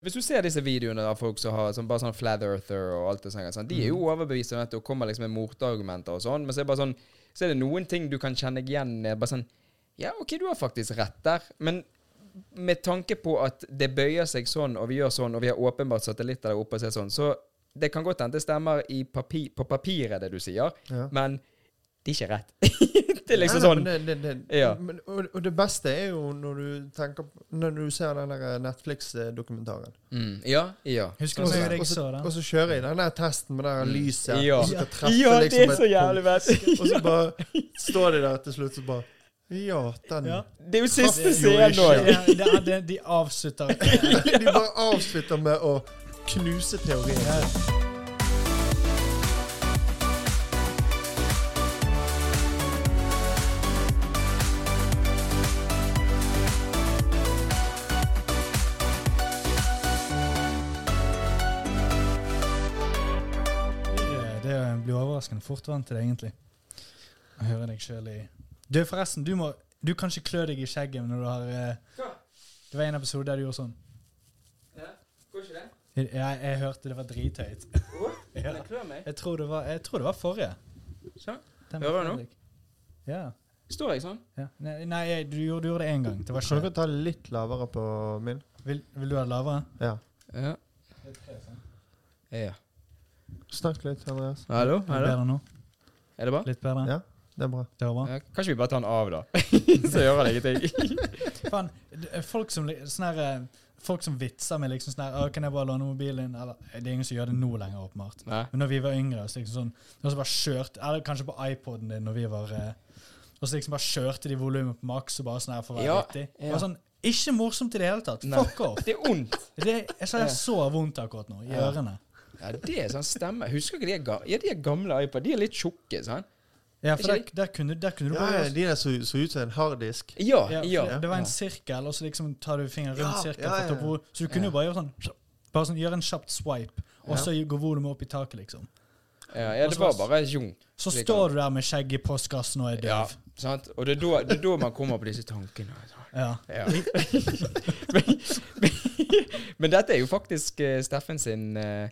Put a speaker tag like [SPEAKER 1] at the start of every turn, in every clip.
[SPEAKER 1] Hvis du ser disse videoene av folk som har sånn, bare sånn Flat Earther og alt det sånt, sånn, de er
[SPEAKER 2] Mhm.
[SPEAKER 1] jo overbevist om dette og kommer liksom med motargumenter og sånn, men så er, det bare sånn, så er det noen ting du kan kjenne deg igjen i. Bare sånn Ja, OK, du har faktisk rett der, men med tanke på at det bøyer seg sånn, og vi gjør sånn, og vi har åpenbart satellitter der oppe og ser sånn, så det kan godt hende det stemmer i papi- på papiret, det du sier,
[SPEAKER 2] Ja.
[SPEAKER 1] men det er ikke rett. det er liksom
[SPEAKER 2] Nei, nei,
[SPEAKER 1] sånn
[SPEAKER 2] men det, det, det,
[SPEAKER 1] Ja.
[SPEAKER 2] men, og, og det beste er jo når du, tenker, på- når du ser den der eh, Netflix-dokumentaren.
[SPEAKER 1] mm, Ja, ja. Sånn.
[SPEAKER 3] Husker
[SPEAKER 2] Og
[SPEAKER 3] du
[SPEAKER 2] så-
[SPEAKER 3] jeg
[SPEAKER 2] og så-
[SPEAKER 3] så den?
[SPEAKER 2] Og så kjører jeg den der testen med det der lyset.
[SPEAKER 1] Mm. Ja.
[SPEAKER 2] og så skal treffe
[SPEAKER 1] ja, det
[SPEAKER 2] liksom
[SPEAKER 1] er
[SPEAKER 2] et
[SPEAKER 1] så jævlig best.
[SPEAKER 2] punkt. Og så bare står de der til slutt så bare Ja, den
[SPEAKER 3] Ja.
[SPEAKER 1] Det er jo siste
[SPEAKER 2] Traff jo
[SPEAKER 1] scenen
[SPEAKER 2] ikke.
[SPEAKER 1] nå.
[SPEAKER 3] Ja, det er det de avslutter.
[SPEAKER 2] De bare avslutter med å knuse teorien.
[SPEAKER 3] Ja. Det- Det blir overraskende fort vant til det, egentlig. Å høre deg sjøl i Du, forresten, du, må, du kan ikke klø deg i skjegget når du har eh, Det var en episode der du gjorde sånn.
[SPEAKER 1] Går ikke det?
[SPEAKER 3] Jeg, jeg, jeg hørte det var drithøyt. Ja.
[SPEAKER 1] Den klør meg.
[SPEAKER 3] Jeg tror det var, jeg tror det var forrige.
[SPEAKER 1] Sånn.
[SPEAKER 3] Den
[SPEAKER 1] Hører du nå?
[SPEAKER 3] Fredrik. Ja.
[SPEAKER 1] Står jeg sånn?
[SPEAKER 3] ja. Nei, nei jeg, du, gjorde, du gjorde det én gang. Det var
[SPEAKER 2] Kan
[SPEAKER 3] ikke.
[SPEAKER 2] dere ta litt lavere på min?
[SPEAKER 3] Vil, vil du ha det lavere?
[SPEAKER 2] Ja.
[SPEAKER 1] Ja.
[SPEAKER 3] sånn.
[SPEAKER 1] ja.
[SPEAKER 2] Snakk litt, Andreas.
[SPEAKER 1] Hallo?
[SPEAKER 3] Litt bedre nå?
[SPEAKER 1] Er det bra?
[SPEAKER 3] Litt bedre?
[SPEAKER 2] Ja. Det er bra.
[SPEAKER 3] Det var bra.
[SPEAKER 1] Ja, kanskje vi bare tar den av, da. Så gjør det ingenting.
[SPEAKER 3] Faen, det er folk som, li- sånn her, eh, folk som vitser med liksom sånn her «Å, 'Kan jeg bare låne mobilen din?' Eller det er ingen som gjør det nå lenger, åpenbart.
[SPEAKER 1] Nei.
[SPEAKER 3] Men når vi var yngre, så liksom sånn Det var så bare kjørt Eller kanskje på iPoden din når vi var eh, Og så liksom bare kjørte de volumet på maks og bare sånn her for å være
[SPEAKER 1] Ja,
[SPEAKER 3] vittig.
[SPEAKER 1] ja.
[SPEAKER 3] Det var Sånn, ikke morsomt i det hele tatt.
[SPEAKER 1] Nei.
[SPEAKER 3] Fuck off.
[SPEAKER 1] Det er ondt.
[SPEAKER 3] Det, jeg sa jeg så vondt akkurat nå, i
[SPEAKER 1] Ja.
[SPEAKER 3] ørene.
[SPEAKER 1] Ja, det er sånn stemme. Husker ikke de er, ga ja, de er gamle iPod? De er litt tjukke, sånn.
[SPEAKER 3] Ja,
[SPEAKER 1] Ikke
[SPEAKER 3] for der, der, kunne, der kunne du
[SPEAKER 2] Ja,
[SPEAKER 3] bare
[SPEAKER 2] ja, de der så, så ut som en harddisk.
[SPEAKER 1] Ja,
[SPEAKER 3] ja,
[SPEAKER 1] ja.
[SPEAKER 3] for det- Det var en sirkel, og så liksom tar du fingeren rundt
[SPEAKER 2] Ja, ja,
[SPEAKER 3] sirkelen. for å ta
[SPEAKER 2] ja.
[SPEAKER 3] hvor- Så du kunne jo
[SPEAKER 1] Ja.
[SPEAKER 3] bare gjøre sånn Bare sånn, gjøre en kjapt swipe, og så går volumet opp i taket, liksom.
[SPEAKER 1] Ja, ja, det var bare tjung.
[SPEAKER 3] Så
[SPEAKER 1] Slik
[SPEAKER 3] står du der med skjegg i postkassen og er
[SPEAKER 1] Ja,
[SPEAKER 3] døv.
[SPEAKER 1] sant? Og det er da- det er da man kommer på disse tankene. altså.
[SPEAKER 3] Ja.
[SPEAKER 1] Ja. men, men dette er jo faktisk eh, Steffen sin eh,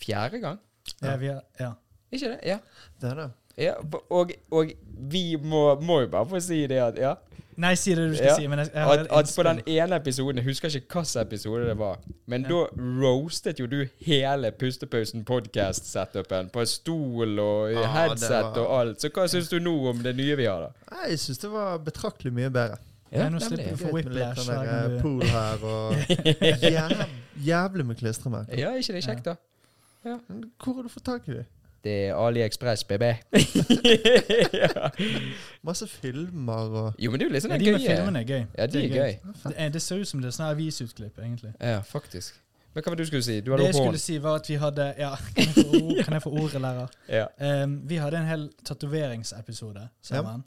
[SPEAKER 1] fjerde gang.
[SPEAKER 3] Ja, vi er, ja.
[SPEAKER 1] Ikke det? Ja.
[SPEAKER 2] Det er det.
[SPEAKER 1] ja og, og vi må, må jo bare få si det at ja,
[SPEAKER 3] Nei, si det du skal
[SPEAKER 1] Ja.
[SPEAKER 3] si, men jeg, jeg har
[SPEAKER 1] at, at
[SPEAKER 3] et
[SPEAKER 1] på
[SPEAKER 3] innspill.
[SPEAKER 1] den ene episoden Jeg husker ikke hvilken episode det var, men da roastet jo du hele Pustepausen podcast-setupen på stol og
[SPEAKER 3] Ah,
[SPEAKER 2] Ja,
[SPEAKER 1] headset
[SPEAKER 2] det var-
[SPEAKER 1] og alt. Så hva syns du nå om det nye vi har, da?
[SPEAKER 2] Nei, Jeg syns det var betraktelig mye bedre.
[SPEAKER 3] Ja, nå slipper
[SPEAKER 2] Greit
[SPEAKER 3] For
[SPEAKER 2] med litt
[SPEAKER 3] whiplash,
[SPEAKER 2] sånn der,
[SPEAKER 3] her kan
[SPEAKER 2] eh,
[SPEAKER 3] du-
[SPEAKER 2] pool her og jæv, Jævlig med klistremerker.
[SPEAKER 1] Ja, ikke det er kjekt, da?
[SPEAKER 2] Men Hvor har du fått tak i dem?
[SPEAKER 1] Det er AliExpress, BB. ja.
[SPEAKER 2] Masse filmer og
[SPEAKER 1] Jo, men det er jo litt sånn
[SPEAKER 3] ja, De
[SPEAKER 1] gøy.
[SPEAKER 3] med filmene er gøy.
[SPEAKER 1] Ja, de er gøy.
[SPEAKER 3] Det, eh, det ser ut som det er sånn her avisutklipp, egentlig.
[SPEAKER 1] Ja, faktisk. Men hva var det du skulle si? Du
[SPEAKER 3] Det
[SPEAKER 1] hadde
[SPEAKER 3] jeg
[SPEAKER 1] opp
[SPEAKER 3] skulle
[SPEAKER 1] hånden.
[SPEAKER 3] si, var at vi hadde Ja, kan jeg få, ord- kan jeg få ordet, lærer?
[SPEAKER 1] Ja.
[SPEAKER 3] Ehm, vi hadde en hel tatoveringsepisode sammen.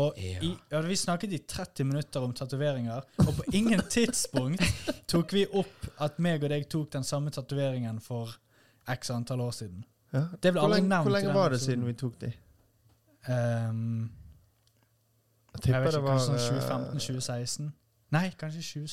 [SPEAKER 3] Og
[SPEAKER 1] Ja.
[SPEAKER 3] i, ja, vi snakket i 30 minutter om tatoveringer, og på ingen tidspunkt tok vi opp at meg og deg tok den samme tatoveringen for x antall år siden.
[SPEAKER 2] ja.
[SPEAKER 3] Det ble
[SPEAKER 2] Hvor
[SPEAKER 3] aldri
[SPEAKER 2] lenge,
[SPEAKER 3] nevnt
[SPEAKER 2] hvor
[SPEAKER 3] i
[SPEAKER 2] lenge
[SPEAKER 3] den
[SPEAKER 2] var det
[SPEAKER 3] episoden.
[SPEAKER 2] siden vi tok de?
[SPEAKER 3] Ehm,
[SPEAKER 2] Jeg
[SPEAKER 3] jeg vet
[SPEAKER 2] tipper
[SPEAKER 3] ikke,
[SPEAKER 2] det var
[SPEAKER 3] kanskje
[SPEAKER 2] eh,
[SPEAKER 3] sånn 2015-2016? Nei, kanskje 2017?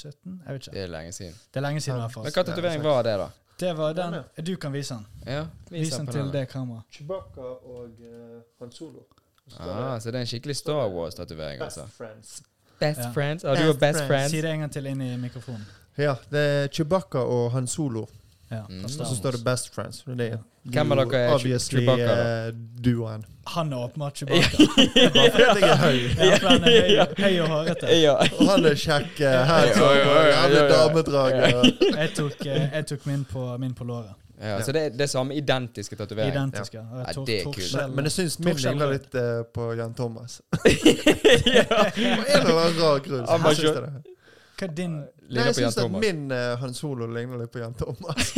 [SPEAKER 3] Jeg vet ikke.
[SPEAKER 1] Det er lenge siden.
[SPEAKER 3] Det er lenge siden i hvert
[SPEAKER 1] Men
[SPEAKER 3] fall.
[SPEAKER 1] hva tatovering var det, da?
[SPEAKER 3] Det var den. Du kan vise den.
[SPEAKER 1] Ja,
[SPEAKER 3] Vis den til det kameraet.
[SPEAKER 2] Chewbacca og eh, Han Solo. Så står det
[SPEAKER 1] Ah, så det er en skikkelig Star Wars-tatovering,
[SPEAKER 2] Best
[SPEAKER 1] altså.
[SPEAKER 2] friends.
[SPEAKER 1] Best
[SPEAKER 3] Ja.
[SPEAKER 1] friends? Ja, du var best friends.
[SPEAKER 3] Si det en gang til inn i mikrofonen.
[SPEAKER 2] Ja, det er Chewbacca og Han Solo.
[SPEAKER 3] Ja,
[SPEAKER 1] Mm.
[SPEAKER 3] forstår.
[SPEAKER 2] Og så står det Best Friends. Det er
[SPEAKER 1] Hvem av
[SPEAKER 2] jo
[SPEAKER 1] dere er Che-
[SPEAKER 2] obviously,
[SPEAKER 1] Chewbacca, da?
[SPEAKER 2] eh, duoen.
[SPEAKER 3] Han er åpenbart Chewbacca.
[SPEAKER 2] Bare fordi jeg er høy.
[SPEAKER 3] Ja, for han er høy, høy og hårete.
[SPEAKER 1] Ja.
[SPEAKER 2] Og han er kjekk. eh, handsome,
[SPEAKER 1] Oi, oi, oi, oi,
[SPEAKER 2] Jævlig
[SPEAKER 1] oi, oi.
[SPEAKER 2] damedrager.
[SPEAKER 3] Jeg tok, eh, jeg tok min, på, min på låret.
[SPEAKER 1] ja, så det er det er samme identiske tatovering.
[SPEAKER 3] Identiske. Og
[SPEAKER 1] Ja,
[SPEAKER 3] jeg tok,
[SPEAKER 1] det er
[SPEAKER 3] tok
[SPEAKER 1] kult.
[SPEAKER 3] selv-
[SPEAKER 2] Men, men jeg syns min
[SPEAKER 3] Torskjell
[SPEAKER 2] ligner
[SPEAKER 3] rød.
[SPEAKER 2] litt eh, på Jan Thomas. På en eller annen rar grunn. så
[SPEAKER 1] Han var
[SPEAKER 2] syns jeg det.
[SPEAKER 3] Hva er din
[SPEAKER 2] Nei,
[SPEAKER 1] Ligner
[SPEAKER 2] jeg
[SPEAKER 1] på Jan
[SPEAKER 2] syns at
[SPEAKER 1] Thomas.
[SPEAKER 2] min eh, Han Solo ligner litt på Jan Thomas.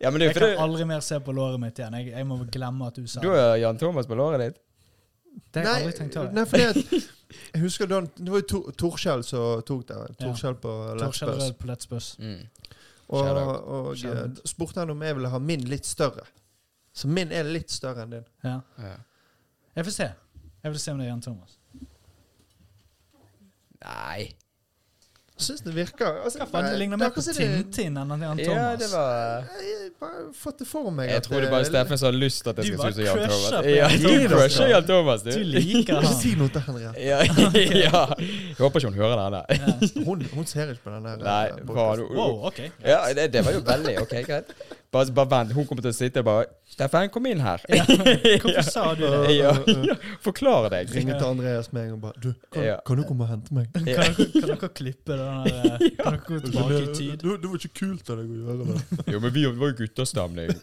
[SPEAKER 1] Ja, men det er
[SPEAKER 3] Jeg
[SPEAKER 1] jo fordi
[SPEAKER 3] kan aldri mer se på låret mitt igjen. Jeg, jeg må glemme at du sa
[SPEAKER 1] du
[SPEAKER 3] det.
[SPEAKER 1] har Jan Thomas på låret ditt.
[SPEAKER 3] Det har jeg aldri tenkt over.
[SPEAKER 2] nei, fordi at jeg husker da, Det var jo Tor- Torskjell som tok det.
[SPEAKER 3] Ja.
[SPEAKER 2] Torskjell på Let's
[SPEAKER 3] Torskjell
[SPEAKER 2] Buzz.
[SPEAKER 3] Rød på Let's Buzz.
[SPEAKER 1] Mm.
[SPEAKER 2] Og,
[SPEAKER 1] Shout
[SPEAKER 2] og
[SPEAKER 3] Shout out.
[SPEAKER 2] eh, spurte han om jeg ville ha min litt større. Så min er litt større enn din.
[SPEAKER 3] Ja.
[SPEAKER 1] Ja.
[SPEAKER 3] Jeg får se. Jeg vil se om det er Jan Thomas.
[SPEAKER 1] Nei
[SPEAKER 2] Syns det virker altså,
[SPEAKER 3] Hva faen, det ligner
[SPEAKER 2] nei,
[SPEAKER 3] mer på
[SPEAKER 2] akkurat er det-
[SPEAKER 3] Tintin enn at han Thomas.
[SPEAKER 1] Ja, det var
[SPEAKER 2] Jeg har bare fått det for meg.
[SPEAKER 1] Jeg
[SPEAKER 2] at eh,
[SPEAKER 1] tror det er bare Steffen som har lyst til at eh, jeg
[SPEAKER 3] Du
[SPEAKER 1] skal
[SPEAKER 3] bare
[SPEAKER 1] synes Jan Thomas.
[SPEAKER 3] crusher på
[SPEAKER 1] Ja,
[SPEAKER 3] Jan
[SPEAKER 1] du
[SPEAKER 3] Thomas,
[SPEAKER 1] crusher
[SPEAKER 3] ja.
[SPEAKER 1] Jan Thomas, du.
[SPEAKER 3] Du liker
[SPEAKER 2] Ikke si
[SPEAKER 3] han.
[SPEAKER 2] noe til Henriette.
[SPEAKER 1] Ja, ja. Jeg håper ikke hun hører denne.
[SPEAKER 3] Ja.
[SPEAKER 2] Hun, hun ser ikke på den der.
[SPEAKER 1] Nei,
[SPEAKER 2] eh,
[SPEAKER 1] hva har du
[SPEAKER 2] podcasten.
[SPEAKER 3] Wow, ok.
[SPEAKER 1] Ja, det, det var jo veldig ok, greit. Bare, bare vent, hun kommer til å sitte og bare Steffen, kom inn her.
[SPEAKER 3] Ja. Hvorfor sa du det?
[SPEAKER 1] Ja, ja. Forklare deg.
[SPEAKER 2] Ringer til Andreas med en gang og bare Du, kan,
[SPEAKER 1] Ja.
[SPEAKER 2] kan du komme og hente meg?
[SPEAKER 3] Kan dere, kan dere klippe den der eh, Kan dere gå tilbake i tid?
[SPEAKER 2] Det var ikke kult av deg å gjøre det.
[SPEAKER 1] Jo, men vi var jo gutterstemning.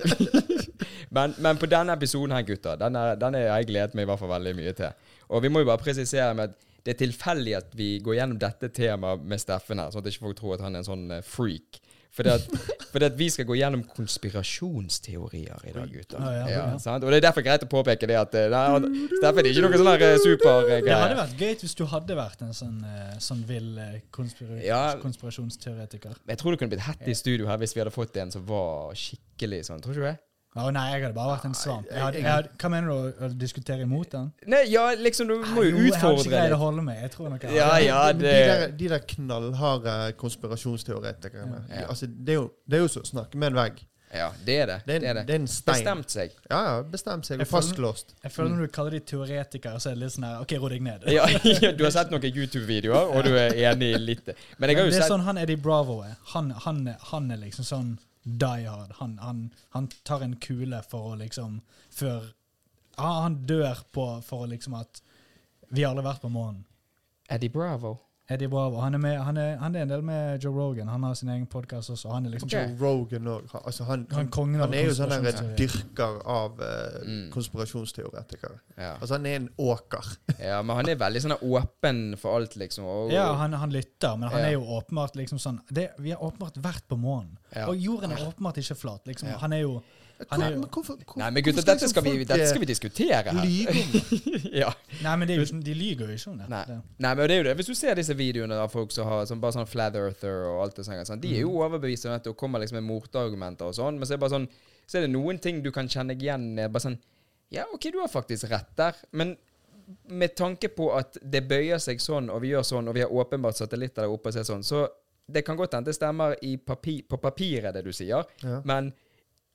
[SPEAKER 1] men, men på denne episoden her, gutter, den er- den har jeg gledet meg i hvert fall veldig mye til. Og vi må jo bare presisere med at det er tilfeldig at vi går gjennom dette temaet med Steffen her, sånn at ikke folk tror at han er en sånn eh, freak. Fordi at, fordi at vi skal gå gjennom konspirasjonsteorier i dag, gutter.
[SPEAKER 3] Ja, ja, ja.
[SPEAKER 1] sant? Og det er derfor greit å påpeke det at eh, nei, han- Steffen er ikke noen sånn her eh, super eh,
[SPEAKER 3] Det hadde
[SPEAKER 1] greie.
[SPEAKER 3] vært gøy hvis du hadde vært en sånn, eh, sånn vill eh, konspira-
[SPEAKER 1] Ja.
[SPEAKER 3] konspirasjonsteoretiker.
[SPEAKER 1] Jeg tror det kunne blitt hett i studio her hvis vi hadde fått en som var skikkelig sånn. Tror ikke du det?
[SPEAKER 3] Å nei, jeg hadde bare vært en svamp. Jeg hadde, jeg hadde, hva mener du å- å diskutere imot den?
[SPEAKER 1] Nei, ja, liksom, du må jo
[SPEAKER 3] jeg hadde ikke
[SPEAKER 1] utfordre
[SPEAKER 3] greid
[SPEAKER 1] litt.
[SPEAKER 3] å holde meg. Jeg tror nok jeg
[SPEAKER 1] Ja,
[SPEAKER 3] hadde-
[SPEAKER 1] ja,
[SPEAKER 2] Men
[SPEAKER 1] det
[SPEAKER 2] De der, de der knallharde konspirasjonsteoretikerne. de-
[SPEAKER 1] Ja.
[SPEAKER 2] Altså, det, er jo, det er jo som å snakke med en vegg.
[SPEAKER 1] Ja, det er det.
[SPEAKER 2] Det er,
[SPEAKER 1] det, er
[SPEAKER 2] en-
[SPEAKER 1] det.
[SPEAKER 2] det er en stein.
[SPEAKER 1] Bestemt seg.
[SPEAKER 2] Ja, ja, bestemt seg. Og
[SPEAKER 3] Jeg føler-
[SPEAKER 2] fastlåst.
[SPEAKER 3] Jeg føler når du kaller de teoretikere, så er det litt sånn her OK, ro deg ned.
[SPEAKER 1] Ja, du har sett noen YouTube-videoer, og du er enig i litt. Men jeg har
[SPEAKER 3] Men
[SPEAKER 1] jo
[SPEAKER 3] det er
[SPEAKER 1] sett
[SPEAKER 3] sånn han Eddie Bravo er. Han, han, han er liksom sånn die hard. Han, han, han tar en kule for å liksom Før ah, Han dør på for å liksom at Vi har aldri vært på månen.
[SPEAKER 1] Eddie Bravo.
[SPEAKER 3] Eddie Bravo. Han er, med, han, er, han er en del med Joe Rogan. Han har sin egen podkast også. Han er liksom
[SPEAKER 1] Ok.
[SPEAKER 2] Joe Rogan og altså, han,
[SPEAKER 3] Han er kongen av
[SPEAKER 2] han er jo sånn der
[SPEAKER 1] eh,
[SPEAKER 2] en
[SPEAKER 3] konspirasjonsteorier.
[SPEAKER 2] dyrker av eh,
[SPEAKER 1] Mm.
[SPEAKER 2] konspirasjonsteoretikere.
[SPEAKER 1] Ja.
[SPEAKER 2] Altså, han er en åker.
[SPEAKER 1] ja, men han er veldig sånn åpen for alt, liksom. Og,
[SPEAKER 3] Ja, han, han lytter, men han
[SPEAKER 1] Ja.
[SPEAKER 3] er jo åpenbart liksom sånn det, Vi har åpenbart vært på månen.
[SPEAKER 1] Ja.
[SPEAKER 3] Og jorden er åpenbart ikke flat. liksom.
[SPEAKER 1] Ja.
[SPEAKER 3] Han er jo Han er jo-
[SPEAKER 2] Men hvorfor, eh, hvor,
[SPEAKER 1] Nei, men gutter, dette skal, vi, dette skal vi diskutere her.
[SPEAKER 2] lyve om det?
[SPEAKER 1] Ja.
[SPEAKER 3] Nei, men det er jo, ikke- de lyver jo ikke om det.
[SPEAKER 1] Nei.
[SPEAKER 3] Det-
[SPEAKER 1] Nei, men det er jo det. Hvis du ser disse videoene av folk som har sånn, bare sånn flat earther og alt det sånne, sånn, de er jo
[SPEAKER 2] Mm.
[SPEAKER 1] overbevist om dette og kommer liksom med motargumenter og sånn, men så er, det bare sånn, så er det noen ting du kan kjenne deg igjen i. Bare sånn Ja, OK, du har faktisk rett der, men med tanke på at det bøyer seg sånn, og vi gjør sånn, og vi har åpenbart satellitter der oppe og ser sånn, så det kan godt hende det stemmer i papi- på papiret, det du sier,
[SPEAKER 2] Ja.
[SPEAKER 1] men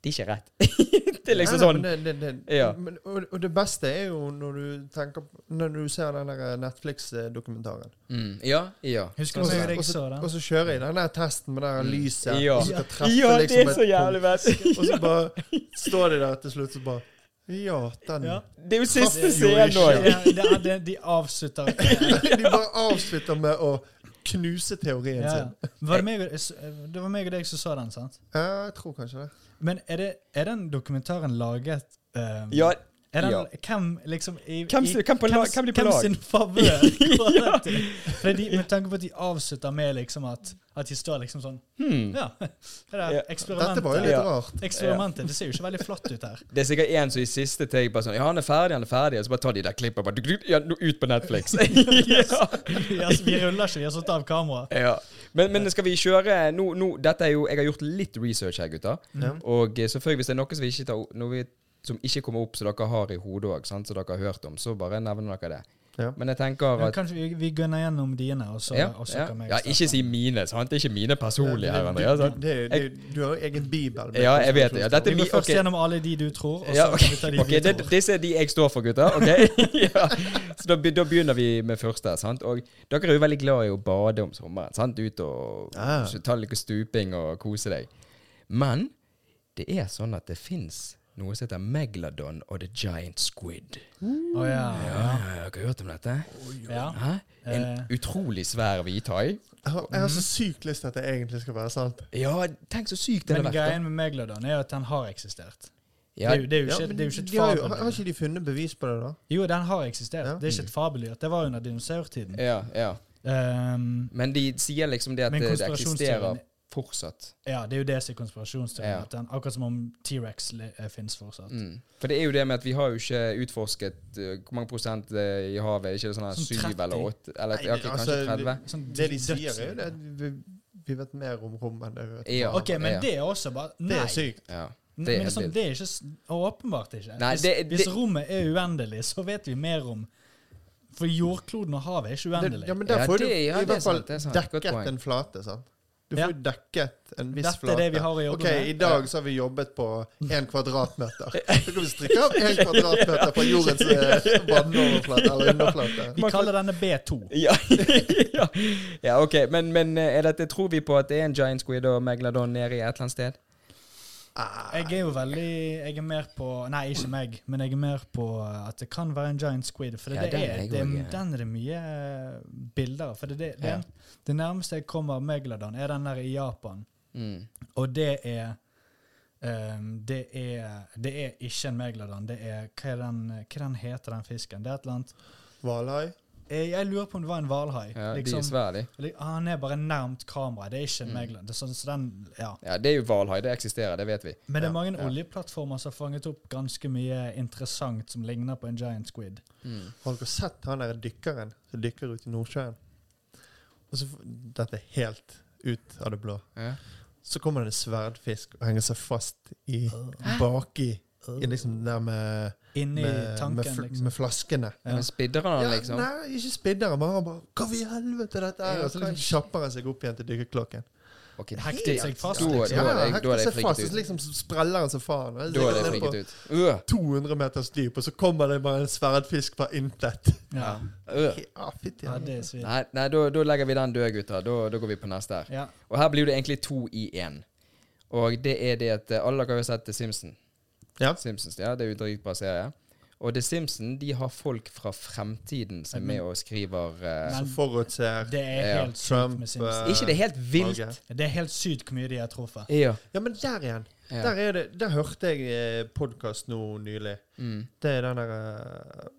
[SPEAKER 1] det er ikke rett. det er liksom
[SPEAKER 2] Nei, nei,
[SPEAKER 1] sånn
[SPEAKER 2] men det, det, det,
[SPEAKER 1] Ja.
[SPEAKER 2] men, og, og det beste er jo når du, tenker, på- når du ser den der eh, Netflix-dokumentaren.
[SPEAKER 1] mm, Ja, ja. Sånn
[SPEAKER 3] Husker
[SPEAKER 2] Og
[SPEAKER 3] du
[SPEAKER 2] så-
[SPEAKER 3] når jeg
[SPEAKER 2] og så-
[SPEAKER 3] så den?
[SPEAKER 2] Og så kjører jeg den der testen med det der lyset.
[SPEAKER 1] Mm. Ja.
[SPEAKER 2] Og så skal treffe
[SPEAKER 1] Ja, det
[SPEAKER 2] liksom
[SPEAKER 1] er
[SPEAKER 2] et
[SPEAKER 1] så jævlig best.
[SPEAKER 2] punkt. Og så bare står de der til slutt og bare Ja,
[SPEAKER 1] Sånn-
[SPEAKER 2] den
[SPEAKER 3] Ja.
[SPEAKER 1] Det er jo siste
[SPEAKER 2] Traff jo
[SPEAKER 1] scenen nå.
[SPEAKER 2] ikke.
[SPEAKER 1] ja.
[SPEAKER 3] Ja, det er, det, de avslutter
[SPEAKER 2] De bare avslutter med å knuse teorien
[SPEAKER 3] ja.
[SPEAKER 2] sin.
[SPEAKER 3] var det, meg, og- s- det var meg og deg som sa den, sant?
[SPEAKER 2] Ja, jeg tror kanskje det.
[SPEAKER 3] Men er, det, er den dokumentaren laget eh,
[SPEAKER 1] Ja,
[SPEAKER 3] er den,
[SPEAKER 1] ja.
[SPEAKER 3] Hvem liksom i,
[SPEAKER 1] Hvem
[SPEAKER 3] i,
[SPEAKER 1] sin- hvem på lag-
[SPEAKER 3] s-
[SPEAKER 1] hvem de på lag?
[SPEAKER 3] sin favør? var dette? Fordi de, med tanke på at de avslutter med liksom at, at de står liksom sånn
[SPEAKER 1] Hmm.
[SPEAKER 3] Ja, det der
[SPEAKER 1] Ja.
[SPEAKER 2] Dette var jo
[SPEAKER 3] eksperimentet.
[SPEAKER 2] litt
[SPEAKER 1] Ja.
[SPEAKER 2] rart.
[SPEAKER 3] Eksperimentet, Det ser jo ikke veldig flatt ut her.
[SPEAKER 1] Det er sikkert en som i siste take bare sånn Ja, han er ferdig, han er ferdig. Og så bare tar de der klippet og bare duk, duk, ja, nå ut på Netflix. ja.
[SPEAKER 3] Vi, altså, vi ruller ikke, vi har satt av kameraet.
[SPEAKER 1] ja. Men, men skal vi kjøre nå, nå Dette er jo Jeg har gjort litt research her, gutter.
[SPEAKER 2] Ja.
[SPEAKER 1] Og eh, selvfølgelig, hvis det er noe som vi ikke tar o- noe vi, som ikke kommer opp, som dere har i hodet òg, som dere har hørt om, så bare nevner dere det.
[SPEAKER 2] Ja.
[SPEAKER 1] Men jeg tenker
[SPEAKER 3] Ja,
[SPEAKER 1] at
[SPEAKER 3] kanskje vi, vi gønner gjennom dine, og så,
[SPEAKER 1] ja,
[SPEAKER 3] og så
[SPEAKER 1] ja.
[SPEAKER 3] kan vi
[SPEAKER 1] ja, ikke si mine, sant? Det er ikke mine personlige her, Andreas. sant?
[SPEAKER 2] Det, det, det, du har jo egen bibel. med
[SPEAKER 1] Ja, jeg vet det. Ja, dette
[SPEAKER 3] Vi
[SPEAKER 1] er
[SPEAKER 3] går
[SPEAKER 1] mi-
[SPEAKER 3] først
[SPEAKER 1] ok.
[SPEAKER 3] gjennom alle de du tror, og så
[SPEAKER 1] Ja, ok,
[SPEAKER 3] kan vi ta de
[SPEAKER 1] ok,
[SPEAKER 3] vi
[SPEAKER 1] det,
[SPEAKER 3] tror.
[SPEAKER 1] disse er de jeg står for, gutter. ok? ja. Så da, be- da begynner vi med første. sant? Og dere er jo veldig glad i å bade om sommeren. sant? Ut og
[SPEAKER 2] Ja.
[SPEAKER 3] Ah.
[SPEAKER 1] så ta litt stuping og kose deg. Men det er sånn at det fins noe som heter Megladon og The Giant Squid.
[SPEAKER 3] Å, Ah, ja.
[SPEAKER 1] Ja, Har dere hørt om dette?
[SPEAKER 3] Ja.
[SPEAKER 1] Hæ? En
[SPEAKER 3] Eh.
[SPEAKER 1] utrolig svær hvithai.
[SPEAKER 2] Jeg har, jeg har så sykt lyst til at det egentlig skal være sant.
[SPEAKER 1] Ja, tenk så sykt det
[SPEAKER 3] Men
[SPEAKER 1] hadde vært. da.
[SPEAKER 3] greien med Megalodon er jo at den har eksistert.
[SPEAKER 1] Ja,
[SPEAKER 3] det, er jo, det, er jo
[SPEAKER 2] Ja,
[SPEAKER 3] ikke,
[SPEAKER 2] men
[SPEAKER 3] det er jo ikke et
[SPEAKER 2] de har, jo, har
[SPEAKER 3] fabeldyr.
[SPEAKER 2] ikke de funnet bevis på det, da?
[SPEAKER 3] Jo, den har eksistert.
[SPEAKER 2] Ja.
[SPEAKER 3] Det er ikke et fabeldyr. Det var under dinosaurtiden.
[SPEAKER 1] ja, ja.
[SPEAKER 3] Ehm,
[SPEAKER 1] Men de sier liksom det at
[SPEAKER 3] Men
[SPEAKER 1] det, det
[SPEAKER 3] konspirasjonsteorien-
[SPEAKER 1] eksisterer fortsatt.
[SPEAKER 3] ja, det er jo det som er konspirasjonsteorien.
[SPEAKER 1] Ja.
[SPEAKER 3] at den- Akkurat som om T-rex le- eh, finnes fortsatt.
[SPEAKER 1] Mm. For det er jo det med at vi har jo ikke utforsket eh, hvor mange prosent eh, i havet. Er ikke det sånn her
[SPEAKER 3] Sånn
[SPEAKER 1] 7 eller
[SPEAKER 3] 30?
[SPEAKER 1] 8? Eller
[SPEAKER 2] Nei,
[SPEAKER 1] ja, ok, kanskje
[SPEAKER 2] altså,
[SPEAKER 1] 30?
[SPEAKER 3] Sånn
[SPEAKER 2] Det de
[SPEAKER 3] døds-
[SPEAKER 2] sier, er jo det at vi, vi vet mer om rom enn det vi vet. om
[SPEAKER 1] Ja.
[SPEAKER 2] havet.
[SPEAKER 3] Ok, men
[SPEAKER 1] Ja.
[SPEAKER 3] det er også bare Nei.
[SPEAKER 2] Det er sykt.
[SPEAKER 1] Ja.
[SPEAKER 3] Men
[SPEAKER 1] Det er
[SPEAKER 3] det er,
[SPEAKER 1] helt
[SPEAKER 3] sånn,
[SPEAKER 1] vilt.
[SPEAKER 3] det er ikke s- åpenbart ikke.
[SPEAKER 1] Nei,
[SPEAKER 3] hvis,
[SPEAKER 1] det-
[SPEAKER 3] hvis
[SPEAKER 1] det-
[SPEAKER 3] rommet er uendelig, så vet vi mer om For jordkloden og havet er ikke
[SPEAKER 2] Det,
[SPEAKER 3] uendelig.
[SPEAKER 2] ja, men
[SPEAKER 1] Ja,
[SPEAKER 2] der får
[SPEAKER 1] det-
[SPEAKER 2] du
[SPEAKER 1] ja,
[SPEAKER 2] i
[SPEAKER 1] det er
[SPEAKER 2] hvert fall
[SPEAKER 1] sant, det er sant. Godt
[SPEAKER 2] dekket
[SPEAKER 1] poeng.
[SPEAKER 2] en flate, sant? Du
[SPEAKER 3] Ja.
[SPEAKER 2] får jo dekket en viss
[SPEAKER 3] Dette er
[SPEAKER 2] flate.
[SPEAKER 3] det vi har å jobbe
[SPEAKER 2] ok,
[SPEAKER 3] med.
[SPEAKER 2] I dag så har vi jobbet på én kvadratmeter. Så kan vi strikke av én kvadratmeter fra jordens eh, vannoverflate eller underflate.
[SPEAKER 3] Vi kaller denne B2.
[SPEAKER 1] Ja, ja. ja ok. Men, men eh, er dette, tror vi på at det er en giant squid og megalodon nede i et eller annet sted?
[SPEAKER 2] Ah,
[SPEAKER 3] Jeg er jo veldig Jeg er mer på Nei, ikke meg, men jeg er mer på at det kan være en giant squid. For det,
[SPEAKER 1] Ja,
[SPEAKER 3] det
[SPEAKER 1] den er
[SPEAKER 3] er,
[SPEAKER 1] jeg
[SPEAKER 3] det, er-
[SPEAKER 1] også, ja.
[SPEAKER 3] den er det mye eh, bilder av. For det, det, det,
[SPEAKER 1] Ja.
[SPEAKER 3] det nærmeste jeg kommer Megalodon, er den der i Japan.
[SPEAKER 1] Mm.
[SPEAKER 3] Og det er ehm, det, er, det er ikke en megalodon. Det er Hva er den, hva den heter den fisken? Det er et eller annet
[SPEAKER 2] Hvalhai.
[SPEAKER 3] Jeg, jeg lurer på om det var en hvalhai.
[SPEAKER 1] Ja, De er
[SPEAKER 3] liksom.
[SPEAKER 1] svære, de.
[SPEAKER 3] Li- ah, han er bare nærmt kameraet. Det er ikke en
[SPEAKER 1] Mm.
[SPEAKER 3] megalodon. Det er sånn- så den, ja.
[SPEAKER 1] Ja, det er jo hvalhai. Det eksisterer, det vet vi.
[SPEAKER 3] Men det
[SPEAKER 2] Ja,
[SPEAKER 3] er mange
[SPEAKER 1] ja.
[SPEAKER 3] oljeplattformer som har fanget opp ganske mye interessant som ligner på en giant squid.
[SPEAKER 1] Mm.
[SPEAKER 2] Har dere sett han der dykkeren som dykker ut i Nordsjøen? Og så, f- dette er helt ut av det blå.
[SPEAKER 1] Ja.
[SPEAKER 2] Så kommer det en sverdfisk og henger seg fast i baki, i liksom der med,
[SPEAKER 3] Inni
[SPEAKER 2] med,
[SPEAKER 3] tanken,
[SPEAKER 2] med, fl
[SPEAKER 3] liksom.
[SPEAKER 2] med flaskene.
[SPEAKER 3] Ja.
[SPEAKER 1] Men spidder han
[SPEAKER 2] Ja,
[SPEAKER 1] liksom?
[SPEAKER 2] Nei, ikke spidder. Bare, bare Hva i helvete dette er?
[SPEAKER 1] Ja,
[SPEAKER 2] Og så liksom
[SPEAKER 1] kanskje.
[SPEAKER 2] kjapper han seg opp igjen til dykkerklokken.
[SPEAKER 1] Ok,
[SPEAKER 3] Hektet
[SPEAKER 1] helt-
[SPEAKER 3] seg fast,
[SPEAKER 1] Da da
[SPEAKER 3] liksom.
[SPEAKER 1] er jeg- da er jeg
[SPEAKER 2] seg fast,
[SPEAKER 1] frikket
[SPEAKER 2] og så
[SPEAKER 1] ut.
[SPEAKER 2] liksom spreller han som faen. Og
[SPEAKER 1] Da er
[SPEAKER 2] ligger
[SPEAKER 1] jeg
[SPEAKER 2] nede på
[SPEAKER 1] frikket ut. Øh,
[SPEAKER 2] 200 meters dyp, og så kommer det bare en sverdfisk fra intet.
[SPEAKER 3] Ja.
[SPEAKER 1] øh.
[SPEAKER 2] Ja, fytti
[SPEAKER 3] ja, det er svidd.
[SPEAKER 1] Nei, nei da, da legger vi den død, gutter. Da, da går vi på neste her.
[SPEAKER 3] Ja.
[SPEAKER 1] Og her blir det egentlig to i én. Og det er det at eh, alle dere har jo sett The Simpsons.
[SPEAKER 2] Ja.
[SPEAKER 1] Simpsons, ja, det er jo en dritbra serie. Og The Simpsons de har folk fra fremtiden som er med og skriver eh,
[SPEAKER 2] Som forutser
[SPEAKER 3] Det er
[SPEAKER 1] Ja,
[SPEAKER 3] helt sykt
[SPEAKER 2] Trump,
[SPEAKER 3] med Simpsons.
[SPEAKER 2] eh,
[SPEAKER 1] Ikke det er helt vilt?
[SPEAKER 2] valget.
[SPEAKER 3] Det er helt sykt hvor mye de har truffet.
[SPEAKER 1] Ja.
[SPEAKER 2] Ja, men der igjen.
[SPEAKER 1] Ja.
[SPEAKER 2] Der, er det, der hørte jeg podkast nå nylig.
[SPEAKER 1] Mm.
[SPEAKER 2] Det er den derre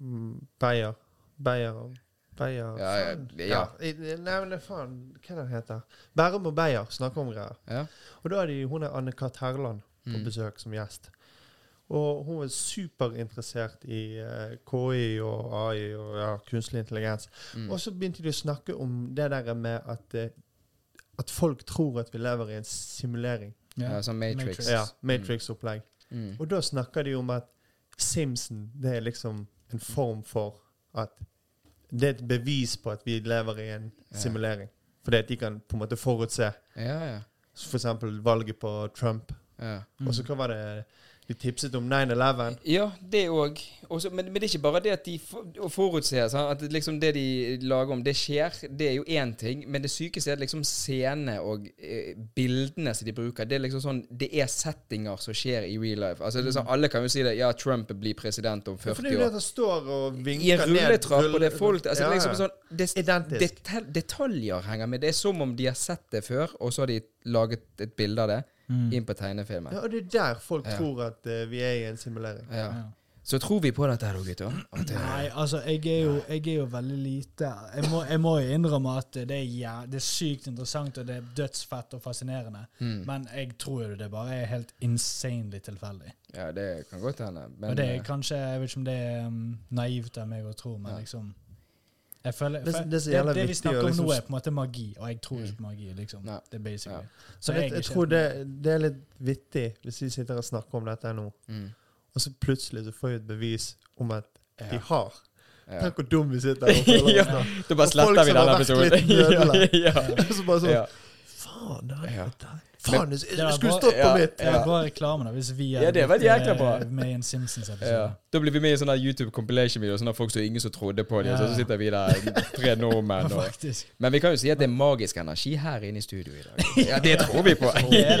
[SPEAKER 2] mm, Beyer. Beyer Beyer
[SPEAKER 1] Ja, ja,
[SPEAKER 2] faen.
[SPEAKER 1] ja.
[SPEAKER 2] i- Nei, men det er faen Hva er det den heter Bærum og Beyer snakker om greier.
[SPEAKER 1] ja.
[SPEAKER 2] Og da er de, hun er Anne-Kat. Herland på
[SPEAKER 1] Mm.
[SPEAKER 2] besøk som gjest. Og hun er superinteressert i eh, KI og AI og ja, kunstig intelligens.
[SPEAKER 1] Mm.
[SPEAKER 2] Og så begynte de å snakke om det der med at, eh, at folk tror at vi lever i en simulering.
[SPEAKER 1] ja sånn Matrix.
[SPEAKER 3] Matrix.
[SPEAKER 2] Ja, Matrix-opplegg.
[SPEAKER 1] Mm.
[SPEAKER 2] Og da snakker de om at Simpson det er liksom en form for at Det er et bevis på at vi lever i en
[SPEAKER 1] Ja.
[SPEAKER 2] simulering. Fordi at de kan på en måte forutse
[SPEAKER 1] Ja, ja.
[SPEAKER 2] f.eks. valget på Trump.
[SPEAKER 1] ja.
[SPEAKER 2] Og så hva var det de tipset om 9-11?
[SPEAKER 1] Ja, det òg. Men, men det er ikke bare det at de for, å forutser sant? at liksom det de lager om, det skjer. Det er jo én ting, men det sykeste er at liksom scene og eh, bildene som de bruker. Det er liksom sånn, det er settinger som skjer i real life. Altså, det er sånn, alle kan jo si det. Ja, Trump blir president om
[SPEAKER 2] Mm. Ja,
[SPEAKER 1] 40
[SPEAKER 2] For det er jo det
[SPEAKER 1] år.
[SPEAKER 2] at han står og vinker
[SPEAKER 1] I en rulletrapp,
[SPEAKER 2] rull-
[SPEAKER 1] og det er folk altså,
[SPEAKER 2] Ja,
[SPEAKER 1] det er
[SPEAKER 2] ja.
[SPEAKER 1] liksom sånn, det,
[SPEAKER 2] Identisk.
[SPEAKER 1] detal- Detaljer henger med. Det er som om de har sett det før, og så har de laget et bilde av det inn på tegnefilmen.
[SPEAKER 2] Mm. Ja, og det er der folk tror at eh, vi er i en simulering.
[SPEAKER 1] Ja. Så tror vi på dette her, da, gutter. At det,
[SPEAKER 3] Nei, altså, jeg er jo, jeg er jo veldig lite jeg må, jeg må jo innrømme at det er, jæ- det er sykt interessant, og det er dødsfett og fascinerende.
[SPEAKER 1] Mm.
[SPEAKER 3] Men jeg tror jo det bare er helt insanely tilfeldig.
[SPEAKER 1] ja, det kan godt hende. Men
[SPEAKER 3] og det er
[SPEAKER 1] eh,
[SPEAKER 3] kanskje Jeg vet ikke om det er um, naivt av meg å tro, men liksom jeg føler,
[SPEAKER 2] Det-
[SPEAKER 3] for
[SPEAKER 2] det er så
[SPEAKER 3] det,
[SPEAKER 2] jævla
[SPEAKER 3] det vi
[SPEAKER 2] viktig å
[SPEAKER 3] snakker om
[SPEAKER 2] liksom
[SPEAKER 3] nå, er på en måte magi, og jeg tror ikke på magi. liksom.
[SPEAKER 1] Mm. Nei.
[SPEAKER 3] Det er basically.
[SPEAKER 1] Ja.
[SPEAKER 3] Så
[SPEAKER 2] jeg,
[SPEAKER 3] jeg,
[SPEAKER 2] jeg tror det, det er litt vittig hvis vi sitter og snakker om dette nå,
[SPEAKER 1] mm.
[SPEAKER 2] og så plutselig så får vi et bevis om at
[SPEAKER 1] Ja.
[SPEAKER 2] de har.
[SPEAKER 1] Ja.
[SPEAKER 2] Tenk hvor dum vi sitter og føler oss nå.
[SPEAKER 1] Da bare
[SPEAKER 2] Og folk
[SPEAKER 1] sletter vi
[SPEAKER 2] som
[SPEAKER 1] denne
[SPEAKER 2] har vært litt
[SPEAKER 1] episoden.
[SPEAKER 2] nødvendig.
[SPEAKER 1] ja,
[SPEAKER 2] Og så bare
[SPEAKER 1] ja, ja.
[SPEAKER 2] sånn Faen, det er
[SPEAKER 1] Ja.
[SPEAKER 2] dette her. Faen, jeg
[SPEAKER 3] var
[SPEAKER 2] jeg skulle
[SPEAKER 3] bra-
[SPEAKER 2] stått på
[SPEAKER 1] ja.
[SPEAKER 2] mitt!
[SPEAKER 3] Det er bra reklame, da, hvis vi
[SPEAKER 1] Ja, det var
[SPEAKER 3] blitt,
[SPEAKER 1] jækla
[SPEAKER 3] eh,
[SPEAKER 1] bra.
[SPEAKER 3] med i en Simpsons-episode.
[SPEAKER 1] Ja. Da blir vi med i sånne YouTube compilation-videoer, sånne folk som ingen som trodde på dem. og Så
[SPEAKER 3] Ja.
[SPEAKER 1] sitter vi der, tre
[SPEAKER 3] Ja,
[SPEAKER 1] nordmenn. Og.
[SPEAKER 3] faktisk.
[SPEAKER 1] Men vi kan jo si at det er magisk energi her inne i studio i dag. Ja, det tror vi på.
[SPEAKER 3] det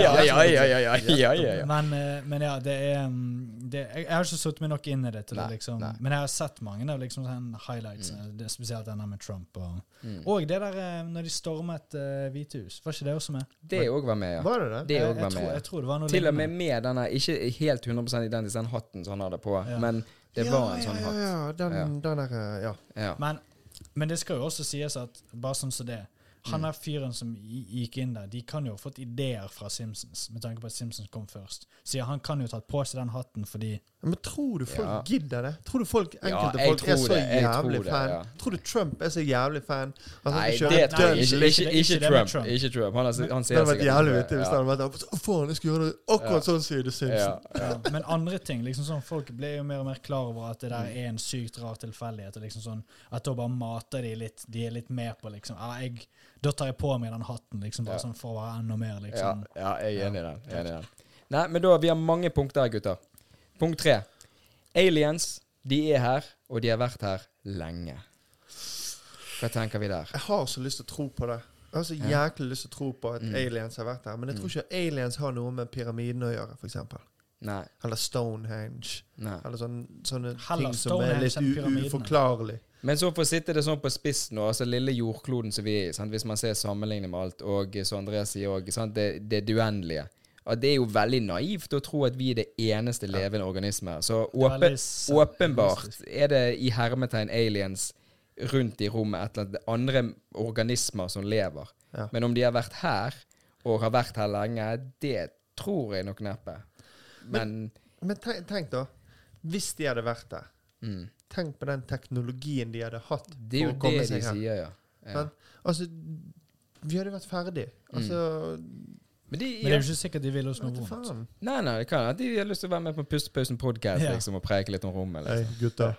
[SPEAKER 1] Ja,
[SPEAKER 3] er det.
[SPEAKER 1] ja, ja. ja, ja, ja, ja, ja.
[SPEAKER 3] Men, eh, men ja, det er um, det, Jeg jeg har ikke satt meg nok inn i det. til
[SPEAKER 1] Nei,
[SPEAKER 3] det liksom.
[SPEAKER 1] nei.
[SPEAKER 3] Men jeg har sett mange av liksom, sånne highlights, det er spesielt den der med Trump. Og,
[SPEAKER 1] Mm.
[SPEAKER 3] og det der eh, når de stormet eh, Hvitehus. Var ikke det også med?
[SPEAKER 1] Det òg var med, ja.
[SPEAKER 2] Var det det?
[SPEAKER 1] Det
[SPEAKER 3] jeg,
[SPEAKER 1] òg var
[SPEAKER 3] jeg, tror,
[SPEAKER 1] med.
[SPEAKER 3] jeg tror det var noe
[SPEAKER 1] Til og med
[SPEAKER 3] lignende.
[SPEAKER 1] med denne, ikke helt 100 identisk, den sånn hatten som han hadde på,
[SPEAKER 3] Ja.
[SPEAKER 1] men det
[SPEAKER 2] Ja,
[SPEAKER 1] var en sånn
[SPEAKER 2] ja,
[SPEAKER 1] hatt.
[SPEAKER 2] Ja, ja, den, den der, ja.
[SPEAKER 1] Ja.
[SPEAKER 3] Men, men det skal jo også sies at bare sånn som det Han er fyren som gi- gikk inn der. De kan jo ha fått ideer fra Simpsons, med tanke på at Simpsons kom først. Så ja, han kan jo ha tatt på seg den hatten fordi
[SPEAKER 2] Ja, Men tror du folk
[SPEAKER 1] Ja.
[SPEAKER 2] gidder det? Tror du folk,
[SPEAKER 1] Ja,
[SPEAKER 2] enkelte
[SPEAKER 1] jeg
[SPEAKER 2] folk er
[SPEAKER 1] tror
[SPEAKER 2] så
[SPEAKER 1] det, jeg tror
[SPEAKER 2] jævlig
[SPEAKER 1] det,
[SPEAKER 2] fan?
[SPEAKER 1] ja.
[SPEAKER 2] Tror du Trump er så jævlig fan? At
[SPEAKER 1] Nei,
[SPEAKER 2] kjører
[SPEAKER 1] det tror jeg
[SPEAKER 2] Dungeon
[SPEAKER 1] ikke.
[SPEAKER 2] League?
[SPEAKER 1] Ikke, ikke,
[SPEAKER 3] Ikke- ikke det med
[SPEAKER 1] Trump.
[SPEAKER 3] Trump.
[SPEAKER 1] Ikke Trump. Han, er, han
[SPEAKER 2] Det
[SPEAKER 1] ser
[SPEAKER 2] hadde vært
[SPEAKER 1] sikkert
[SPEAKER 2] jævlig
[SPEAKER 1] ikke
[SPEAKER 2] vittig hvis det hadde vært der, sånn, Å faen, jeg skulle gjøre det akkurat sånn, sier du
[SPEAKER 1] Ja.
[SPEAKER 2] Simpson.
[SPEAKER 1] Ja.
[SPEAKER 3] ja. Men andre ting liksom sånn, Folk ble jo mer og mer klar over at det der er en sykt rar tilfeldighet. og Liksom sånn, at da bare mater de litt De er litt med på liksom ja, jeg, Da tar jeg på meg den hatten, liksom, bare
[SPEAKER 1] Ja.
[SPEAKER 3] sånn for å være enda mer,
[SPEAKER 1] Ja,
[SPEAKER 3] liksom.
[SPEAKER 1] ja, jeg er enig i den. Jeg er enig i den. Nei, men da, vi har mange punkter her, gutter. Punkt tre. Aliens, de er her, og de har vært her lenge. Hva tenker vi der?
[SPEAKER 2] Jeg har så lyst til å tro på det. Jeg har så jæklig lyst til å tro på at
[SPEAKER 1] Mm.
[SPEAKER 2] aliens har vært her. Men jeg tror ikke aliens har noe med pyramiden å gjøre, f.eks.
[SPEAKER 1] Nei.
[SPEAKER 2] Eller Stonehenge.
[SPEAKER 1] nei.
[SPEAKER 2] Eller sånne, sånne
[SPEAKER 3] Heller
[SPEAKER 2] ting som
[SPEAKER 3] Stonehenge
[SPEAKER 2] er litt
[SPEAKER 3] enn
[SPEAKER 2] u-
[SPEAKER 3] pyramidene.
[SPEAKER 2] uforklarlig.
[SPEAKER 1] Men så for å sitte det sånn på spiss nå, altså lille jordkloden som vi er i, sant? hvis man ser sammenlignet med alt, og eh, som André sier òg, det, det duendelige. At det er jo veldig naivt å tro at vi er det eneste levende organisme. her. Så
[SPEAKER 3] Det er
[SPEAKER 1] åpen,
[SPEAKER 3] veldig s-
[SPEAKER 1] åpenbart er det i hermetegn aliens rundt i rommet et eller annet andre organismer som lever.
[SPEAKER 2] Ja.
[SPEAKER 1] Men om de har vært her, og har vært her lenge, det tror jeg nok neppe. Men,
[SPEAKER 2] Men tenk, tenk da, hvis de hadde vært der,
[SPEAKER 1] mm,
[SPEAKER 2] tenk på den teknologien de hadde hatt
[SPEAKER 1] det er jo
[SPEAKER 2] for å
[SPEAKER 1] det
[SPEAKER 2] komme
[SPEAKER 1] de
[SPEAKER 2] seg her.
[SPEAKER 1] sier, ja. ja. Mm.
[SPEAKER 2] Sant? Altså, vi hadde vært ferdig. Altså,
[SPEAKER 1] Men de,
[SPEAKER 3] Men det er jo ikke sikkert de vil oss noe
[SPEAKER 2] vet du
[SPEAKER 3] vondt.
[SPEAKER 2] faen.
[SPEAKER 1] Nei, nei, det kan hende de har lyst til å være med på Pustepausen podcast
[SPEAKER 3] Ja.
[SPEAKER 1] liksom, og preike litt om rommet.
[SPEAKER 2] Hei, gutta.
[SPEAKER 3] Det-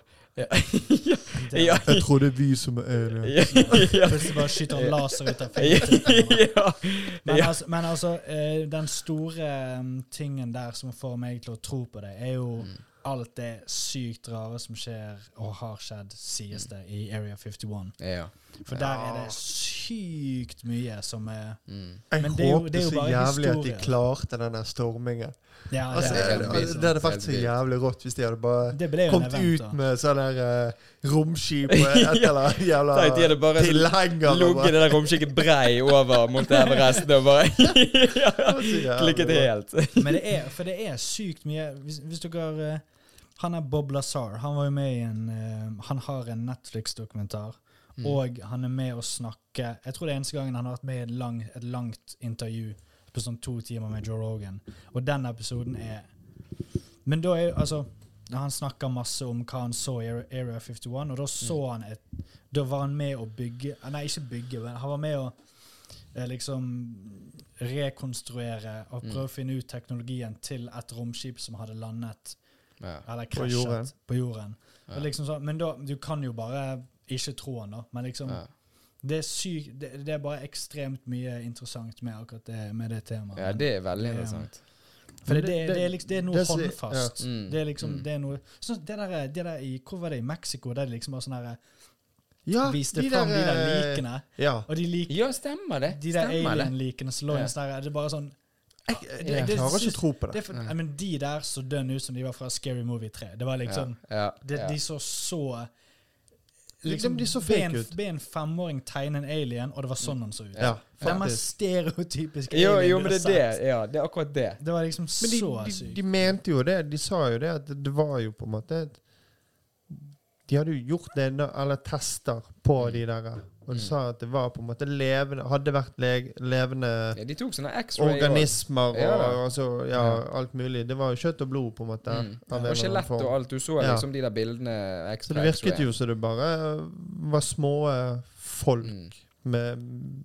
[SPEAKER 1] Ja.
[SPEAKER 2] Jeg tror det er vi som er aliens.
[SPEAKER 3] Plutselig bare skyter han laser ut av fingeren. Men, altså, men altså, eh, den store eh, tingen der som får meg til å tro på det, er jo alt det sykt rare som skjer og har skjedd, sies det, i Area 51.
[SPEAKER 1] Ja.
[SPEAKER 3] For der er det sykt mye som er
[SPEAKER 1] Mm.
[SPEAKER 2] Jeg
[SPEAKER 3] Men det er jo-
[SPEAKER 2] håpte
[SPEAKER 3] det er jo
[SPEAKER 2] så
[SPEAKER 3] bare
[SPEAKER 2] jævlig at de
[SPEAKER 3] historie.
[SPEAKER 2] klarte den der stormingen.
[SPEAKER 3] Ja, det,
[SPEAKER 2] Altså,
[SPEAKER 1] det er
[SPEAKER 2] det,
[SPEAKER 1] helt vilt.
[SPEAKER 2] det hadde vært
[SPEAKER 1] Helt
[SPEAKER 2] så
[SPEAKER 1] vilt.
[SPEAKER 2] jævlig rått hvis de hadde bare
[SPEAKER 3] det ble jo en
[SPEAKER 2] kommet ut
[SPEAKER 3] event, da.
[SPEAKER 2] med sånn der eh, romskip og et eller annet jævla
[SPEAKER 1] Tenk, de hadde
[SPEAKER 3] sånn
[SPEAKER 1] bare så
[SPEAKER 2] tilhenger. og
[SPEAKER 1] Lugge
[SPEAKER 2] bare-
[SPEAKER 1] det der romskikket brei over mot Everest og bare
[SPEAKER 2] Det var så jævlig
[SPEAKER 1] klikket
[SPEAKER 2] bra.
[SPEAKER 1] helt.
[SPEAKER 3] Men det er, for det er sykt mye Hvis, hvis dere eh, Han er Bob Lazar. Han var jo med i en eh, Han har en Netflix-dokumentar. Og han er med å snakke Jeg tror det er eneste gangen han har vært med i et, lang, et langt intervju på sånn to timer med Joe Rogan. Og den episoden er Men da er altså han snakker masse om hva han så i Area- Area 51, og da så han et Da var han med å bygge ah, Nei, ikke bygge, men han var med å eh, liksom rekonstruere og prøve å finne ut teknologien til et romskip som hadde landet
[SPEAKER 1] Ja.
[SPEAKER 3] eller
[SPEAKER 2] På jorden.
[SPEAKER 3] krasjet på jorden.
[SPEAKER 1] Ja.
[SPEAKER 3] Og liksom sånn, men da, du kan jo bare ikke tro han, da. Men liksom,
[SPEAKER 1] Ja.
[SPEAKER 3] det er sykt det, det er bare ekstremt mye interessant med akkurat det, med det temaet.
[SPEAKER 1] ja, det er veldig interessant.
[SPEAKER 3] For det,
[SPEAKER 2] Men
[SPEAKER 3] det,
[SPEAKER 2] det-
[SPEAKER 3] det, er liksom, det er noe
[SPEAKER 2] det- det-
[SPEAKER 3] håndfast.
[SPEAKER 1] ja. Mm.
[SPEAKER 3] Det er liksom,
[SPEAKER 1] Mm.
[SPEAKER 3] det er noe sånn, det, der, det der i Hvor var det? I Mexico? Der de liksom bare sånn her
[SPEAKER 2] Ja,
[SPEAKER 3] Viste fram de der
[SPEAKER 2] eh,
[SPEAKER 3] likene.
[SPEAKER 2] Ja.
[SPEAKER 3] Og de, lik,
[SPEAKER 1] Ja, stemmer det.
[SPEAKER 3] de der
[SPEAKER 1] Stemmer det.
[SPEAKER 3] alien-likene som lå i
[SPEAKER 1] Ja.
[SPEAKER 3] en sånn her, Det er bare sånn
[SPEAKER 2] Jeg, jeg, jeg
[SPEAKER 3] Det-
[SPEAKER 2] klarer ikke
[SPEAKER 3] det-
[SPEAKER 2] å tro på
[SPEAKER 3] det
[SPEAKER 2] det.
[SPEAKER 3] er for, I mean, De der så dønn ut som de var fra Scary Movie 3. Det var liksom
[SPEAKER 1] ja,
[SPEAKER 3] det,
[SPEAKER 1] ja.
[SPEAKER 3] De så så
[SPEAKER 2] Liksom, de så
[SPEAKER 3] be
[SPEAKER 2] fake
[SPEAKER 3] en-
[SPEAKER 2] ut.
[SPEAKER 3] Be en femåring tegne en alien, og det var sånn han så ut.
[SPEAKER 2] Ja,
[SPEAKER 3] Det er
[SPEAKER 2] faktisk.
[SPEAKER 3] mest stereotypiske
[SPEAKER 1] Jo,
[SPEAKER 3] alien
[SPEAKER 1] jo,
[SPEAKER 3] du
[SPEAKER 1] men
[SPEAKER 3] har
[SPEAKER 1] det er det.
[SPEAKER 3] sett.
[SPEAKER 1] Ja, det er akkurat det.
[SPEAKER 3] Det var liksom
[SPEAKER 2] Men de,
[SPEAKER 3] så
[SPEAKER 2] de,
[SPEAKER 3] sykt.
[SPEAKER 2] de mente jo det. De sa jo det at det var jo på en måte et- De hadde jo gjort det, da- eller tester på de der. eh,
[SPEAKER 3] Mm.
[SPEAKER 2] Og de sa at det var på en måte levende Hadde vært le- levende
[SPEAKER 1] Ja, de tok sånne X-ray
[SPEAKER 2] organismer og
[SPEAKER 1] Ja, da.
[SPEAKER 2] altså, ja, alt mulig. Det var jo kjøtt og blod, på en måte.
[SPEAKER 1] Mm.
[SPEAKER 2] av en
[SPEAKER 1] Og
[SPEAKER 2] eller annen
[SPEAKER 1] skjelett
[SPEAKER 2] form.
[SPEAKER 1] og alt. Du så
[SPEAKER 2] Ja.
[SPEAKER 1] liksom de der bildene.
[SPEAKER 2] Så det virket jo som det bare var små eh, folk
[SPEAKER 1] Mm.
[SPEAKER 2] med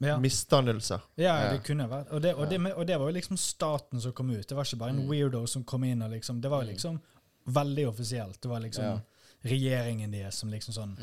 [SPEAKER 3] ja.
[SPEAKER 2] misdannelser.
[SPEAKER 3] ja,
[SPEAKER 1] Ja.
[SPEAKER 3] det kunne vært. Og det, og,
[SPEAKER 1] Ja.
[SPEAKER 3] det, med- og det var jo liksom staten som kom ut. Det var ikke bare en
[SPEAKER 1] Mm.
[SPEAKER 3] weirdo som kom inn og liksom Det var
[SPEAKER 1] Mm.
[SPEAKER 3] jo liksom veldig offisielt. Det var liksom
[SPEAKER 1] Ja.
[SPEAKER 3] regjeringen deres som liksom sånn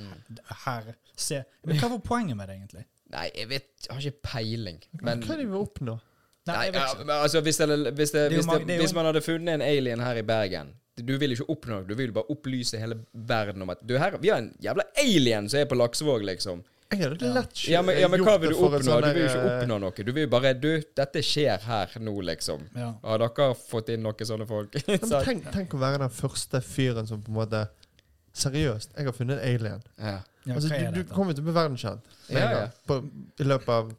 [SPEAKER 3] Her, se Men hva var poenget med det, egentlig?
[SPEAKER 1] Nei, jeg vet Jeg har ikke peiling.
[SPEAKER 2] Men,
[SPEAKER 1] Men
[SPEAKER 2] Hva er det vi oppnår?
[SPEAKER 1] Nei,
[SPEAKER 3] jeg vet
[SPEAKER 1] ja,
[SPEAKER 3] ikke.
[SPEAKER 1] men altså, hvis, det, hvis, det,
[SPEAKER 3] er jo
[SPEAKER 1] hvis, det,
[SPEAKER 3] mange- det er jo
[SPEAKER 1] hvis
[SPEAKER 3] en-
[SPEAKER 1] man hadde funnet en alien her i Bergen Du vil jo ikke oppnå noe, du vil bare opplyse hele verden om at du, her, Vi har en jævla alien som er på Laksevåg, liksom.
[SPEAKER 2] Jeg hadde lett
[SPEAKER 1] Ja, men, ja, men
[SPEAKER 2] gjort
[SPEAKER 1] hva
[SPEAKER 2] det
[SPEAKER 1] vil du
[SPEAKER 2] for et
[SPEAKER 1] oppnå?
[SPEAKER 2] sånn
[SPEAKER 1] Du vil jo
[SPEAKER 2] der,
[SPEAKER 1] ikke
[SPEAKER 2] eh,
[SPEAKER 1] oppnå noe. Du vil jo bare Du, dette skjer her nå, liksom.
[SPEAKER 3] Ja.
[SPEAKER 1] Har dere fått inn noen sånne folk?
[SPEAKER 2] Ja,
[SPEAKER 1] Så-
[SPEAKER 2] men tenk, tenk å være den første fyren som på en måte Seriøst, jeg har funnet en alien.
[SPEAKER 1] ja.
[SPEAKER 3] Ja,
[SPEAKER 2] altså,
[SPEAKER 3] hva er
[SPEAKER 2] du, du
[SPEAKER 3] dette?
[SPEAKER 2] kommer til å bli verdenskjent med en
[SPEAKER 1] Ja, ja.
[SPEAKER 2] gang, på, i løpet av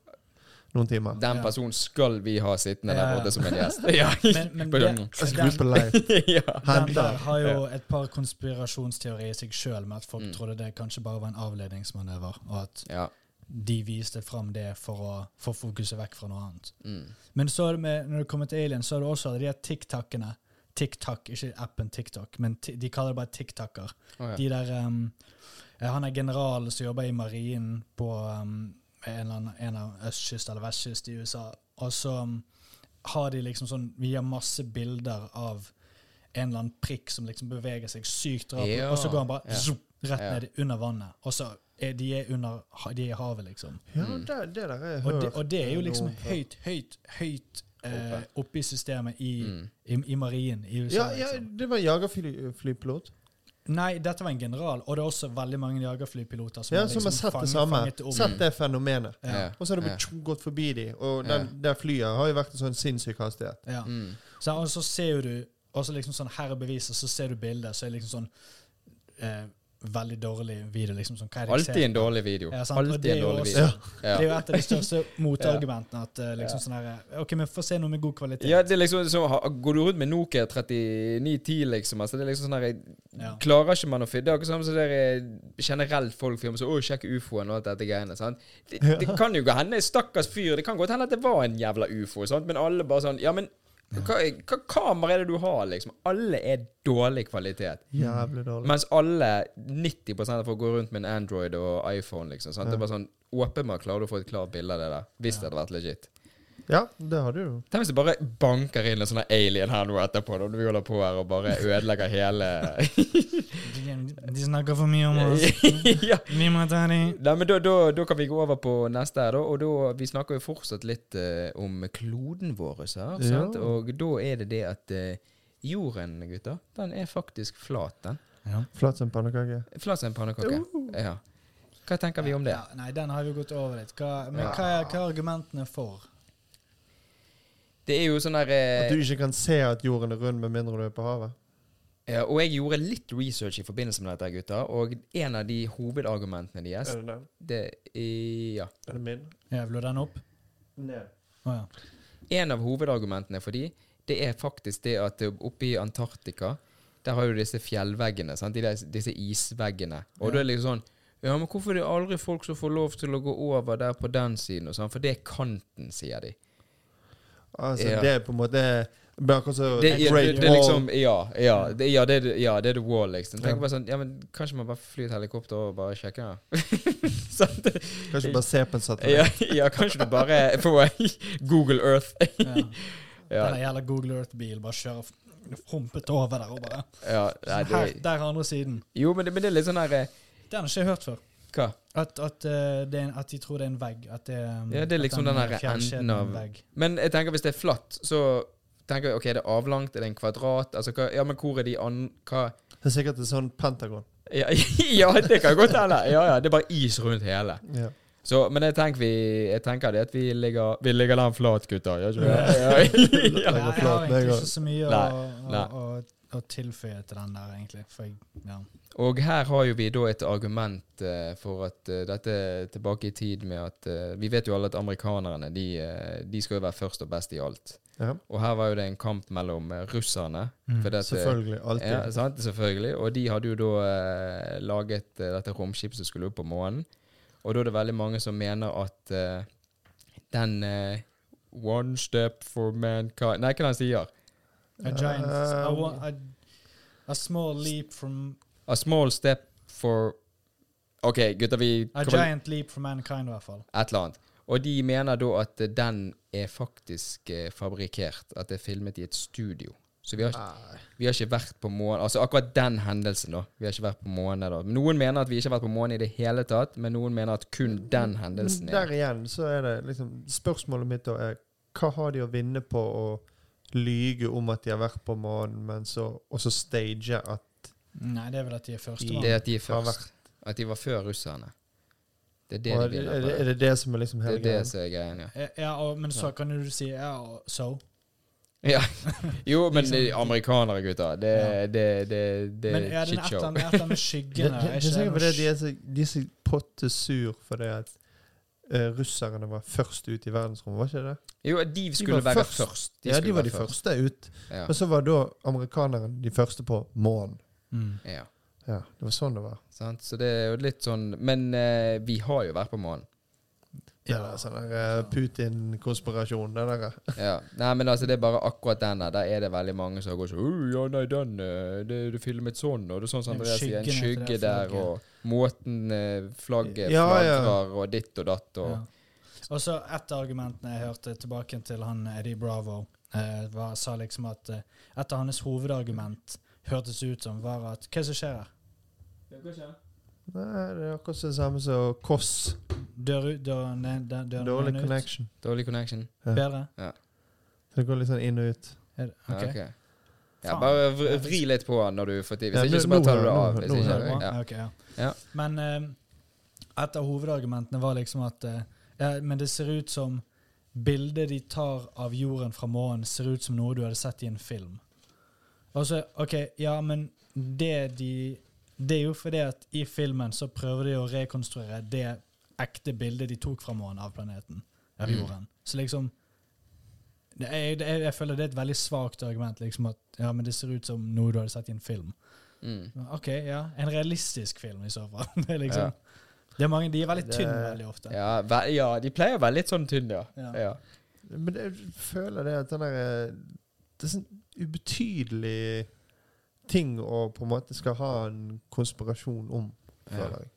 [SPEAKER 2] noen timer.
[SPEAKER 1] Den
[SPEAKER 3] Ja.
[SPEAKER 1] personen skal vi ha sittende
[SPEAKER 3] Ja,
[SPEAKER 1] der
[SPEAKER 3] ja.
[SPEAKER 1] borte som en gjest. Ja.
[SPEAKER 3] Men, men
[SPEAKER 1] På
[SPEAKER 3] det, altså,
[SPEAKER 1] den- altså,
[SPEAKER 2] Jeg skal ut
[SPEAKER 3] den,
[SPEAKER 2] på live.
[SPEAKER 1] ja.
[SPEAKER 3] den
[SPEAKER 2] Handler.
[SPEAKER 3] der har jo et par konspirasjonsteorier i seg sjøl, med at folk trodde det kanskje bare var en avledningsmanøver, og at
[SPEAKER 1] ja.
[SPEAKER 3] de viste fram det for å få fokuset vekk fra noe annet.
[SPEAKER 1] Mm.
[SPEAKER 3] Men så er det med, når det kommer til Alien, så er det også de her TikTokene TikTok, ikke appen TikTok, men ti- de kaller det bare TikToker.
[SPEAKER 1] Å, ja.
[SPEAKER 3] De der um, eh, Han er generalen som jobber i marinen på um, en, eller annen, en av østkyst eller vestkyst i USA. Og så um, har de liksom sånn Vi har masse bilder av en eller annen prikk som liksom beveger seg sykt rart,
[SPEAKER 1] Ja.
[SPEAKER 3] og så går han bare
[SPEAKER 1] Ja.
[SPEAKER 3] zoop, rett
[SPEAKER 1] Ja.
[SPEAKER 3] ned under vannet. Og så er de er under ha- De er i havet, liksom.
[SPEAKER 2] Ja,
[SPEAKER 1] Mm.
[SPEAKER 2] det, det der har jeg
[SPEAKER 3] Og
[SPEAKER 2] hørt.
[SPEAKER 3] det, og det er jo
[SPEAKER 2] noe
[SPEAKER 3] liksom
[SPEAKER 2] om før.
[SPEAKER 3] høyt, høyt, høyt eh,
[SPEAKER 1] Oppe.
[SPEAKER 3] oppe i systemet i,
[SPEAKER 1] Mm.
[SPEAKER 3] i, i marinen i USA.
[SPEAKER 2] ja, ja,
[SPEAKER 3] liksom.
[SPEAKER 2] det var eh, jagerflypilot.
[SPEAKER 3] Nei, dette var en general, og det er også veldig mange jagerflypiloter som,
[SPEAKER 2] Ja,
[SPEAKER 3] er
[SPEAKER 2] som har sett det
[SPEAKER 3] liksom fanget-
[SPEAKER 2] samme.
[SPEAKER 3] fanget opp.
[SPEAKER 2] Sett det fenomenet.
[SPEAKER 3] Ja.
[SPEAKER 1] Ja.
[SPEAKER 2] Og så har det
[SPEAKER 1] Ja.
[SPEAKER 2] blitt tjo- gått forbi de, og
[SPEAKER 1] Ja.
[SPEAKER 2] den, det flyet har jo vært en sånn sinnssyk hastighet.
[SPEAKER 3] Ja.
[SPEAKER 1] Mm.
[SPEAKER 3] Så, og så ser jo du og så liksom sånn her er beviset, så ser du bildet, så er det liksom sånn eh, Veldig dårlig video, liksom. Sånn, hva er det jeg
[SPEAKER 1] Alltid
[SPEAKER 3] ser?
[SPEAKER 1] en dårlig video.
[SPEAKER 3] Ja, sant, og
[SPEAKER 1] Alltid
[SPEAKER 3] det er
[SPEAKER 1] en
[SPEAKER 3] jo
[SPEAKER 1] dårlig
[SPEAKER 3] også-
[SPEAKER 1] video.
[SPEAKER 3] Det
[SPEAKER 1] Ja.
[SPEAKER 3] er jo et av de største motargumentene. At eh, liksom sånn her eh, OK, men få se noe med god kvalitet.
[SPEAKER 1] Ja, det er liksom, så, ha- Går du rundt med Nokia 3910, liksom altså, Det er liksom sånn her
[SPEAKER 3] Ja.
[SPEAKER 1] Klarer ikke man å finne Det er akkurat samme som det der, eh, generelt folk filmer så, Å, sjekk ufoen og alt dette greiene. sant? Det, det kan jo gå hende Stakkars fyr. Det kan godt hende at det var en jævla ufo, sant? men alle bare sånn Ja, men hva, hva kamera er det du har, liksom? Alle er dårlig kvalitet.
[SPEAKER 2] Jævlig dårlig.
[SPEAKER 1] Mens alle, 90 av folk går rundt med en Android og iPhone, liksom. Sant? Det er bare sånn Åpenbart klarer du å få et klart bilde av det der, hvis det hadde vært legit.
[SPEAKER 2] Ja, det har du jo.
[SPEAKER 1] Tenk hvis det bare banker inn en sånn alien her nå etterpå, når vi holder på her og bare ødelegger hele
[SPEAKER 3] De, de snakker for mye om oss.
[SPEAKER 1] ja.
[SPEAKER 3] Vi må ta de
[SPEAKER 1] Nei, men da, da, da kan vi gå over på neste her, da. Og da, vi snakker jo fortsatt litt eh, om kloden vår, her, sant?
[SPEAKER 2] Ja.
[SPEAKER 1] og da er det det at eh, jorden, gutter, den er faktisk flat, den.
[SPEAKER 3] ja.
[SPEAKER 2] Flat som pannekake.
[SPEAKER 1] Flat som en pannekake. Ja. Hva tenker vi om det?
[SPEAKER 3] Ja, nei, den har vi gått over litt. Hva, men hva, er- hva er argumentene for?
[SPEAKER 1] Det er jo sånn der
[SPEAKER 2] At
[SPEAKER 1] eh,
[SPEAKER 2] du ikke kan se at jorden er rund med mindre du er på havet.
[SPEAKER 1] ja, Og jeg gjorde litt research i forbindelse med dette, gutter, og en av de hovedargumentene deres
[SPEAKER 2] Er det den?
[SPEAKER 1] det er, ja.
[SPEAKER 2] Er det min?
[SPEAKER 3] Jævler den opp?
[SPEAKER 2] Ned.
[SPEAKER 3] Å ja.
[SPEAKER 1] En av hovedargumentene for de, det er faktisk det at oppe i Antarktika, der har jo disse fjellveggene, sant? De der, disse isveggene. Og da er det liksom sånn Ja, men hvorfor er det aldri folk som får lov til å gå over der på den siden og sånn? For det er kanten, sier de.
[SPEAKER 2] Altså,
[SPEAKER 1] Ja.
[SPEAKER 2] det er på en måte Bare akkurat som
[SPEAKER 1] Det, er-
[SPEAKER 2] Great
[SPEAKER 1] det, det er
[SPEAKER 2] Wall.
[SPEAKER 1] liksom Ja, ja. Det, ja, det, er- ja, det er the wall, liksom. Tenk bare sånn Ja, men kanskje man bare flyr et helikopter og bare sjekker? Sant?
[SPEAKER 2] Kanskje bare se på en satellitt.
[SPEAKER 1] ja, ja, kanskje du bare får Google Earth.
[SPEAKER 3] ja.
[SPEAKER 1] Ja,
[SPEAKER 3] Den jævla Google Earth-bilen bare kjører f- humpet over der og bare
[SPEAKER 1] ja nei,
[SPEAKER 3] Her,
[SPEAKER 1] det,
[SPEAKER 3] Der er andre siden.
[SPEAKER 1] Jo, men det, men det er litt sånn her eh,
[SPEAKER 3] Den har ikke jeg hørt før.
[SPEAKER 1] Hva?
[SPEAKER 3] At, at, eh, det er en, at de tror det er en vegg. At det, um,
[SPEAKER 1] Ja, det er
[SPEAKER 3] at
[SPEAKER 1] liksom den
[SPEAKER 3] eh,
[SPEAKER 1] her
[SPEAKER 3] fjellkjeden
[SPEAKER 1] enden
[SPEAKER 3] er en
[SPEAKER 1] av-
[SPEAKER 3] vegg.
[SPEAKER 1] Men jeg tenker hvis det er flatt, så tenker jeg OK, er det avlangt? Er det en kvadrat? Altså, hva, ja, men hvor er de andre Hva
[SPEAKER 2] Det er sikkert et sånn pentagon.
[SPEAKER 1] ja, ja, det kan godt hende. Ja, ja, det er bare is rundt hele.
[SPEAKER 2] Ja.
[SPEAKER 1] Så, men jeg tenker, vi, jeg tenker det at vi ligger Vi ligger land flat, gutter. Gjør ikke vi det? Ja.
[SPEAKER 3] Nei, jeg har
[SPEAKER 2] flott, jeg
[SPEAKER 3] egentlig
[SPEAKER 2] har-
[SPEAKER 3] ikke så mye å,
[SPEAKER 1] Nei,
[SPEAKER 3] å, å, å tilføye til den der, egentlig. For jeg, ja.
[SPEAKER 1] Og her har jo vi da et argument eh, for at eh, dette er tilbake i tid med at eh, Vi vet jo alle at amerikanerne de, eh, de skal jo være først og best i alt.
[SPEAKER 2] Ja.
[SPEAKER 1] Og her var jo det en kamp mellom eh, russerne. for det at, eh,
[SPEAKER 2] Selvfølgelig. Alltid.
[SPEAKER 1] Ja, sant, selvfølgelig. Og de hadde jo da eh, laget eh, dette romskipet som skulle opp på månen. Og da er det veldig mange som mener at eh, den eh, One step for mankind Nei, hva er det han sier?
[SPEAKER 3] A giant a,
[SPEAKER 2] Um,
[SPEAKER 3] wa- a, a small leap from
[SPEAKER 1] A small step for OK, gutter, vi
[SPEAKER 3] A
[SPEAKER 1] kommer-
[SPEAKER 3] giant leap for mankind, i hvert fall.
[SPEAKER 1] Et eller annet. Og de mener da at eh, den er faktisk eh, fabrikkert. At det er filmet i et studio. Så vi har,
[SPEAKER 2] Nei.
[SPEAKER 1] Vi har ikke vært på månen Altså akkurat den hendelsen, da. Vi har ikke vært på månen da. Noen mener at vi ikke har vært på månen i det hele tatt, men noen mener at kun den hendelsen
[SPEAKER 2] Men
[SPEAKER 1] er
[SPEAKER 2] Der igjen så er det liksom Spørsmålet mitt da er hva har de å vinne på å lyge om at de har vært på månen, men så og så stage at
[SPEAKER 1] Mm.
[SPEAKER 3] Nei, det er vel at de er
[SPEAKER 1] Det
[SPEAKER 3] førstemann.
[SPEAKER 1] er at de er
[SPEAKER 2] Har
[SPEAKER 1] først. At de var før russerne. Det er det
[SPEAKER 2] og
[SPEAKER 1] de
[SPEAKER 2] er,
[SPEAKER 1] vinner
[SPEAKER 2] er,
[SPEAKER 1] på.
[SPEAKER 2] det- er det det som er liksom
[SPEAKER 1] Det
[SPEAKER 2] hele
[SPEAKER 1] er det
[SPEAKER 2] greia?
[SPEAKER 1] som er greien, ja.
[SPEAKER 3] Ja, Ja, og, men så kan jo du si ja, og so.
[SPEAKER 1] ja. Jo, men
[SPEAKER 3] Liksom-
[SPEAKER 1] de amerikanere, gutter. Det,
[SPEAKER 3] Ja.
[SPEAKER 1] det, det, det
[SPEAKER 3] Men
[SPEAKER 1] er
[SPEAKER 3] er den et eller
[SPEAKER 1] shitshow.
[SPEAKER 3] annet- et eller annet med
[SPEAKER 2] Det, det,
[SPEAKER 3] skyggene?
[SPEAKER 2] det,
[SPEAKER 3] Er
[SPEAKER 2] er
[SPEAKER 3] ikke
[SPEAKER 2] sikkert
[SPEAKER 3] det
[SPEAKER 2] fordi de
[SPEAKER 3] noe
[SPEAKER 2] er så, de er så pottesur fordi at eh, russerne var først ut i verdensrommet, var ikke det?
[SPEAKER 1] Jo, de skulle
[SPEAKER 2] var
[SPEAKER 1] være
[SPEAKER 2] først.
[SPEAKER 1] først.
[SPEAKER 2] ja,
[SPEAKER 1] skulle
[SPEAKER 2] de var
[SPEAKER 1] være
[SPEAKER 2] de første ut.
[SPEAKER 1] Ja.
[SPEAKER 2] Men så var da amerikanerne de første på månen.
[SPEAKER 3] Mm.
[SPEAKER 1] ja.
[SPEAKER 2] Ja, det var sånn det var.
[SPEAKER 1] Sant? Så det er jo litt sånn Men eh, vi har jo vært på månen.
[SPEAKER 2] Det der sånn der eh, Putin-konspirasjon, det der.
[SPEAKER 1] Ja. Nei, men altså, det er bare akkurat den der. Der er det veldig mange som går sånn «Åh, Ja, nei, den eh, det er filmet sånn, og det er sånn som
[SPEAKER 3] Den
[SPEAKER 1] Andreas sier. En
[SPEAKER 3] skyggen etter
[SPEAKER 1] skygge
[SPEAKER 3] det
[SPEAKER 1] der,
[SPEAKER 3] flagget.
[SPEAKER 1] og måten eh, flagget
[SPEAKER 2] Ja, ja.
[SPEAKER 1] flagrer, og ditt og datt, og
[SPEAKER 3] Ja. Og så et av argumentene jeg hørte tilbake til han Eddie Bravo, eh, var, sa liksom at eh, et av hans hovedargument hørtes ut som var at Hva er det som skjer her?
[SPEAKER 2] Nei, det er eh, akkurat det samme som Koss.
[SPEAKER 3] Dør ut, dør ned, dør, dør
[SPEAKER 2] Dårlig
[SPEAKER 3] ned ut.
[SPEAKER 2] connection.
[SPEAKER 1] Dårlig connection.
[SPEAKER 3] Bedre?
[SPEAKER 2] Så det går litt sånn inn og ut.
[SPEAKER 3] Er det-
[SPEAKER 1] Ja,
[SPEAKER 3] Ok.
[SPEAKER 1] ok. Ja,
[SPEAKER 3] Faen.
[SPEAKER 1] bare vri, vri litt på den når du får tid.
[SPEAKER 2] Ja,
[SPEAKER 1] Hvis ikke,
[SPEAKER 2] nå-
[SPEAKER 1] så bare
[SPEAKER 2] nå
[SPEAKER 1] tar
[SPEAKER 2] hører-
[SPEAKER 1] du det
[SPEAKER 2] nå
[SPEAKER 1] av.
[SPEAKER 2] hører-
[SPEAKER 1] Hvis
[SPEAKER 2] nå
[SPEAKER 1] ikke,
[SPEAKER 3] Er det
[SPEAKER 1] ja.
[SPEAKER 3] bra? Ok, ja.
[SPEAKER 1] Ja.
[SPEAKER 3] Men eh, et av hovedargumentene var liksom at eh, ja, Men det ser ut som bildet de tar av jorden fra månen, ser ut som noe du hadde sett i en film. Og så, OK, ja, men det de Det er jo fordi at i filmen så prøver de å rekonstruere det ekte bildet de tok fra månen av planeten, av
[SPEAKER 1] Mm.
[SPEAKER 3] jorden. Så liksom det er, jeg, jeg, jeg føler det er et veldig svakt argument, liksom at ja, men det ser ut som noe du hadde sett i en film.
[SPEAKER 1] Mm.
[SPEAKER 3] Ok, ja. En realistisk film i så fall. Det er liksom,
[SPEAKER 1] Ja.
[SPEAKER 3] det er mange, de er veldig
[SPEAKER 2] Det-
[SPEAKER 3] tynne veldig ofte.
[SPEAKER 1] Ja, ve ja, de pleier å være litt sånn tynne, ja.
[SPEAKER 3] Ja.
[SPEAKER 1] ja.
[SPEAKER 2] Men det- jeg føler det at den der eh, Det er sånn ubetydelig ting å på en måte skal ha en konspirasjon om,
[SPEAKER 1] ja.
[SPEAKER 2] føler jeg.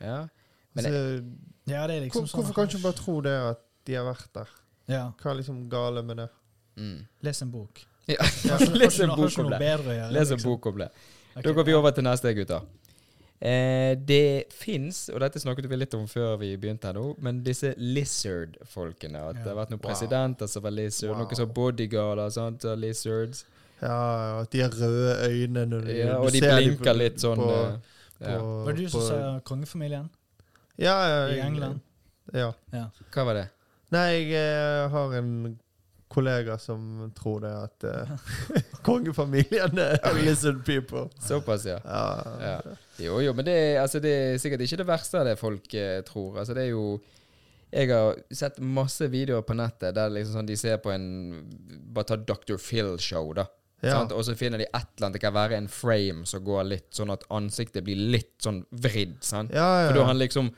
[SPEAKER 1] ja. Men
[SPEAKER 2] Altså,
[SPEAKER 3] Ja, det er
[SPEAKER 2] hvor,
[SPEAKER 3] liksom sånn-
[SPEAKER 2] hvorfor kan ikke du bare tro det at de har vært der?
[SPEAKER 3] Ja,
[SPEAKER 2] Hva er liksom gale med det?
[SPEAKER 1] Mm.
[SPEAKER 3] les en bok.
[SPEAKER 1] Ja.
[SPEAKER 3] Har ikke-
[SPEAKER 1] Les en
[SPEAKER 3] har ikke-
[SPEAKER 1] bok om
[SPEAKER 3] Har
[SPEAKER 1] det.
[SPEAKER 3] ikke noe bedre å gjøre.
[SPEAKER 1] Les en
[SPEAKER 3] liksom.
[SPEAKER 1] bok om det.
[SPEAKER 3] Ok,
[SPEAKER 1] Da går vi over til neste, gutter. Eh, det fins, og dette snakket vi litt om før vi begynte her nå, men disse lizard-folkene. At det har vært noen
[SPEAKER 2] Wow.
[SPEAKER 1] presidenter som var lizard,
[SPEAKER 2] Wow.
[SPEAKER 1] noen som bodyguarder sant, av lizards.
[SPEAKER 2] Ja, at de har røde øyne når de,
[SPEAKER 1] Ja,
[SPEAKER 2] du
[SPEAKER 1] og de
[SPEAKER 2] ser
[SPEAKER 1] blinker
[SPEAKER 2] på-
[SPEAKER 1] litt sånn
[SPEAKER 2] på,
[SPEAKER 1] eh,
[SPEAKER 2] på,
[SPEAKER 1] ja.
[SPEAKER 3] Var det du som
[SPEAKER 2] på-
[SPEAKER 3] sa kongefamilien
[SPEAKER 2] ja, ja,
[SPEAKER 3] i
[SPEAKER 2] jeg-
[SPEAKER 3] England?
[SPEAKER 2] Ja.
[SPEAKER 1] Hva var det?
[SPEAKER 2] Nei, jeg eh, har en kollega som tror det at eh, kongefamilien er lizard people.
[SPEAKER 1] Såpass, ja.
[SPEAKER 2] Ja.
[SPEAKER 1] Ja. Jo, jo, men det er, altså, det er sikkert ikke det verste av det folk eh, tror. Altså, det er jo Jeg har sett masse videoer på nettet der liksom sånn de ser på en Bare ta Dr. Phil-show, da.
[SPEAKER 2] Ja.
[SPEAKER 1] Sant? Og så finner de et eller annet. Det kan være en frame som går litt sånn at ansiktet blir litt sånn vridd. Sant?
[SPEAKER 2] Ja, ja,
[SPEAKER 1] For da
[SPEAKER 2] ja.
[SPEAKER 1] har han liksom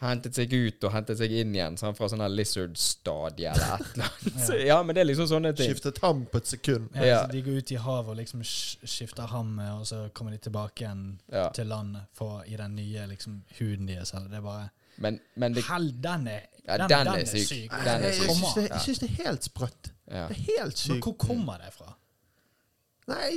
[SPEAKER 1] hentet seg ut og hentet seg inn igjen sant? fra sånn her lizard-stadie eller et eller annet. Så, ja, men det er liksom sånne ting.
[SPEAKER 2] Skiftet ham på et sekund.
[SPEAKER 3] Ja,
[SPEAKER 1] Ja.
[SPEAKER 3] altså, de går ut i havet og liksom sk- skifter ham, og så kommer de tilbake igjen
[SPEAKER 1] Ja.
[SPEAKER 3] til land for, i den nye liksom, huden deres. eller Det er bare
[SPEAKER 1] Men, men det
[SPEAKER 3] Hell, den er,
[SPEAKER 1] Ja,
[SPEAKER 3] den,
[SPEAKER 1] den
[SPEAKER 3] den
[SPEAKER 1] er
[SPEAKER 3] er
[SPEAKER 1] syk.
[SPEAKER 3] syk.
[SPEAKER 1] Den er
[SPEAKER 2] Jeg
[SPEAKER 1] syk.
[SPEAKER 2] syns det,
[SPEAKER 3] Kommer.
[SPEAKER 2] jeg synes det er helt sprøtt.
[SPEAKER 1] ja.
[SPEAKER 2] Det er helt
[SPEAKER 3] Men
[SPEAKER 2] sykt.
[SPEAKER 3] hvor kommer det fra?
[SPEAKER 2] Nei,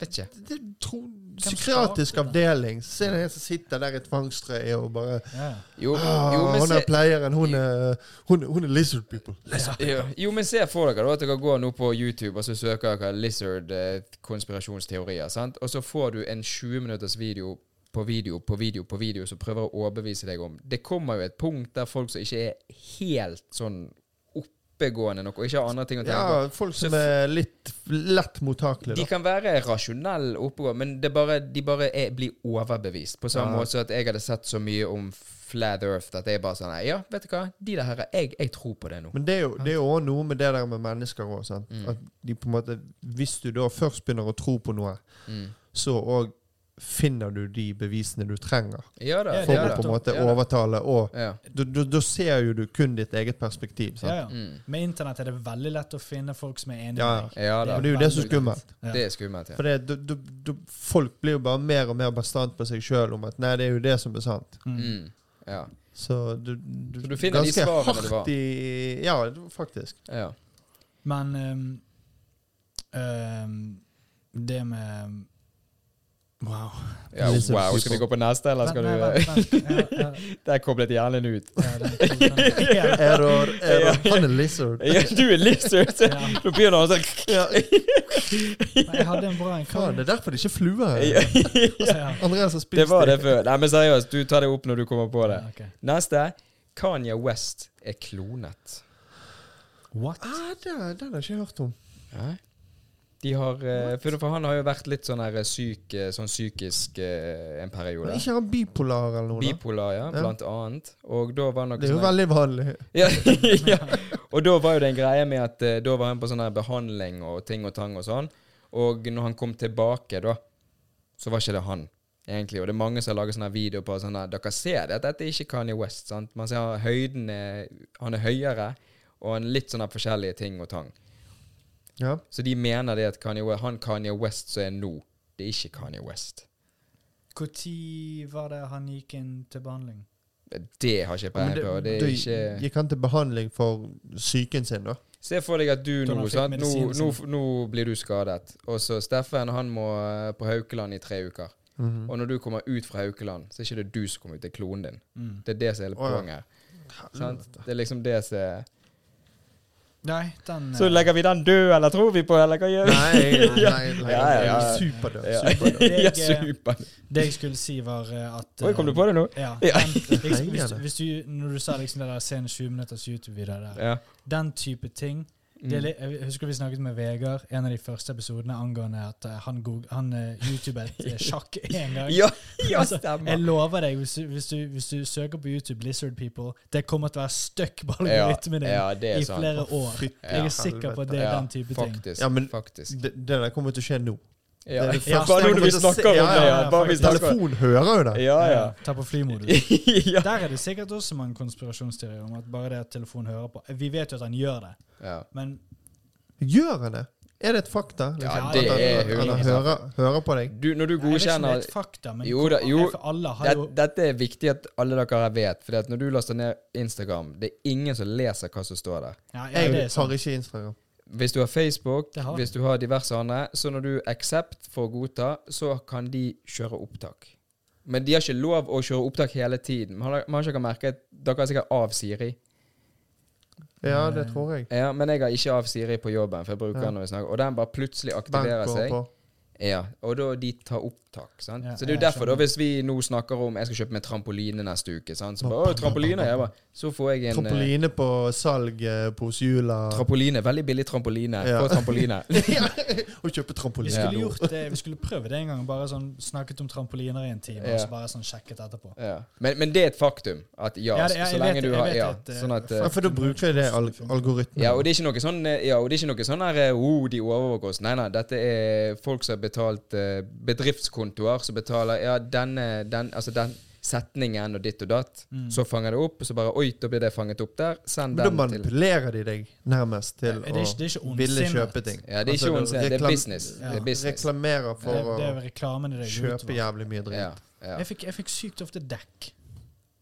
[SPEAKER 1] Vet ikke.
[SPEAKER 2] det tro, psykiatrisk
[SPEAKER 3] startet
[SPEAKER 2] avdeling. Så er det en som sitter der i tvangstrøye og bare
[SPEAKER 3] Ja.
[SPEAKER 1] Jo,
[SPEAKER 2] ah,
[SPEAKER 1] jo, men
[SPEAKER 2] Hun
[SPEAKER 1] se,
[SPEAKER 2] er pleieren. Hun er, hun, hun er lizard people.
[SPEAKER 1] Ja. Jo, men se for dere da at dere går nå på YouTube og så søker dere Lizard eh, konspirasjonsteorier, sant? og så får du en 20 minutters video på video på video på video som prøver å overbevise deg om Det kommer jo et punkt der folk som ikke er helt sånn oppegående nok, og ikke har andre ting å tenke på.
[SPEAKER 2] Ja, folk som er litt lett
[SPEAKER 1] De
[SPEAKER 2] mottakelige.
[SPEAKER 1] kan være rasjonelle oppegående, men det er bare, de bare er, blir overbevist. På samme
[SPEAKER 2] Ja.
[SPEAKER 1] måte som at jeg hadde sett så mye om Flat Earth at jeg bare sånn Ja, vet du hva, de der her, jeg, jeg tror på det nå.
[SPEAKER 2] Da. Men det er jo det er jo også noe med det der med mennesker òg.
[SPEAKER 1] Mm.
[SPEAKER 2] At de på en måte Hvis du da først begynner å tro på noe,
[SPEAKER 1] Mm.
[SPEAKER 2] så òg finner du de bevisene du trenger
[SPEAKER 1] Ja da.
[SPEAKER 2] for
[SPEAKER 1] ja,
[SPEAKER 2] å
[SPEAKER 1] da.
[SPEAKER 2] på en måte
[SPEAKER 1] Ja da.
[SPEAKER 2] overtale. Og
[SPEAKER 1] Ja.
[SPEAKER 2] da- da da ser jo du kun ditt eget perspektiv. Sant?
[SPEAKER 3] Ja, ja.
[SPEAKER 1] Mm.
[SPEAKER 3] Med internett er det veldig lett å finne folk som er enige
[SPEAKER 2] Ja,
[SPEAKER 3] med
[SPEAKER 2] ja.
[SPEAKER 3] deg.
[SPEAKER 1] Ja da.
[SPEAKER 2] Men det er jo det som er skummelt.
[SPEAKER 3] Ja.
[SPEAKER 1] Det er skummelt, ja.
[SPEAKER 2] For det, du, du, du, folk blir jo bare mer og mer bastant på seg sjøl om at nei, det er jo det som er sant.
[SPEAKER 1] Mm. ja.
[SPEAKER 2] Så du, du,
[SPEAKER 1] Så du finner de svarene det var.
[SPEAKER 2] i Ja, faktisk.
[SPEAKER 1] ja.
[SPEAKER 3] Men ehm, ehm, det med Wow.
[SPEAKER 1] ja.
[SPEAKER 2] Litt så-
[SPEAKER 1] Wow, skal vi gå på neste, eller skal
[SPEAKER 3] Vent,
[SPEAKER 1] du
[SPEAKER 3] vent, vent, vent. Ja, ja,
[SPEAKER 1] Der koblet hjernen ut.
[SPEAKER 3] ja, den- den- den-
[SPEAKER 2] Error, error. Han er lizard.
[SPEAKER 1] Ja, du er lizard!
[SPEAKER 3] Ja.
[SPEAKER 1] Nå begynner han sånn
[SPEAKER 2] Ja,
[SPEAKER 3] Men Jeg hadde en bra en. Hva var
[SPEAKER 2] faen,
[SPEAKER 3] det?
[SPEAKER 2] det er derfor det ikke er fluer
[SPEAKER 1] Ja,
[SPEAKER 2] her.
[SPEAKER 3] Ja,
[SPEAKER 2] Andreas har spist
[SPEAKER 1] Det var det før. Nei, men seriøst, du tar det opp når du kommer på det.
[SPEAKER 3] ja, ok.
[SPEAKER 1] Neste. Kanye West er klonet.
[SPEAKER 3] What?
[SPEAKER 2] Ah, det, den har jeg ikke hørt om.
[SPEAKER 1] Nei. De har eh, For for han har jo vært litt sånn her syk eh, Sånn psykisk eh, en
[SPEAKER 2] Men
[SPEAKER 1] periode.
[SPEAKER 2] ikke han bipolar eller noe? da?
[SPEAKER 1] Bipolar, ja,
[SPEAKER 2] Ja.
[SPEAKER 1] blant annet. Og da var nok
[SPEAKER 2] Det er jo
[SPEAKER 1] sånn-
[SPEAKER 2] veldig vanlig.
[SPEAKER 1] ja, ja. Og da var jo det en greie med at eh, da var han på sånn her behandling og ting og tang og sånn. Og når han kom tilbake, da, så var ikke det han. egentlig. Og det er mange som har laget sånne videoer på sånn at dere ser det, at dette er ikke Kanye West. sant? Man ser høyden er, Han er høyere, og han er litt sånne forskjellige ting og tang.
[SPEAKER 2] Ja.
[SPEAKER 1] Så de mener det at Kanye West, han Kanye West som er nå, det er ikke Kanye West.
[SPEAKER 3] Når var det han gikk inn til behandling?
[SPEAKER 1] Det har ikke jeg
[SPEAKER 2] Men
[SPEAKER 1] peiling på. Det er ikke
[SPEAKER 2] Gikk han til behandling for psyken sin, da?
[SPEAKER 1] Se for deg at du
[SPEAKER 3] Da
[SPEAKER 1] nå,
[SPEAKER 3] han fikk
[SPEAKER 1] sant? Nå,
[SPEAKER 3] medisinen
[SPEAKER 1] nå,
[SPEAKER 3] sin.
[SPEAKER 1] nå blir du skadet. Og så Steffen han må eh, på Haukeland i tre uker.
[SPEAKER 2] Mhm.
[SPEAKER 1] Og når du kommer ut fra Haukeland, så er ikke det du som kommer ut, det er klonen din.
[SPEAKER 3] Mm.
[SPEAKER 1] Det er det som er hele
[SPEAKER 2] Å, ja.
[SPEAKER 1] poenget. Sant? Det er liksom det som er
[SPEAKER 3] Nei, den
[SPEAKER 1] Så
[SPEAKER 3] eh,
[SPEAKER 1] legger vi den død, eller tror vi på, eller hva gjør vi?
[SPEAKER 2] Nei, nei, nei.
[SPEAKER 1] Ja, ja, ja.
[SPEAKER 2] Superdød.
[SPEAKER 1] Ja,
[SPEAKER 3] superdød. Det er
[SPEAKER 1] ja,
[SPEAKER 3] ikke-
[SPEAKER 1] super.
[SPEAKER 3] eh, Det jeg skulle si, var eh, at
[SPEAKER 1] Oi, kom du på det nå?
[SPEAKER 3] Ja.
[SPEAKER 1] Ja.
[SPEAKER 3] Den, liksom, hvis,
[SPEAKER 2] Pengene.
[SPEAKER 3] hvis du, når du sa liksom det der sen 20 minutters YouTube-video der,
[SPEAKER 1] Ja.
[SPEAKER 3] den type ting
[SPEAKER 1] Mm.
[SPEAKER 3] det er litt, Jeg husker vi snakket med Vegard en av de første episodene angående at eh, han, goog- han eh, YouTubet eh, sjakk én gang.
[SPEAKER 1] Mm. Ja, ja,
[SPEAKER 3] Altså, Jeg
[SPEAKER 1] stemmer.
[SPEAKER 3] lover deg, hvis du, hvis, du, hvis du søker på YouTube Blizzard People, det kommer til å være stuck på
[SPEAKER 1] Ja,
[SPEAKER 3] algoritmen din
[SPEAKER 1] ja, det er
[SPEAKER 3] i
[SPEAKER 1] sant.
[SPEAKER 3] flere år.
[SPEAKER 2] Fytti
[SPEAKER 3] Jeg er sikker på at det er
[SPEAKER 1] Ja,
[SPEAKER 3] den type ting.
[SPEAKER 1] faktisk.
[SPEAKER 2] Ja, men-
[SPEAKER 1] faktisk.
[SPEAKER 2] Det, det der kommer til å skje nå.
[SPEAKER 1] Ja.
[SPEAKER 2] det er det
[SPEAKER 1] Ja,
[SPEAKER 2] første
[SPEAKER 1] bare når
[SPEAKER 2] jeg
[SPEAKER 1] vi
[SPEAKER 2] kommer til å
[SPEAKER 1] snakker
[SPEAKER 2] se.
[SPEAKER 1] om
[SPEAKER 2] Ja,
[SPEAKER 1] det,
[SPEAKER 3] ja,
[SPEAKER 1] ja.
[SPEAKER 3] ja,
[SPEAKER 1] Bare vi
[SPEAKER 3] faktisk.
[SPEAKER 1] snakker
[SPEAKER 2] Telefon hører jo det.
[SPEAKER 1] Ja, ja.
[SPEAKER 3] Eh, Ta på flymodus.
[SPEAKER 1] Ja.
[SPEAKER 3] Der er det sikkert også mange konspirasjonsteorier om at bare det at telefonen hører på Vi vet jo at han gjør det,
[SPEAKER 1] ja.
[SPEAKER 3] men
[SPEAKER 2] Gjør han det? Er det et fakta? Liksom,
[SPEAKER 1] Ja,
[SPEAKER 2] At
[SPEAKER 3] det
[SPEAKER 2] han-
[SPEAKER 3] er
[SPEAKER 2] At han
[SPEAKER 1] 100%
[SPEAKER 2] hører, hører på deg?
[SPEAKER 1] Du, når du
[SPEAKER 3] Nei, jeg vet ikke om det er
[SPEAKER 1] godkjenner
[SPEAKER 3] et fakta, men
[SPEAKER 1] Jo da, jo.
[SPEAKER 3] for alle har
[SPEAKER 1] det,
[SPEAKER 3] jo
[SPEAKER 1] Dette er viktig at alle dere vet, for når du laster ned Instagram, det er ingen som leser hva som står der.
[SPEAKER 3] ja, ja, det
[SPEAKER 2] Jeg
[SPEAKER 3] er sånn. sant.
[SPEAKER 2] har ikke Instagram.
[SPEAKER 1] Hvis du har Facebook,
[SPEAKER 3] Det har jeg.
[SPEAKER 1] hvis du har diverse andre, så når du accept for å godta, så kan de kjøre opptak. Men de har ikke lov å kjøre opptak hele tiden. Man har, man har ikke merket, Dere har sikkert av Siri.
[SPEAKER 2] Ja, det tror jeg.
[SPEAKER 1] Ja, men jeg har ikke av Siri på jobben, for jeg bruker
[SPEAKER 2] Ja.
[SPEAKER 1] den når vi snakker. Og den bare plutselig
[SPEAKER 2] Bank
[SPEAKER 1] aktiverer
[SPEAKER 2] går
[SPEAKER 1] seg.
[SPEAKER 2] på.
[SPEAKER 1] Ja, og da de tar opptak. sant?
[SPEAKER 3] Ja,
[SPEAKER 1] så det er jo
[SPEAKER 3] jeg
[SPEAKER 1] derfor, da,
[SPEAKER 3] skjønner.
[SPEAKER 1] hvis vi nå snakker om jeg skal kjøpe meg trampoline neste uke, sant? så
[SPEAKER 2] Ba,
[SPEAKER 1] bare,
[SPEAKER 2] ba,
[SPEAKER 1] å, trampoline,
[SPEAKER 2] ba, ba,
[SPEAKER 1] jeg bare, så får jeg en eh,
[SPEAKER 2] Trampoline på salg eh, på Osjula.
[SPEAKER 1] Trampoline, veldig billig trampoline.
[SPEAKER 2] Ja.
[SPEAKER 1] Få trampoline.
[SPEAKER 2] Å kjøpe
[SPEAKER 3] Vi
[SPEAKER 2] trampoline.
[SPEAKER 3] skulle gjort det, vi skulle prøvd det en gang. Bare sånn snakket om trampoliner i en time, og
[SPEAKER 1] Ja.
[SPEAKER 3] så bare sånn sjekket etterpå.
[SPEAKER 1] Ja. Men, men det er et faktum. At ja,
[SPEAKER 3] Ja, det- jeg
[SPEAKER 1] så lenge
[SPEAKER 3] vet-
[SPEAKER 1] du
[SPEAKER 3] jeg
[SPEAKER 1] har
[SPEAKER 3] vet
[SPEAKER 1] ja,
[SPEAKER 3] at, eh,
[SPEAKER 1] sånn at,
[SPEAKER 2] Ja,
[SPEAKER 1] eh,
[SPEAKER 2] for da bruker jeg det al algoritmen.
[SPEAKER 1] ja, og det er ikke noe sånn eh, Ja, og det er ikke noe sånn her eh, oh, de overvåker oss. Nei, nei, dette er folk som har betalt eh, bedriftskontoer, som betaler Ja, denne den, Altså den setningen og ditt og datt.
[SPEAKER 3] Mm.
[SPEAKER 1] Så fanger det opp, og så bare Oi, da blir det fanget opp der. Send
[SPEAKER 2] Men da
[SPEAKER 1] den til
[SPEAKER 2] manipulerer de deg nærmest til
[SPEAKER 3] Ja, det er ikke- det er ikke
[SPEAKER 2] å
[SPEAKER 3] ondsinnet.
[SPEAKER 2] ville kjøpe ting.
[SPEAKER 1] Ja, det er
[SPEAKER 2] Altså,
[SPEAKER 1] ikke ondsinnet, det er
[SPEAKER 2] reklam-
[SPEAKER 1] business.
[SPEAKER 3] Det er
[SPEAKER 1] business.
[SPEAKER 2] Reklamerer
[SPEAKER 3] Det,
[SPEAKER 2] for
[SPEAKER 3] det er
[SPEAKER 2] å
[SPEAKER 3] vel reklamen i det. går ut over.
[SPEAKER 2] kjøpe jævlig mye
[SPEAKER 1] Ja.
[SPEAKER 2] dritt.
[SPEAKER 1] ja.
[SPEAKER 3] Jeg fikk, jeg fikk sykt ofte dekk.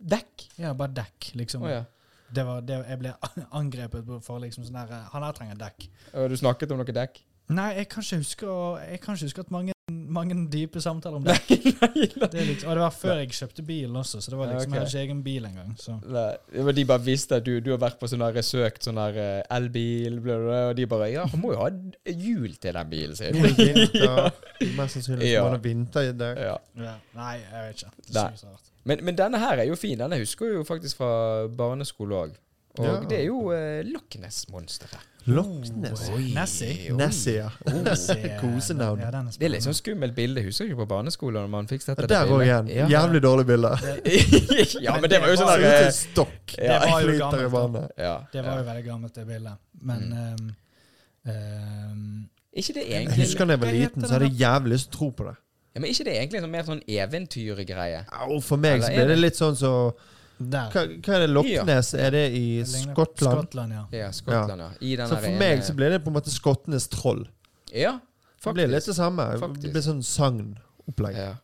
[SPEAKER 1] Dekk?
[SPEAKER 3] Ja, bare dekk, liksom.
[SPEAKER 1] Å ja.
[SPEAKER 3] det var, det, jeg ble angrepet på- for liksom sånn der Han her trenger dekk.
[SPEAKER 1] Og Du snakket om noe dekk?
[SPEAKER 3] Nei, jeg kan ikke huske, å- jeg kan ikke huske at mange, mange dype samtaler om dekk. Det er liksom, og det var før jeg kjøpte bilen også, så det var
[SPEAKER 1] Ja, ok.
[SPEAKER 3] liksom Jeg hadde ikke egen bil engang. Så.
[SPEAKER 1] Nei, men De bare visste at du, du har vært på sånn der søkt sånn der eh, elbil, bla, bla, bla, og de bare Ja, han må jo ha d- hjul til den bilen sin.
[SPEAKER 2] Nå er det vinter. Mest sannsynlig så
[SPEAKER 1] Ja.
[SPEAKER 2] må det vinter i
[SPEAKER 3] Oh.
[SPEAKER 2] dag.
[SPEAKER 1] Ja.
[SPEAKER 3] Ja. Nei, jeg vet ikke. Det
[SPEAKER 1] Nei.
[SPEAKER 3] er sykt rart.
[SPEAKER 1] Men, men denne her er jo fin. Denne husker jeg jo faktisk fra barneskole òg. Og
[SPEAKER 2] Ja.
[SPEAKER 1] det er jo eh, Loch Ness-monsteret.
[SPEAKER 2] Loch Ness.
[SPEAKER 3] Nessie.
[SPEAKER 2] Nessie, ja.
[SPEAKER 1] Oh.
[SPEAKER 3] Nessie.
[SPEAKER 2] Kosenavn.
[SPEAKER 3] Ja, den
[SPEAKER 1] Det er
[SPEAKER 3] er spennende.
[SPEAKER 1] litt sånn skummelt bilde. Husker ikke på barneskolen når man fikk sett dette
[SPEAKER 2] Der òg igjen.
[SPEAKER 1] bildet.
[SPEAKER 2] Jævlig dårlig bilde.
[SPEAKER 1] Ja. ja, men det var jo sånn
[SPEAKER 2] Ser
[SPEAKER 1] der
[SPEAKER 2] ut som en
[SPEAKER 1] eh,
[SPEAKER 2] stokk.
[SPEAKER 1] Ja.
[SPEAKER 3] Det var jo
[SPEAKER 2] Flyter i
[SPEAKER 3] gammelt, da.
[SPEAKER 2] vannet. Mm.
[SPEAKER 1] ja,
[SPEAKER 3] Det var jo veldig gammelt, det bildet. Men ehm, ehm,
[SPEAKER 1] Ikke det
[SPEAKER 2] Jeg
[SPEAKER 1] egentlig
[SPEAKER 2] husker da jeg var
[SPEAKER 3] Hva heter
[SPEAKER 2] liten, så hadde jeg jævlig lyst til å tro på det.
[SPEAKER 1] ja, Men ikke det egentlig sånn mer sånn eventyrgreie?
[SPEAKER 2] Au, for meg så
[SPEAKER 1] Eller er
[SPEAKER 2] blir det
[SPEAKER 1] det-
[SPEAKER 2] litt sånn så
[SPEAKER 3] Der.
[SPEAKER 2] Hva, hva er det? Loch
[SPEAKER 1] Ja.
[SPEAKER 2] Ness? Er det i
[SPEAKER 3] Det ligner-
[SPEAKER 2] Skottland?
[SPEAKER 3] Skottland, ja.
[SPEAKER 1] Ja, Skottland, ja. I den eh,
[SPEAKER 2] Så for meg så blir det på en måte skottenes troll.
[SPEAKER 1] Ja,
[SPEAKER 2] Det blir litt
[SPEAKER 1] faktisk.
[SPEAKER 2] det samme.
[SPEAKER 1] Faktisk.
[SPEAKER 2] Det blir sånn sagnopplegg.
[SPEAKER 1] Ja.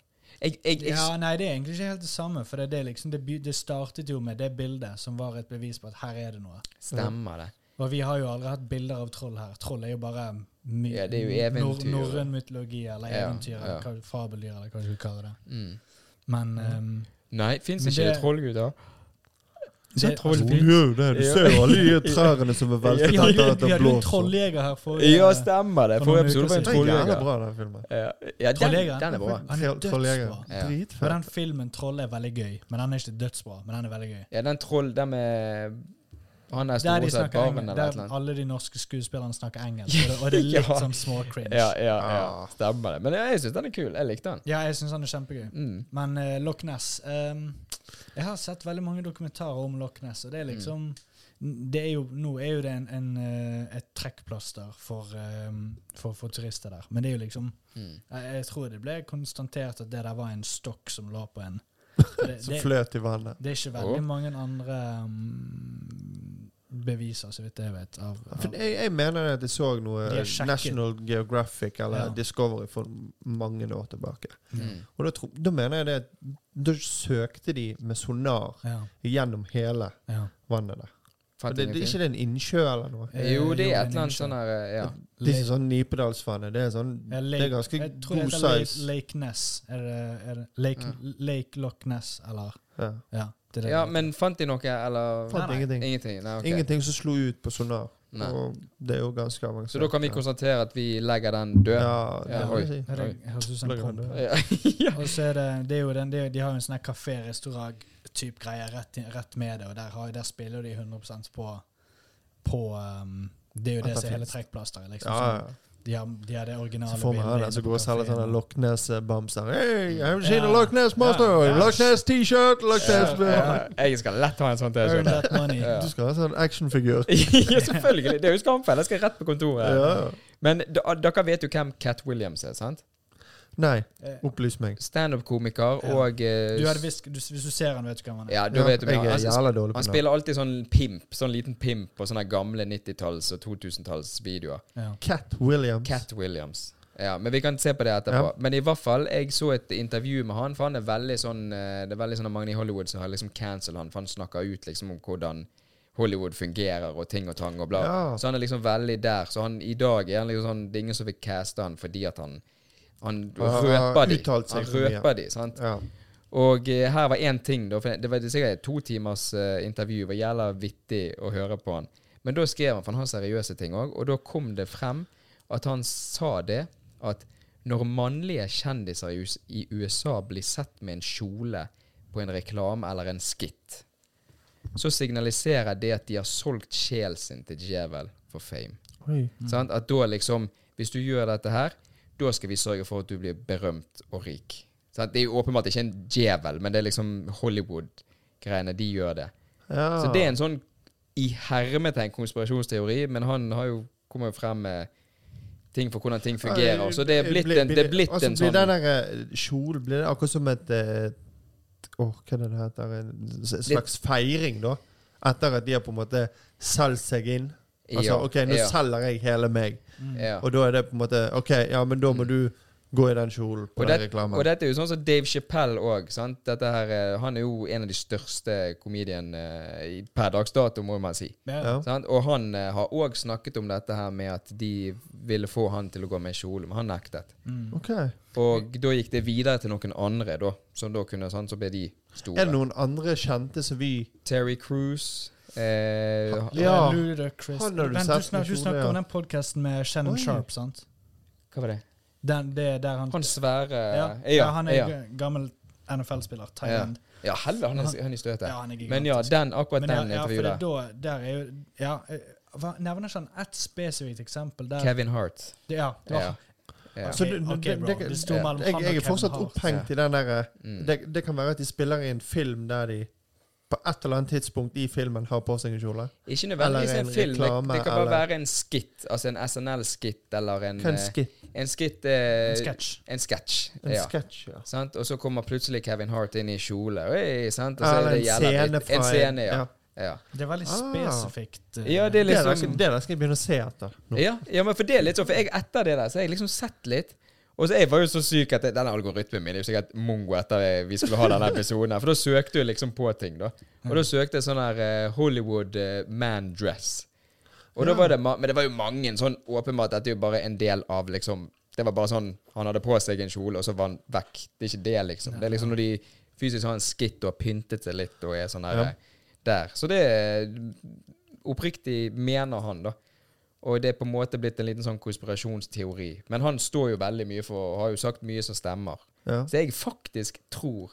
[SPEAKER 1] Jeg, jeg, jeg,
[SPEAKER 3] Ja, nei, det er egentlig ikke helt det samme. For det, er det, liksom, det, by- det startet jo med det bildet som var et bevis på at her er det noe.
[SPEAKER 1] Stemmer det.
[SPEAKER 3] Og vi har jo aldri hatt bilder av troll her. Troll er jo bare my-
[SPEAKER 1] Ja, det er jo eventyr.
[SPEAKER 3] norrøn mytologi eller
[SPEAKER 1] Ja,
[SPEAKER 3] eventyr,
[SPEAKER 1] ja.
[SPEAKER 3] eller hva- fabeldyr, eller hva du kaller det.
[SPEAKER 1] Mm.
[SPEAKER 3] Men ehm,
[SPEAKER 1] Nei, fins
[SPEAKER 3] Men
[SPEAKER 1] ikke det
[SPEAKER 3] det-
[SPEAKER 1] trollguder?
[SPEAKER 3] det- altså,
[SPEAKER 1] Så troll-
[SPEAKER 2] Så gjør det. Du
[SPEAKER 1] Ja.
[SPEAKER 2] ser jo alle de trærne som er
[SPEAKER 3] vi
[SPEAKER 2] veltet
[SPEAKER 3] hadde jo
[SPEAKER 2] etter at
[SPEAKER 3] vi
[SPEAKER 2] det
[SPEAKER 3] hadde jo en
[SPEAKER 2] blåser.
[SPEAKER 3] trolljeger her forrige
[SPEAKER 1] Ja, stemmer det.
[SPEAKER 3] For
[SPEAKER 1] Forrige
[SPEAKER 3] noen
[SPEAKER 1] episode
[SPEAKER 3] uker
[SPEAKER 1] var en
[SPEAKER 2] Det er jævlig
[SPEAKER 1] trolljeger.
[SPEAKER 2] bra, den filmen.
[SPEAKER 1] Ja, ja den,
[SPEAKER 3] Trolljegeren.
[SPEAKER 1] den er bra.
[SPEAKER 3] Han er
[SPEAKER 2] Troll- Trolljegeren.
[SPEAKER 3] dødsbra.
[SPEAKER 1] Ja.
[SPEAKER 3] Og
[SPEAKER 2] Dritfett.
[SPEAKER 3] den filmen Troll er veldig gøy, men den er ikke dødsbra. Men den er veldig gøy.
[SPEAKER 1] Ja, den troll Den med Han er
[SPEAKER 3] Der de
[SPEAKER 1] stort sett
[SPEAKER 3] snakker
[SPEAKER 1] barn
[SPEAKER 3] engelsk,
[SPEAKER 1] eller et eller
[SPEAKER 3] der
[SPEAKER 1] annet.
[SPEAKER 3] alle de norske skuespillerne snakker engelsk, og det, og det er litt
[SPEAKER 1] Ja.
[SPEAKER 3] sånn småcringe.
[SPEAKER 1] Ja, ja, ja.
[SPEAKER 2] Ah.
[SPEAKER 1] Stemmer det. Men ja, jeg syns den er kul. Jeg likte den.
[SPEAKER 3] Ja, jeg syns han er kjempegøy.
[SPEAKER 1] Mm.
[SPEAKER 3] Men
[SPEAKER 1] Mm.
[SPEAKER 3] eh, Loch Ness ehm, Jeg har sett veldig mange dokumentarer om Loch Ness, og det er liksom det er jo, nå er jo det en, en, eh, et trekkplaster for, eh, for, for turister der. Men det er jo liksom
[SPEAKER 1] Mm.
[SPEAKER 3] Jeg, jeg tror det ble konstatert at det der var en stokk som lå på en. For Det,
[SPEAKER 2] Som
[SPEAKER 3] det,
[SPEAKER 2] fløt i vannet.
[SPEAKER 3] det er ikke veldig mange andre mm, beviser, så vidt jeg vet. Av,
[SPEAKER 2] Ja, For
[SPEAKER 3] av,
[SPEAKER 2] jeg, jeg mener at jeg så noe
[SPEAKER 3] De har sjekket.
[SPEAKER 2] National Geographic eller
[SPEAKER 3] Ja.
[SPEAKER 2] Discovery for mange år tilbake.
[SPEAKER 1] Mm.
[SPEAKER 2] Og da, tro, da mener jeg det at da søkte de med sonar
[SPEAKER 3] ja,
[SPEAKER 2] gjennom hele
[SPEAKER 3] ja.
[SPEAKER 2] vannet der.
[SPEAKER 1] Fant
[SPEAKER 2] Og det, det er
[SPEAKER 1] ingenting?
[SPEAKER 2] ikke det en innsjø eller noe.
[SPEAKER 3] Eh,
[SPEAKER 1] Jo, det er
[SPEAKER 3] en
[SPEAKER 1] et eller annet
[SPEAKER 3] innsjø.
[SPEAKER 1] sånn her eh, Ja.
[SPEAKER 2] Det er ikke sånn Nipedalsvannet. Det er sånn
[SPEAKER 3] Ja,
[SPEAKER 2] Det er ganske
[SPEAKER 3] jeg tror det
[SPEAKER 2] god size.
[SPEAKER 3] heter Lake, Lake Ness. Er det, er det Lake, Lake Loch Ness, eller
[SPEAKER 2] Ja.
[SPEAKER 3] Ja, det er det.
[SPEAKER 1] Mm. ja, men fant de noe, eller
[SPEAKER 2] Fant
[SPEAKER 3] nei.
[SPEAKER 2] ingenting.
[SPEAKER 1] Ingenting. Nei, ok.
[SPEAKER 2] Ingenting som slo ut på sonar.
[SPEAKER 1] Nei.
[SPEAKER 2] Og det er jo ganske avansert.
[SPEAKER 1] Så da kan vi konstatere at vi legger den død.
[SPEAKER 2] Ja, det
[SPEAKER 1] Ja,
[SPEAKER 2] kan
[SPEAKER 1] oi.
[SPEAKER 2] vi si.
[SPEAKER 3] Er det høres ut som en
[SPEAKER 2] Lager han
[SPEAKER 3] promp.
[SPEAKER 2] det?
[SPEAKER 1] Ja.
[SPEAKER 3] Og så er det, det er jo den, det, er- de har jo en sånn her kafé-restaurant-type greie rett, i- rett med det, og der, har, der spiller de 100 på, på um, Det er jo
[SPEAKER 2] At
[SPEAKER 3] det
[SPEAKER 2] det
[SPEAKER 3] som er hele
[SPEAKER 2] finnes.
[SPEAKER 3] trekkplasteret. Liksom,
[SPEAKER 2] Ja,
[SPEAKER 3] sånn.
[SPEAKER 2] ja.
[SPEAKER 3] de, har, de har det originale
[SPEAKER 2] Så får vi han
[SPEAKER 3] bildet
[SPEAKER 2] der som
[SPEAKER 3] på
[SPEAKER 2] går og selger
[SPEAKER 3] kaféen.
[SPEAKER 2] sånne Loch Ness-bamser. Hey, I haven't seen a
[SPEAKER 3] Ja.
[SPEAKER 2] Loch Ness monster!
[SPEAKER 3] Ja.
[SPEAKER 2] Loch Ness T-shirt! Loch Ness
[SPEAKER 1] Ja, Jeg skal lett ha en sånn
[SPEAKER 3] Earn
[SPEAKER 1] T-skjorte.
[SPEAKER 3] that money.
[SPEAKER 1] Ja.
[SPEAKER 2] Du skal ha en sånn actionfigur.
[SPEAKER 1] ja, selvfølgelig. Det er jo skamfeil. Jeg skal rett på kontoret.
[SPEAKER 2] Ja.
[SPEAKER 1] Men da- dere vet jo hvem Cat Williams er, sant?
[SPEAKER 2] Nei,
[SPEAKER 3] Eh,
[SPEAKER 2] opplys meg.
[SPEAKER 1] Standup-komiker
[SPEAKER 3] Ja.
[SPEAKER 1] og eh,
[SPEAKER 3] Du hadde visst, du, hvis du ser han, vet du hvem han er.
[SPEAKER 1] Ja, da vet du hvem
[SPEAKER 2] jeg er
[SPEAKER 1] han er.
[SPEAKER 2] jævla dårlig på
[SPEAKER 1] Han
[SPEAKER 2] navn.
[SPEAKER 1] spiller alltid sånn pimp, sånn liten pimp på sånne gamle 90-talls- og 2000-tallsvideoer.
[SPEAKER 3] Ja.
[SPEAKER 2] Cat Williams.
[SPEAKER 1] Cat Williams. Ja, men vi kan se på det etterpå.
[SPEAKER 2] Ja.
[SPEAKER 1] Men i hvert fall, jeg så et intervju med han, for han er veldig sånn eh, Det er veldig sånn at mange i Hollywood som har liksom cancel han, for han snakker ut liksom om hvordan Hollywood fungerer og ting og tang og bla.
[SPEAKER 2] Ja.
[SPEAKER 1] Så han er liksom veldig der. Så han i dag er han liksom sånn Det er ingen som vil caste han fordi at han Han
[SPEAKER 2] har
[SPEAKER 1] røper de.
[SPEAKER 2] uttalt seg
[SPEAKER 1] Han
[SPEAKER 2] for mye.
[SPEAKER 1] røper de, sant.
[SPEAKER 2] Ja.
[SPEAKER 1] Og eh, her var én ting, da. For det var sikkert et to timers eh, intervju. Det var jævla vittig å høre på han. Men da skrev han, for han har seriøse ting òg, og da kom det frem at han sa det at når mannlige kjendiser i US- i USA blir sett med en kjole på en reklame eller en skitt, så signaliserer det at de har solgt sjelen sin til djevel for fame.
[SPEAKER 2] Oi.
[SPEAKER 1] Sant? At da liksom Hvis du gjør dette her, da skal vi sørge for at du blir berømt og rik. Sant? Det er jo åpenbart ikke en djevel, men det er liksom Hollywood-greiene. De gjør det.
[SPEAKER 2] Ja.
[SPEAKER 1] Så det er en
[SPEAKER 2] Ah.
[SPEAKER 1] sånn i hermetegn konspirasjonsteori, men han har jo kommer jo frem med ting for hvordan ting fungerer. Så det er blitt en, det er blitt
[SPEAKER 2] altså,
[SPEAKER 1] en
[SPEAKER 2] blir
[SPEAKER 1] sånn
[SPEAKER 2] den der eh, kjolen Blir det akkurat som et eh, Åh, hva er det det heter? En s- slags feiring, da? Etter at de har på en måte solgt seg inn? Altså,
[SPEAKER 1] Ja,
[SPEAKER 2] OK, nå
[SPEAKER 1] ja,
[SPEAKER 2] selger jeg hele meg.
[SPEAKER 1] ja. Mm.
[SPEAKER 2] Og da er det på en måte OK, ja, men da må du gå i den kjolen på
[SPEAKER 1] Og
[SPEAKER 2] den
[SPEAKER 1] det-
[SPEAKER 2] reklamen.
[SPEAKER 1] Og dette er jo sånn som Dave Chappelle òg. eh, Han er jo en av de største komediene eh, i- per dags dato, må man si.
[SPEAKER 3] Ja.
[SPEAKER 2] ja.
[SPEAKER 1] Sant? Og han eh, har òg snakket om dette her med at de ville få han til å gå med kjole, men han nektet.
[SPEAKER 3] Mm.
[SPEAKER 2] OK. Er
[SPEAKER 1] Og da gikk det videre til noen andre, da. Som da kunne sant, Så ble de store.
[SPEAKER 2] det noen andre kjente som vi
[SPEAKER 1] Terry Cruise. Eh,
[SPEAKER 2] Ja.
[SPEAKER 3] Ludacris.
[SPEAKER 2] Han har du
[SPEAKER 3] Vent,
[SPEAKER 2] sett
[SPEAKER 3] du,
[SPEAKER 2] med
[SPEAKER 3] snak, du
[SPEAKER 2] kjole,
[SPEAKER 3] snakker om
[SPEAKER 2] ja.
[SPEAKER 3] den podkasten med Shannon
[SPEAKER 2] Oi.
[SPEAKER 3] Sharp, sant?
[SPEAKER 1] hva var det?
[SPEAKER 3] Den, det er der han
[SPEAKER 1] Han svære
[SPEAKER 3] ja. ja, han er
[SPEAKER 1] ja.
[SPEAKER 3] g- gammel NFL-spiller. Thailand.
[SPEAKER 1] ja heller, han er, han er i støtet.
[SPEAKER 3] Ja, han er gigantisk.
[SPEAKER 1] Men ja, den, akkurat
[SPEAKER 3] Men ja,
[SPEAKER 1] den
[SPEAKER 3] ja, for
[SPEAKER 1] intervjuet
[SPEAKER 3] det,
[SPEAKER 1] der.
[SPEAKER 3] da, der er jo ja, eh, hva- Nevner ikke han ett spesifikt eksempel der
[SPEAKER 1] Kevin Hart.
[SPEAKER 3] Det, ja, det var, Altså,
[SPEAKER 1] Ja. Ja.
[SPEAKER 2] Så
[SPEAKER 3] Ok,
[SPEAKER 2] det-
[SPEAKER 3] ok,
[SPEAKER 2] det-
[SPEAKER 3] bro.
[SPEAKER 2] det-
[SPEAKER 3] Det sto mellom
[SPEAKER 2] jeg,
[SPEAKER 3] han og
[SPEAKER 2] jeg er
[SPEAKER 3] Kevin
[SPEAKER 2] fortsatt
[SPEAKER 3] Hart.
[SPEAKER 2] opphengt i den derre
[SPEAKER 1] Mm.
[SPEAKER 2] det, det kan være at de spiller i en film der de på et eller annet tidspunkt i filmen har på seg en kjole.
[SPEAKER 1] Ikke nødvendigvis
[SPEAKER 2] Eller en
[SPEAKER 1] en film. Det,
[SPEAKER 2] reklame,
[SPEAKER 1] det kan bare
[SPEAKER 2] eller-
[SPEAKER 1] være en skit. Altså en SNL-skit eller en
[SPEAKER 2] Hva er en
[SPEAKER 1] eh,
[SPEAKER 2] skit?
[SPEAKER 1] En skit eh,
[SPEAKER 3] En sketsj.
[SPEAKER 1] En sketsj.
[SPEAKER 2] En
[SPEAKER 1] Ja.
[SPEAKER 2] sketsj, ja.
[SPEAKER 1] Sant? Og så kommer plutselig Kevin Hart inn i kjole. Oi, sant? Og så
[SPEAKER 2] Eller
[SPEAKER 1] er
[SPEAKER 2] en
[SPEAKER 1] det jævla
[SPEAKER 2] scene
[SPEAKER 1] dritt.
[SPEAKER 2] fra
[SPEAKER 1] En scene, ja. Ja.
[SPEAKER 3] det er veldig
[SPEAKER 2] Ah.
[SPEAKER 3] spesifikt. eh,
[SPEAKER 1] ja, det er
[SPEAKER 2] Det, der
[SPEAKER 1] liksom
[SPEAKER 2] skal, det der skal jeg begynne å se etter. Nå.
[SPEAKER 1] ja, ja, men for det er litt sånn, for jeg etter det der, så har jeg liksom sett litt. Og så Jeg var jo så syk at det- den algoritmen min er jo sikkert mongo etter jeg- vi skulle ha denne episoden. her For da søkte jeg liksom på ting, da. Og da søkte jeg sånn her eh, Hollywood eh, man dress. Og da var det ma Men det var jo mange sånn åpenbart Dette er jo bare en del av liksom Det var bare sånn Han hadde på seg en kjole, og så var han vekk. Det er ikke det, liksom. Det er liksom når de fysisk har en skitt og har pyntet seg litt og er sånn her
[SPEAKER 2] Ja.
[SPEAKER 1] eh, der. Så det er- oppriktig mener han, da. Og det er på en måte blitt en liten sånn konspirasjonsteori. Men han står jo veldig mye for og har jo sagt mye som stemmer.
[SPEAKER 2] Ja.
[SPEAKER 1] Så jeg faktisk tror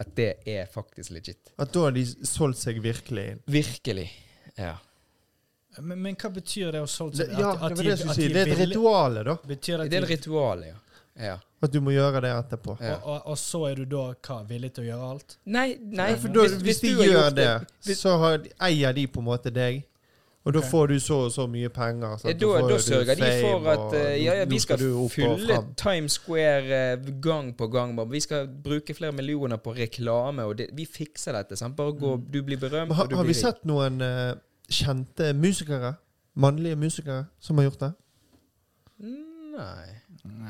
[SPEAKER 1] at det er faktisk legit.
[SPEAKER 2] At da har de solgt seg virkelig inn.
[SPEAKER 1] Virkelig. Ja.
[SPEAKER 3] Men, men hva betyr det å solge
[SPEAKER 2] Det,
[SPEAKER 3] seg?
[SPEAKER 2] ja, det var det jeg skulle si. Det er et
[SPEAKER 3] ville-
[SPEAKER 2] ritual, da.
[SPEAKER 3] Betyr det
[SPEAKER 1] Det er
[SPEAKER 3] at
[SPEAKER 1] et
[SPEAKER 3] de,
[SPEAKER 1] ritual, ja. Ja.
[SPEAKER 2] At du må gjøre det etterpå.
[SPEAKER 1] Ja.
[SPEAKER 3] Og, og, og så er du da hva, villig til å gjøre alt?
[SPEAKER 1] Nei, nei
[SPEAKER 2] Ja, for da, hvis, de
[SPEAKER 1] har
[SPEAKER 2] gjør
[SPEAKER 1] gjort
[SPEAKER 2] det,
[SPEAKER 1] hvis,
[SPEAKER 2] så har, eier de på en måte deg. Og da
[SPEAKER 3] Ok.
[SPEAKER 2] får du så og så mye penger.
[SPEAKER 1] ja,
[SPEAKER 2] sant?
[SPEAKER 1] eh, da, da
[SPEAKER 2] får du
[SPEAKER 1] sørger de
[SPEAKER 2] fame,
[SPEAKER 1] for at
[SPEAKER 2] og
[SPEAKER 1] eh, ja, ja,
[SPEAKER 2] nå
[SPEAKER 1] vi skal
[SPEAKER 2] du opp og
[SPEAKER 1] fylle
[SPEAKER 2] fram.
[SPEAKER 1] Times Square eh, gang på gang. bare. Vi skal bruke flere millioner på reklame, og det, vi fikser dette. sant? Bare gå, du blir berømt,
[SPEAKER 2] Mm. Men
[SPEAKER 1] og
[SPEAKER 2] har,
[SPEAKER 1] du
[SPEAKER 2] har
[SPEAKER 1] blir
[SPEAKER 2] vi
[SPEAKER 1] rik.
[SPEAKER 2] sett noen eh, kjente musikere, mannlige musikere, som har gjort det?
[SPEAKER 1] Nei.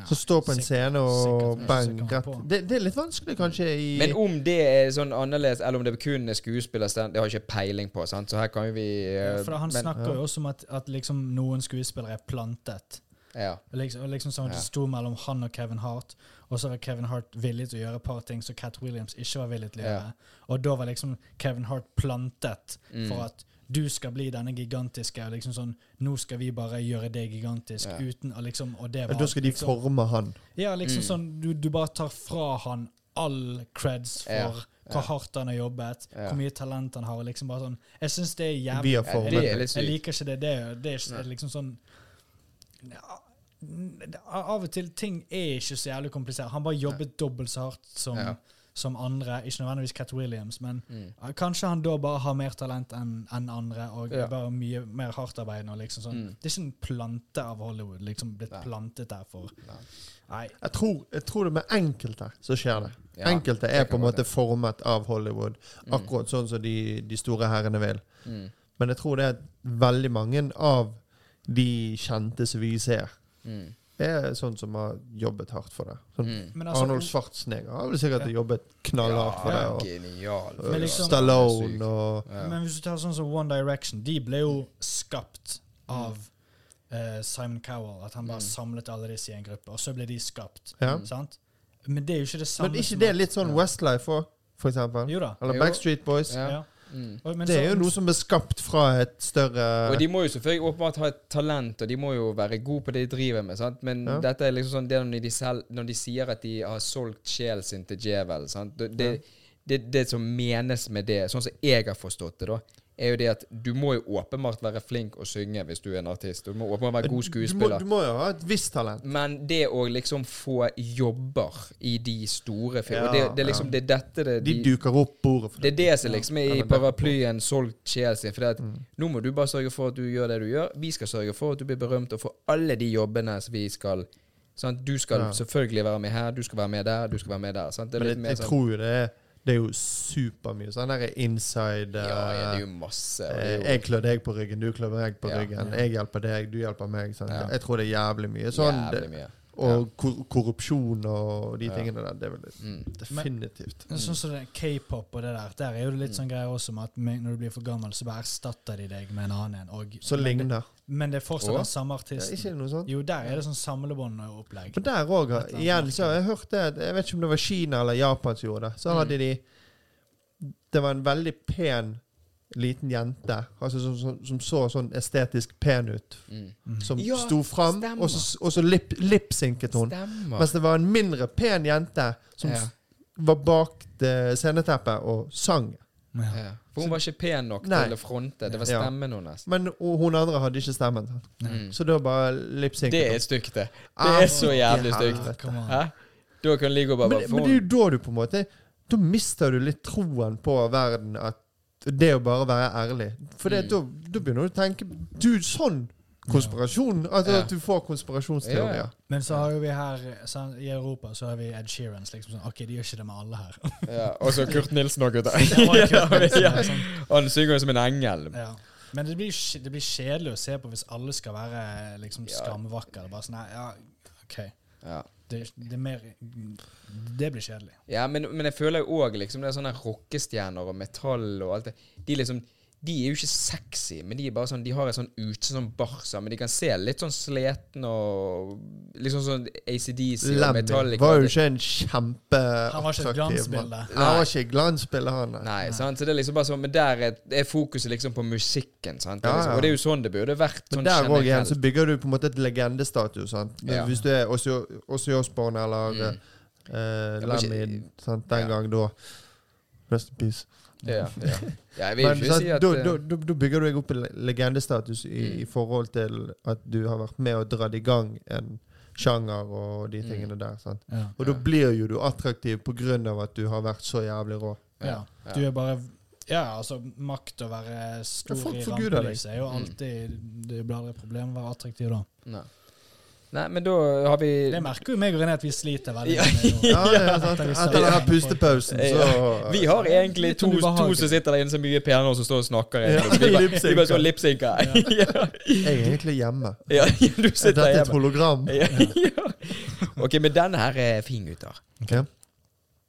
[SPEAKER 2] Som står på en
[SPEAKER 3] sikkert-
[SPEAKER 2] scene og
[SPEAKER 3] sikkert-
[SPEAKER 2] bang
[SPEAKER 3] sikkert
[SPEAKER 2] rett
[SPEAKER 3] på.
[SPEAKER 2] det, det er litt vanskelig, kanskje, i
[SPEAKER 1] Men om det er sånn annerledes, eller om det kun er skuespillerstand, det har jeg ikke peiling på. sant? Så her kan jo vi eh,
[SPEAKER 3] Ja, For han
[SPEAKER 1] men-
[SPEAKER 3] snakker jo også om at, at liksom noen skuespillere er plantet.
[SPEAKER 1] ja.
[SPEAKER 3] Liksom, liksom sånn at
[SPEAKER 1] Ja.
[SPEAKER 3] Det sto mellom han og Kevin Hart, og så var Kevin Hart villig til å gjøre et par ting som Cat Williams ikke var villig til å
[SPEAKER 1] Ja.
[SPEAKER 3] gjøre. Og da var liksom Kevin Hart plantet
[SPEAKER 1] Mm.
[SPEAKER 3] for at du skal bli denne gigantiske. og liksom sånn, Nå skal vi bare gjøre deg gigantisk.
[SPEAKER 1] Ja.
[SPEAKER 3] uten å liksom, og det
[SPEAKER 2] Ja,
[SPEAKER 3] var
[SPEAKER 2] Da skal de
[SPEAKER 3] liksom,
[SPEAKER 2] forme han.
[SPEAKER 3] Ja, liksom
[SPEAKER 1] Mm.
[SPEAKER 3] sånn, du, du bare tar fra han all creds for
[SPEAKER 1] Ja, ja.
[SPEAKER 3] hvor hardt han har jobbet,
[SPEAKER 1] Ja.
[SPEAKER 3] hvor mye talent han har. og liksom bare sånn, Jeg syns det er jævlig
[SPEAKER 2] Vi har
[SPEAKER 1] Ja,
[SPEAKER 2] formet
[SPEAKER 1] det er
[SPEAKER 2] det.
[SPEAKER 1] litt
[SPEAKER 3] Jeg
[SPEAKER 1] sykt.
[SPEAKER 3] liker ikke det. Det er, det er ikke
[SPEAKER 1] Nei.
[SPEAKER 3] det er liksom sånn ja, det- Av og til ting er ikke så jævlig komplisert. Han bare jobbet dobbelt så hardt som,
[SPEAKER 1] Ja.
[SPEAKER 3] som andre. Ikke nødvendigvis Cat Williams, men
[SPEAKER 1] Mm.
[SPEAKER 3] ja, kanskje han da bare har mer talent enn enn andre og
[SPEAKER 1] Ja.
[SPEAKER 3] er bare mye mer hardtarbeidende. og Liksom sånn.
[SPEAKER 1] Mm.
[SPEAKER 3] Det er ikke en plante av Hollywood liksom blitt
[SPEAKER 1] Nei.
[SPEAKER 3] plantet der for.
[SPEAKER 1] Nei.
[SPEAKER 3] Nei.
[SPEAKER 2] Jeg tror, jeg tror det med enkelte så skjer det.
[SPEAKER 1] Ja,
[SPEAKER 2] enkelte
[SPEAKER 1] det
[SPEAKER 2] er
[SPEAKER 1] kan
[SPEAKER 2] på en
[SPEAKER 1] godt
[SPEAKER 2] måte formet av Hollywood,
[SPEAKER 1] Mm.
[SPEAKER 2] akkurat sånn som de, de store herrene vil.
[SPEAKER 1] Mm.
[SPEAKER 2] Men jeg tror det er at veldig mange av de kjente som vi ser,
[SPEAKER 1] Mm.
[SPEAKER 2] er sånn som har jobbet hardt for det. Sånn,
[SPEAKER 1] Mm.
[SPEAKER 3] Men altså,
[SPEAKER 2] Arnold Schwarzenegger har vel sikkert jobbet knallhardt for det.
[SPEAKER 1] Ja,
[SPEAKER 2] Og,
[SPEAKER 1] genial.
[SPEAKER 2] og
[SPEAKER 3] Men liksom-
[SPEAKER 1] Sykt.
[SPEAKER 2] Stallone og
[SPEAKER 1] Ja.
[SPEAKER 3] Men hvis du tar sånn som One Direction, de ble jo skapt
[SPEAKER 2] Mm.
[SPEAKER 3] av eh, Simon Cowell. At han bare samlet alle disse i en gruppe, og så ble de skapt.
[SPEAKER 2] ja.
[SPEAKER 1] Mm.
[SPEAKER 3] Sant? Men det er jo ikke det samme
[SPEAKER 2] Men ikke
[SPEAKER 3] som
[SPEAKER 2] det
[SPEAKER 3] at-
[SPEAKER 2] litt sånn
[SPEAKER 1] Ja.
[SPEAKER 2] Westlife òg, for eksempel?
[SPEAKER 3] Jo da.
[SPEAKER 1] Jo.
[SPEAKER 2] Eller Backstreet Boys?
[SPEAKER 1] Ja.
[SPEAKER 3] Ja.
[SPEAKER 1] Mm.
[SPEAKER 3] Og, men sånn-
[SPEAKER 2] Det er
[SPEAKER 3] så-
[SPEAKER 2] jo noe som er skapt fra et større
[SPEAKER 1] Og de må jo selvfølgelig åpenbart ha et talent, og de må jo være gode på det de driver med. sant? Men
[SPEAKER 2] Ja.
[SPEAKER 1] dette er liksom sånn det er når de, selv, når de sier at de har solgt sjelen sin til djevel sant? Det, det, det, det som menes med det, sånn som jeg har forstått det, da, er jo det at du må jo åpenbart være flink å synge hvis du er en artist. Du må åpenbart være god
[SPEAKER 2] du, må,
[SPEAKER 1] skuespiller.
[SPEAKER 2] du må jo ha et visst talent.
[SPEAKER 1] Men det å liksom få jobber i de store filmene
[SPEAKER 2] Ja,
[SPEAKER 1] det, det er liksom det er dette det,
[SPEAKER 2] De duker opp bordet for
[SPEAKER 1] det
[SPEAKER 2] det.
[SPEAKER 1] er det som liksom er
[SPEAKER 2] Ja,
[SPEAKER 1] i
[SPEAKER 2] men det- Mm.
[SPEAKER 1] paraplyen solgt sjel sin. For det at nå må du bare sørge for at du gjør det du gjør. Vi skal sørge for at du blir berømt og får alle de jobbene som vi skal sant? Du skal
[SPEAKER 2] Ja.
[SPEAKER 1] selvfølgelig være med her, du skal være med der, du skal være med der. Sant? Det er
[SPEAKER 2] Men
[SPEAKER 1] litt
[SPEAKER 2] jeg,
[SPEAKER 1] mer
[SPEAKER 2] jeg
[SPEAKER 1] sånn
[SPEAKER 2] tror jo det er Det er jo supermye sånn der inside
[SPEAKER 1] ja, ja, det
[SPEAKER 2] eh,
[SPEAKER 1] er jo masse. og
[SPEAKER 2] eh,
[SPEAKER 1] Det er
[SPEAKER 2] Jeg klør deg på ryggen, du klør meg på
[SPEAKER 1] Ja.
[SPEAKER 2] ryggen. Jeg hjelper deg, du hjelper meg. sant?
[SPEAKER 1] Ja.
[SPEAKER 2] Jeg tror det er jævlig mye
[SPEAKER 1] jo
[SPEAKER 2] sånn.
[SPEAKER 1] jævlig
[SPEAKER 2] det-
[SPEAKER 1] mye.
[SPEAKER 2] Og kor korrupsjon og de tingene der. Det er vel
[SPEAKER 1] Mm.
[SPEAKER 2] definitivt.
[SPEAKER 3] men Sånn som det er K-pop og det der, der er jo det litt
[SPEAKER 2] Mm.
[SPEAKER 3] sånn greier også med at med, når du blir for gammel, så bare erstatter de deg med en annen en. Og,
[SPEAKER 2] Så ligner.
[SPEAKER 3] men det er fortsatt
[SPEAKER 1] Å?
[SPEAKER 3] den samme
[SPEAKER 2] Ja,
[SPEAKER 3] artisten.
[SPEAKER 2] ikke det noe sånt?
[SPEAKER 3] Jo, der er det sånn samlebåndopplegg.
[SPEAKER 2] Men der òg, igjen, så har jeg hørt det Jeg vet ikke om det var Kina eller Japan som gjorde det. Så hadde
[SPEAKER 1] Mm.
[SPEAKER 2] de Det var en veldig pen liten jente altså som, som, som så sånn estetisk pen ut,
[SPEAKER 1] Mm.
[SPEAKER 2] som
[SPEAKER 1] Ja,
[SPEAKER 2] sto fram,
[SPEAKER 1] stemmer.
[SPEAKER 2] og så, og så lip, lipsynket hun.
[SPEAKER 1] Stemmer.
[SPEAKER 2] Mens det var en mindre pen jente som
[SPEAKER 1] Ja.
[SPEAKER 2] s- var bak det sceneteppet og sang.
[SPEAKER 3] Ja.
[SPEAKER 1] Ja. For hun var ikke pen nok
[SPEAKER 2] Nei.
[SPEAKER 1] til å fronte. Det var
[SPEAKER 2] Ja.
[SPEAKER 1] stemmen hennes.
[SPEAKER 2] Men og hun andre hadde ikke stemmen. sant?
[SPEAKER 1] Mm.
[SPEAKER 2] Så da bare lipsynket
[SPEAKER 1] Det er
[SPEAKER 2] hun.
[SPEAKER 1] stygt, det. Det
[SPEAKER 2] Ah,
[SPEAKER 1] er så jævlig stygt.
[SPEAKER 2] helvete.
[SPEAKER 3] Come on.
[SPEAKER 1] Hæ? Da kan Ligo bare
[SPEAKER 2] Men, men det er jo da du på en måte Da mister du litt troen på verden. At det å bare være ærlig. For det,
[SPEAKER 1] Mm.
[SPEAKER 2] da, da begynner du å tenke Du, sånn konspirasjon! Altså
[SPEAKER 1] Ja.
[SPEAKER 2] at du får
[SPEAKER 1] Ja, ja.
[SPEAKER 2] konspirasjonsteorier.
[SPEAKER 3] Men så har jo vi her sånn, i Europa så har vi Ed Sheerans. Liksom sånn, ok, de gjør ikke det med alle her.
[SPEAKER 1] Ja, og så Kurt Nilsen òg, gutter.
[SPEAKER 3] Det var jo kult, liksom,
[SPEAKER 1] Ja.
[SPEAKER 3] det er sånn,
[SPEAKER 1] Han synger jo som en engel.
[SPEAKER 3] ja. Men det blir, kj- det blir kjedelig å se på hvis alle skal være liksom
[SPEAKER 1] Ja.
[SPEAKER 3] skamvakre. Det er Bare sånn, nei, ja, ok.
[SPEAKER 1] Ja,
[SPEAKER 3] Det, det er mer Det blir kjedelig.
[SPEAKER 1] ja men, men jeg føler jo òg liksom det er sånne rockestjerner og metall og alt det. De liksom de er jo ikke sexy, men de er bare sånn, de har et sånn ute som Barca, men de kan se litt sånn sleten og Liksom sånn ACDC og
[SPEAKER 2] Lemmy
[SPEAKER 1] Metallica.
[SPEAKER 2] var jo ikke en kjempe
[SPEAKER 3] Han var ikke et
[SPEAKER 2] attraktiv mann.
[SPEAKER 3] glansbilde.
[SPEAKER 2] Han var ikke et glansbilde, han. nei.
[SPEAKER 1] Nei, sant? så det er liksom bare sånn, men der er, er fokuset liksom på musikken. sant? Det er
[SPEAKER 2] Ja,
[SPEAKER 1] liksom,
[SPEAKER 2] ja.
[SPEAKER 1] og det er jo sånn det burde vært. Sånn
[SPEAKER 2] Men der òg igjen
[SPEAKER 1] generelt.
[SPEAKER 2] så bygger du på en måte et legendestatus. Sant?
[SPEAKER 1] Ja.
[SPEAKER 2] Hvis du er Ozzy- Ozzy Osbourne eller
[SPEAKER 1] Mm.
[SPEAKER 2] eh,
[SPEAKER 1] Jeg må ikke-
[SPEAKER 2] Lemmy sant?
[SPEAKER 1] Ja.
[SPEAKER 2] den gang da Rest in peace.
[SPEAKER 1] ja, ja. ja, jeg vil jo
[SPEAKER 2] Men
[SPEAKER 1] ikke
[SPEAKER 2] sant,
[SPEAKER 1] si at
[SPEAKER 2] da,
[SPEAKER 1] eh,
[SPEAKER 2] da, da, da bygger du deg opp en le- legendestatus i,
[SPEAKER 1] Mm.
[SPEAKER 2] i forhold til at du har vært med å dra i gang en sjanger og de tingene der. Sant?
[SPEAKER 3] Ja.
[SPEAKER 2] Og da
[SPEAKER 1] Mm. Ja.
[SPEAKER 2] blir jo du attraktiv på grunn av at du har vært så jævlig rå.
[SPEAKER 3] Ja. Du er bare Ja, altså, makt å være stor
[SPEAKER 2] Ja, folk
[SPEAKER 3] i
[SPEAKER 2] forguder deg.
[SPEAKER 3] rampelyset er jo
[SPEAKER 1] Mm.
[SPEAKER 3] alltid Det blir aldri et problem å være attraktiv da.
[SPEAKER 1] Nei. Nei, men da har vi
[SPEAKER 3] Det merker jo meg og René at vi sliter veldig
[SPEAKER 1] Ja.
[SPEAKER 3] med nå.
[SPEAKER 2] Ja, ja, sant?
[SPEAKER 3] Ja.
[SPEAKER 2] Etter denne pustepausen, så
[SPEAKER 1] Vi har egentlig
[SPEAKER 3] Litt
[SPEAKER 1] to, to
[SPEAKER 3] ubehagelig.
[SPEAKER 1] som sitter der inne som er mye penere, og som står og snakker.
[SPEAKER 2] Ja,
[SPEAKER 1] egentlig. vi, bare,
[SPEAKER 2] lipsynker.
[SPEAKER 1] vi bare står og lipsynker. Ja.
[SPEAKER 2] Jeg er egentlig hjemme.
[SPEAKER 1] Ja, du
[SPEAKER 2] Dette
[SPEAKER 1] sitter
[SPEAKER 2] er et
[SPEAKER 1] hjemme.
[SPEAKER 2] hologram.
[SPEAKER 1] Ja. Ja. Ok, men denne her er fin, gutter.
[SPEAKER 2] Ok.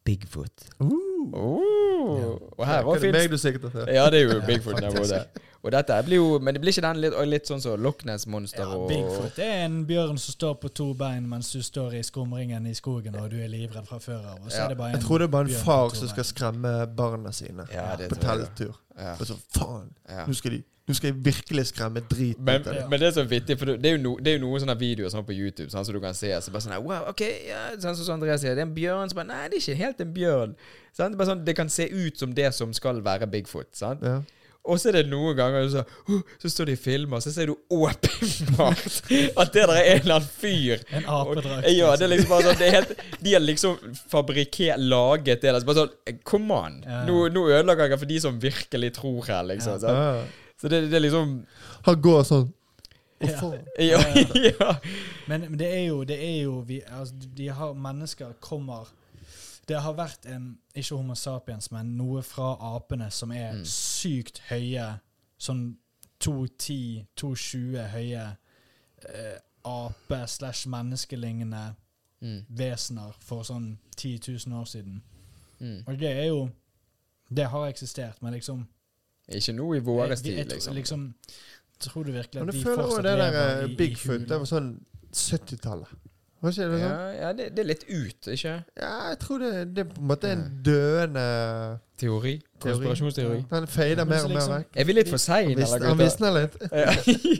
[SPEAKER 1] Bigfoot.
[SPEAKER 2] Uh,
[SPEAKER 1] Oh. Og her
[SPEAKER 2] hva
[SPEAKER 1] var
[SPEAKER 2] er det
[SPEAKER 1] fins
[SPEAKER 2] meg du sikter til?
[SPEAKER 1] Ja, det er jo Bigfoot der borte. Og dette her blir jo Men det blir ikke den litt, og litt sånn som Loch Ness-monster
[SPEAKER 3] Ja,
[SPEAKER 1] og
[SPEAKER 3] Bigfoot det er en bjørn som står på to bein mens du står i skumringen i skogen og du er livredd fra før av. Og så
[SPEAKER 1] Ja.
[SPEAKER 3] er det bare en
[SPEAKER 2] Jeg tror det er bare en
[SPEAKER 3] bjørn på
[SPEAKER 2] far
[SPEAKER 3] to
[SPEAKER 2] som
[SPEAKER 3] bein.
[SPEAKER 2] skal skremme barna sine
[SPEAKER 1] Ja, det
[SPEAKER 2] på
[SPEAKER 1] tror jeg.
[SPEAKER 2] telttur.
[SPEAKER 1] Ja,
[SPEAKER 2] Og så faen,
[SPEAKER 1] ja.
[SPEAKER 2] nå skal, de, nå skal jeg virkelig skremme driten
[SPEAKER 1] Men,
[SPEAKER 2] ut av dem.
[SPEAKER 1] men det er så vittig, for det er jo, no, det er jo noen sånne videoer sånn på YouTube sånn, som du kan se. Så bare sånn her, wow, ok, ja, sånn som Andreas sier, det er en bjørn. Så bare, Nei, det er ikke helt en bjørn. Sånn, det, er bare sånn, det kan se ut som det som skal være Bigfoot. Sant?
[SPEAKER 2] Ja.
[SPEAKER 1] Og så er det noen ganger så, «Åh», så står de i filmer, så ser du åpenbart at det der er en eller annen fyr.
[SPEAKER 3] En apedrakt. altså.
[SPEAKER 1] Og- Ja, det er liksom bare sånn det er helt, De har liksom fabrikkert, laget det der. Så bare sånn Come on!
[SPEAKER 3] Ja.
[SPEAKER 1] Nå, nå ødelegger jeg for de som virkelig tror her, liksom.
[SPEAKER 3] Ja.
[SPEAKER 1] sant?
[SPEAKER 2] Ja.
[SPEAKER 1] Så det, det er liksom
[SPEAKER 2] Han går sånn. Å,
[SPEAKER 3] Ja.
[SPEAKER 2] faen.
[SPEAKER 1] Ja. ja.
[SPEAKER 3] Men, men det er jo, det er jo vi, altså, de har, Mennesker kommer Det har vært en Ikke Homo sapiens, men noe fra apene som er
[SPEAKER 1] Mm.
[SPEAKER 3] sykt høye. Sånn 210-220 høye eh, ape-slash-menneskelignende
[SPEAKER 1] Mm,
[SPEAKER 3] vesener for sånn 10 000 år siden.
[SPEAKER 1] mm.
[SPEAKER 3] Og det er jo Det har eksistert, men liksom
[SPEAKER 1] Ikke nå i
[SPEAKER 3] jeg,
[SPEAKER 1] våre
[SPEAKER 3] jeg,
[SPEAKER 1] tid,
[SPEAKER 3] tror-
[SPEAKER 1] liksom.
[SPEAKER 3] liksom Tror du virkelig
[SPEAKER 2] Men
[SPEAKER 3] at
[SPEAKER 2] jeg
[SPEAKER 3] vi
[SPEAKER 2] føler også
[SPEAKER 3] fortsatt
[SPEAKER 2] det der
[SPEAKER 3] lever i,
[SPEAKER 2] eh,
[SPEAKER 3] i
[SPEAKER 2] Bigfoot, det
[SPEAKER 3] hulen?
[SPEAKER 2] var sånn 70-tallet. Var ikke det sånn?
[SPEAKER 1] Ja, ja det, det er litt ut, ikke?
[SPEAKER 2] Ja, jeg tror det, det er på en måte en døende
[SPEAKER 1] Teori. Konspirasjonsteori.
[SPEAKER 2] Han fader
[SPEAKER 3] Men
[SPEAKER 2] mer
[SPEAKER 3] så
[SPEAKER 2] og mer
[SPEAKER 3] liksom-
[SPEAKER 2] vekk.
[SPEAKER 1] Er vi litt for seine,
[SPEAKER 2] Han visner-
[SPEAKER 1] eller,
[SPEAKER 2] Han
[SPEAKER 1] gutter?
[SPEAKER 2] visner litt.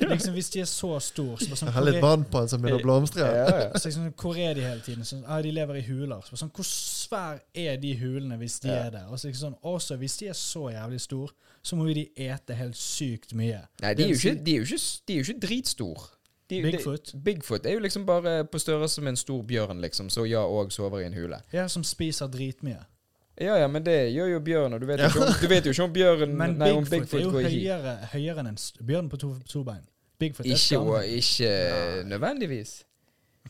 [SPEAKER 1] Ja.
[SPEAKER 3] Liksom Hvis de er så store, så bare sånn,
[SPEAKER 2] Jeg
[SPEAKER 3] hvor
[SPEAKER 2] har litt
[SPEAKER 3] er,
[SPEAKER 2] vann på han som begynner å blomstre.
[SPEAKER 1] Ja, ja.
[SPEAKER 3] så liksom, hvor er de hele tiden? Sånn, ah, de lever i huler. Så bare sånn, hvor svær er de hulene hvis de
[SPEAKER 1] Ja.
[SPEAKER 3] er der? Og så liksom sånn, også hvis de er så jævlig store, så må jo de ete helt sykt mye.
[SPEAKER 1] Nei, de er jo ikke, de er jo ikke, de er jo ikke dritstor. De,
[SPEAKER 3] Bigfoot.
[SPEAKER 1] De, Bigfoot er jo liksom bare på størrelse med en stor bjørn, liksom. Så ja, og sover i en hule.
[SPEAKER 3] Ja, som spiser dritmye.
[SPEAKER 1] Ja ja, men det gjør jo bjørn, og du vet jo ikke om, du vet jo ikke om bjørn
[SPEAKER 3] Men
[SPEAKER 1] Nei, om
[SPEAKER 3] Bigfoot,
[SPEAKER 1] Bigfoot
[SPEAKER 3] er jo
[SPEAKER 1] går i hi.
[SPEAKER 3] høyere, høyere enn en st- bjørn på to, to bein. Bigfoot er
[SPEAKER 1] Ikke, og,
[SPEAKER 3] slangen.
[SPEAKER 1] ikke nødvendigvis.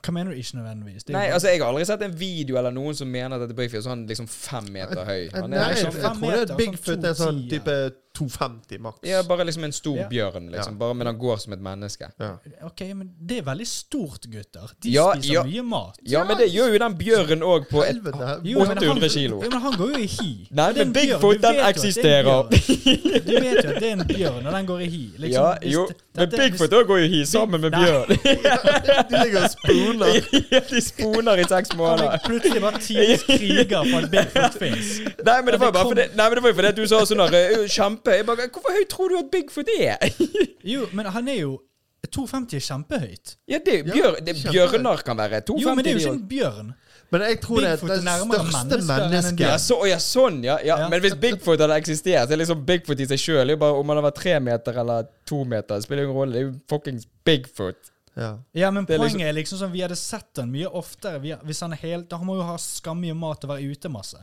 [SPEAKER 3] Hva mener du ikke nødvendigvis? Det er jo
[SPEAKER 1] Nei,
[SPEAKER 3] bare-
[SPEAKER 1] altså, jeg har aldri sett en video eller noen som mener at dette Bigfoot er sånn liksom fem meter høy. Han
[SPEAKER 2] Eh, Nei,
[SPEAKER 1] er
[SPEAKER 2] jeg
[SPEAKER 1] liksom
[SPEAKER 3] fem
[SPEAKER 2] tror det
[SPEAKER 3] meter,
[SPEAKER 2] er Bigfoot er sånn
[SPEAKER 3] sånn 210,
[SPEAKER 2] type 250 maks.
[SPEAKER 1] Ja, bare liksom en stor
[SPEAKER 3] Ja.
[SPEAKER 1] bjørn, liksom. Bare, men han går som et menneske.
[SPEAKER 2] Ja.
[SPEAKER 3] Ok, men det er veldig stort, gutter. De
[SPEAKER 1] Ja,
[SPEAKER 3] spiser
[SPEAKER 1] ja.
[SPEAKER 3] mye mat.
[SPEAKER 1] Ja, men det gjør jo den bjørnen òg på et
[SPEAKER 2] Helvete.
[SPEAKER 3] Ah, Jo, men han-
[SPEAKER 1] 800 kilo.
[SPEAKER 3] Jo, men han går jo i hi.
[SPEAKER 1] Nei,
[SPEAKER 3] Det er en
[SPEAKER 1] men
[SPEAKER 3] bjørn.
[SPEAKER 1] Bigfoot,
[SPEAKER 3] Du vet
[SPEAKER 1] den
[SPEAKER 3] jo at det er en
[SPEAKER 1] eksisterer.
[SPEAKER 3] bjørn. Du vet jo at det er en bjørn, og den går i hi. Liksom,
[SPEAKER 1] Ja,
[SPEAKER 3] hvis
[SPEAKER 1] jo.
[SPEAKER 3] det-
[SPEAKER 1] Men
[SPEAKER 3] dette er-
[SPEAKER 1] Bigfoot òg går jo hi sammen med
[SPEAKER 3] Nei.
[SPEAKER 1] bjørn.
[SPEAKER 2] De ligger og spooner.
[SPEAKER 1] Ja, De sponer i seks
[SPEAKER 3] hvis- kan
[SPEAKER 1] måneder.
[SPEAKER 3] jeg Plutselig var tidenes kriger for at Bigfoot fins.
[SPEAKER 1] Nei, men det var jo bare
[SPEAKER 3] kom-
[SPEAKER 1] fordi, nei, men det var jo fordi at du sa sånn der, «Ø, kjempe. Jeg bare, Hvorfor høy tror du at Bigfoot er?
[SPEAKER 3] Jo, men han er jo 250 er kjempehøyt.
[SPEAKER 1] Ja, det, er jo
[SPEAKER 2] Ja,
[SPEAKER 1] bjørn, det,
[SPEAKER 2] kjempe.
[SPEAKER 1] Bjørner kan være
[SPEAKER 3] Jo, men det er
[SPEAKER 1] 250. de
[SPEAKER 3] jo ikke
[SPEAKER 1] også.
[SPEAKER 3] en bjørn.
[SPEAKER 2] Men jeg tror det er
[SPEAKER 3] Bigfoot er
[SPEAKER 2] det
[SPEAKER 3] nærmere
[SPEAKER 2] største
[SPEAKER 3] mennesker enn en
[SPEAKER 1] Ja,
[SPEAKER 2] mennesket.
[SPEAKER 1] så, å, ja, sånn, ja, ja.
[SPEAKER 3] Ja.
[SPEAKER 1] Men hvis Bigfoot hadde eksistert, så er liksom Bigfoot i seg sjøl Om han har vært tre meter eller to meter, spiller ingen rolle. Det er jo fuckings Bigfoot.
[SPEAKER 2] Ja.
[SPEAKER 3] Ja, men
[SPEAKER 1] Det er
[SPEAKER 3] poenget
[SPEAKER 1] liksom-
[SPEAKER 3] er liksom sånn vi hadde sett den mye oftere. Vi, hvis han er helt, da må jo ha skammye mat og være ute masse.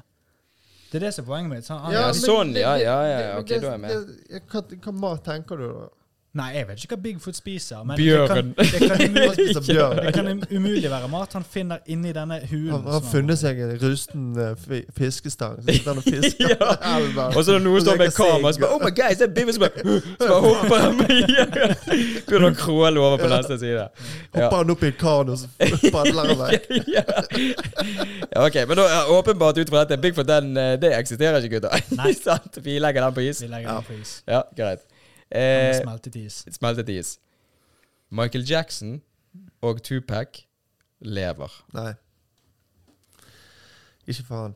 [SPEAKER 3] Det er det som er poenget mitt. Så Han,
[SPEAKER 1] Ja,
[SPEAKER 3] han,
[SPEAKER 2] men
[SPEAKER 1] sånn,
[SPEAKER 2] det-
[SPEAKER 1] ja, ja, ja,
[SPEAKER 2] det- men
[SPEAKER 1] ok,
[SPEAKER 2] det-
[SPEAKER 1] da er jeg med.
[SPEAKER 2] det- Hva, hva mat tenker du, da?
[SPEAKER 3] Nei, jeg vet ikke hva Bigfoot spiser. Men
[SPEAKER 1] Bjørn.
[SPEAKER 3] Det kan, det kan,
[SPEAKER 2] Han
[SPEAKER 3] umulig,
[SPEAKER 2] spiser bjørn.
[SPEAKER 3] det kan um- umulig være mat han finner inni denne hulen.
[SPEAKER 2] Han har
[SPEAKER 3] som
[SPEAKER 2] funnet seg en rusten eh, fi- fiskestang. Så sitter han og fisker
[SPEAKER 1] Ja.
[SPEAKER 2] på elva.
[SPEAKER 1] Og så er det noen som står med
[SPEAKER 2] Leker
[SPEAKER 1] kamera og så
[SPEAKER 2] sigg.
[SPEAKER 1] bare Oh my god, se Bigfoot! Så bare, så bare hopper han Ja. Begynner å kråle over på neste side. Ja.
[SPEAKER 2] Hopper han opp i en kano, så padler han vekk.
[SPEAKER 1] ja. ja, ok, men da er åpenbart ut fra dette Bigfoot, den, eh, det eksisterer ikke, gutta.
[SPEAKER 3] Nei.
[SPEAKER 1] Sant? Vi legger den på is.
[SPEAKER 3] Vi legger
[SPEAKER 2] Ja.
[SPEAKER 3] den på is.
[SPEAKER 1] Ja, greit.
[SPEAKER 3] Den er
[SPEAKER 1] Eh,
[SPEAKER 3] Smeltet is.
[SPEAKER 1] smeltet is. Michael Jackson og Tupac lever.
[SPEAKER 2] Nei. Ikke faen.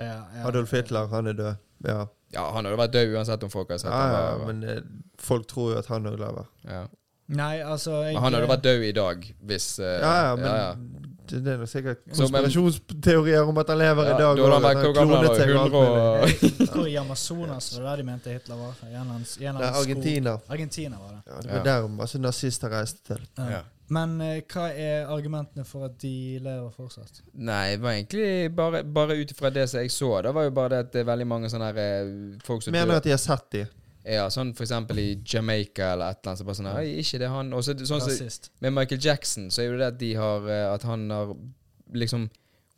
[SPEAKER 3] Ja, ja.
[SPEAKER 2] Adolf Hitler, han er død. Ja,
[SPEAKER 1] Ja, han hadde vært død uansett om folk hadde sett
[SPEAKER 2] ja,
[SPEAKER 1] ham.
[SPEAKER 2] ja men eh, folk tror jo at han òg lever.
[SPEAKER 1] ja.
[SPEAKER 3] Nei, altså jeg,
[SPEAKER 1] Men han hadde vært død i dag hvis eh,
[SPEAKER 2] Ja, ja, men
[SPEAKER 1] ja.
[SPEAKER 2] det det er nok sikkert
[SPEAKER 1] Så, men-
[SPEAKER 2] konspirasjonsteorier om at han lever
[SPEAKER 1] Ja,
[SPEAKER 2] i dag.
[SPEAKER 1] da hadde han
[SPEAKER 2] og at
[SPEAKER 1] vært hvor gammel han
[SPEAKER 2] klonet
[SPEAKER 1] var?
[SPEAKER 2] seg og alt mulig.
[SPEAKER 1] 100 og
[SPEAKER 3] Jeg tror i Amazonas var det der de mente Hitler var. I en eller annen- i en
[SPEAKER 2] Nei,
[SPEAKER 3] eller annen skog.
[SPEAKER 2] Argentina.
[SPEAKER 3] Argentina var
[SPEAKER 2] Ja,
[SPEAKER 3] det.
[SPEAKER 2] det var
[SPEAKER 1] Ja.
[SPEAKER 2] der masse nazister reiste til.
[SPEAKER 3] Ja.
[SPEAKER 1] Ja.
[SPEAKER 3] Men eh, hva er argumentene for at de lever fortsatt?
[SPEAKER 1] Nei, det var egentlig bare, bare ut ifra det som jeg så, da var jo bare det at det er veldig mange sånne her, eh, folk som
[SPEAKER 2] Mener
[SPEAKER 1] dør
[SPEAKER 2] at de har sett de.
[SPEAKER 1] Ja, sånn for eksempel i Jamaica eller et eller annet, så bare sånn Nei, ikke det han Og så sånn som
[SPEAKER 3] Rasist.
[SPEAKER 1] med Michael Jackson, så er jo det at de har eh, At han har liksom